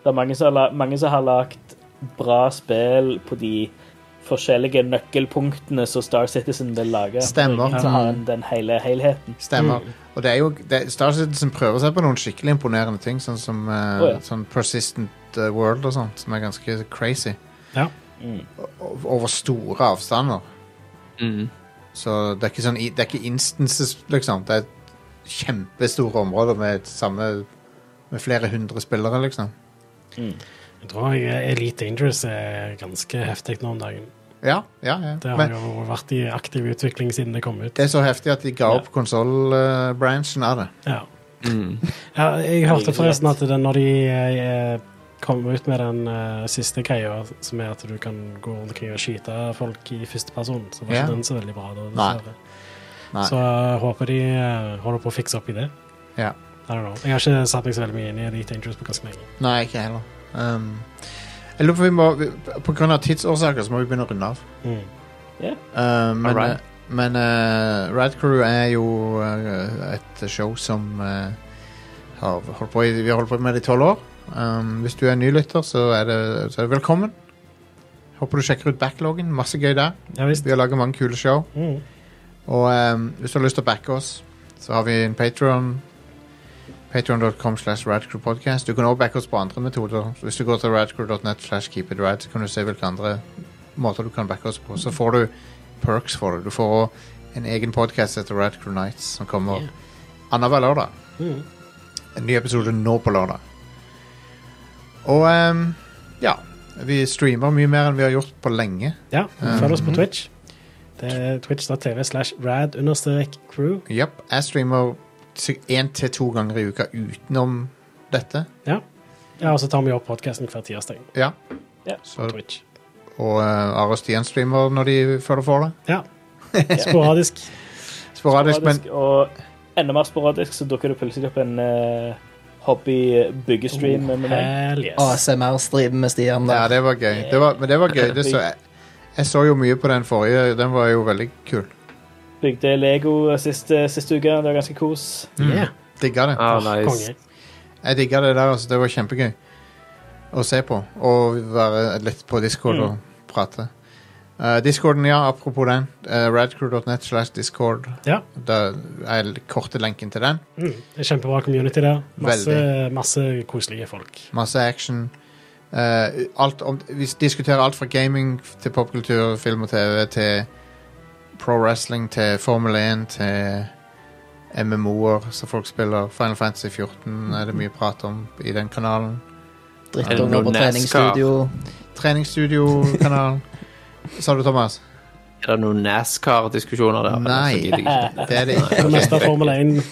Det er mange som, har, la- mange som har lagt bra spill på de forskjellige nøkkelpunktene som Star Citizen vil lage. Stemmer. Så har en den hele helheten. stemmer. Og det er jo det, Star Citizen prøver seg på noen skikkelig imponerende ting, sånn som eh, Å, ja. sånn Persistent eh, World og sånt, som er ganske crazy. Ja. Mm. o- over store avstander. Mhm. Så det er ikke sånn i- Det er ikke instances, liksom. Det er kjempestore områder med et samme Med flere hundre spillere, liksom. Jeg tror jeg Elite Dangerous er ganske heftig nå om dagen. Ja, ja, ja. Det har Men jo vært i aktiv utvikling siden det kom ut. det er så heftig at de ga opp konsollbransjen av det. Mm. Ja. ja jeg hørte forresten at det, når de eh, kom ut med den eh, siste greia, som er at du kan gå rundt omkring og skyte folk i førsteperson. Så var Ja. ikke den så veldig bra da. Nei. dessverre. Nei. Så jeg håper de eh, holder på å fikse opp i det. Ja. I don't know. Jeg har ikke satt meg så veldig mye inn i Elite Dangerous på ganske lenge. Nei, ikke heller. Um, jeg lurer på om vi må vi- På grunn av tidsårsaker så må vi begynne å runde av. Mm. Uh, men Alright. eh, men eh, Rad Crew er jo eh, et show som eh, har holdt på i, vi har holdt på med det i tolv år. Um, hvis du er nylytter, så er, det, så er det velkommen. Håper du sjekker ut backloggen. Masse gøy der. Ja visst. Vi har laget mange kule show. Mm. Og ehm, hvis du har lyst til å backe oss, så har vi en Patreon Patreon.com slash radcrewpodcast. Du kan også backe oss på andre metoder. Så hvis du går til radcrew.net slash keepitrad, så kan du se hvilke andre måter du kan backe oss på. Så får du perks for det. Du får også en egen podkast etter Radcrew Nights som kommer Yeah. annenhver lørdag. Mm. En ny episode nå på lørdag. Og ehm, ja. Vi streamer mye mer enn vi har gjort på lenge. Ja, følg oss på Mhm. Twitch. Det er twitch.tv slash rad understrek crew. Japp, jeg streamer si- én til to ganger i uka utenom dette. Ja, og så tar vi opp podkasten hver tirsdag Ja. Ja. Så, på Twitch. og eh, Are og Stian streamer når de føler for det. Ja. Sporadisk. Sporadisk, men Sporadisk, og enda mer sporadisk så dukker det plutselig opp en eh, hobby-byggestream Oh, med meg. Hell yes. ASMR-streamen med Stian. ja, Der. det var gøy. Det var, men det var gøy. Det så, jeg, jeg så jo mye på den forrige. Den var jo veldig kul. Bygde Lego sist, sist uke. Det var ganske kos. Mm. Yeah. Digga det. Ah, Mm. Konge. nice. Jeg digga det der, altså. Det var kjempegøy å se på. Og være litt på Discord Mm. og prate. Eh, Discorden, ja, apropos den. eh, radcrew.net slash discord. Ja. Da er korte lenken til den. Mm. Det er Kjempebra community der. Masse, masse koselige folk. Masse action. Eh, alt om, vi diskuterer alt fra gaming til popkultur, film og TV til pro wrestling til Formel 1 til MMO-er som folk spiller. Final Fantasy 14 er det mye prat om i den kanalen. Drittunger på Eller treningsstudio. Treningsstudio-kanalen. Sa du, Thomas? Er det noen NASCAR-diskusjoner der? Nei. Så gidder jeg ikke. Det er det ikke. Det meste av Ok. Formel 1.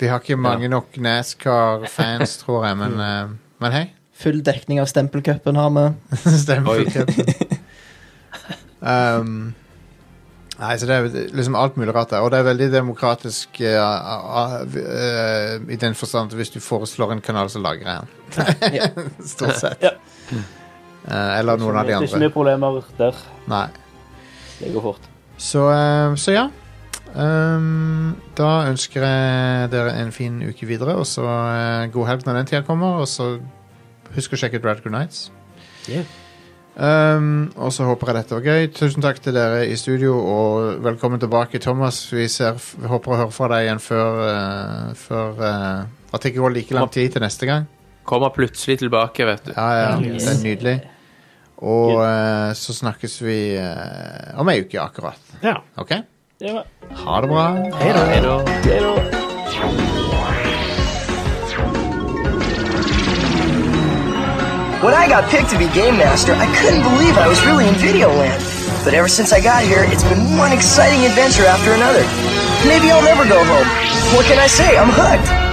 Vi har ikke mange nok NASCAR-fans, tror jeg, Mm. men, eh, men hei. Full dekning av stempelcupen har vi. Stemmer. Oi. um, nei, så det er liksom alt mulig rart der. Og det er veldig demokratisk eh, ah, ah, eh, i den forstand at hvis du foreslår en kanal, så lager jeg den. Stort sett. Ja. Eh, eller noen av de Det er ikke andre. mye problemer der. Nei. Det går fort. Så, eh, så ja. Um, da ønsker jeg dere en fin uke videre, og så eh, god helg når den tida kommer. Og så husk å sjekke ut Radcrew Nights. Yeah. Um, og så håper jeg dette var gøy. Tusen takk til dere i studio, og velkommen tilbake, Thomas. Vi, ser, vi håper å høre fra deg igjen før, eh, før eh, At det ikke går like lang tid til neste gang. Kommer plutselig tilbake, vet du. Ja, ja, Det er nydelig. Og eh, så snakkes vi eh, om ei uke, akkurat. Ja. OK? Det var Ha det bra. Hei da. det da. When I got picked to be Game Master, I couldn't believe I was really in video land. But ever since I got here, it's been one exciting adventure after another. Maybe I'll never go home. What can I say? I'm hooked.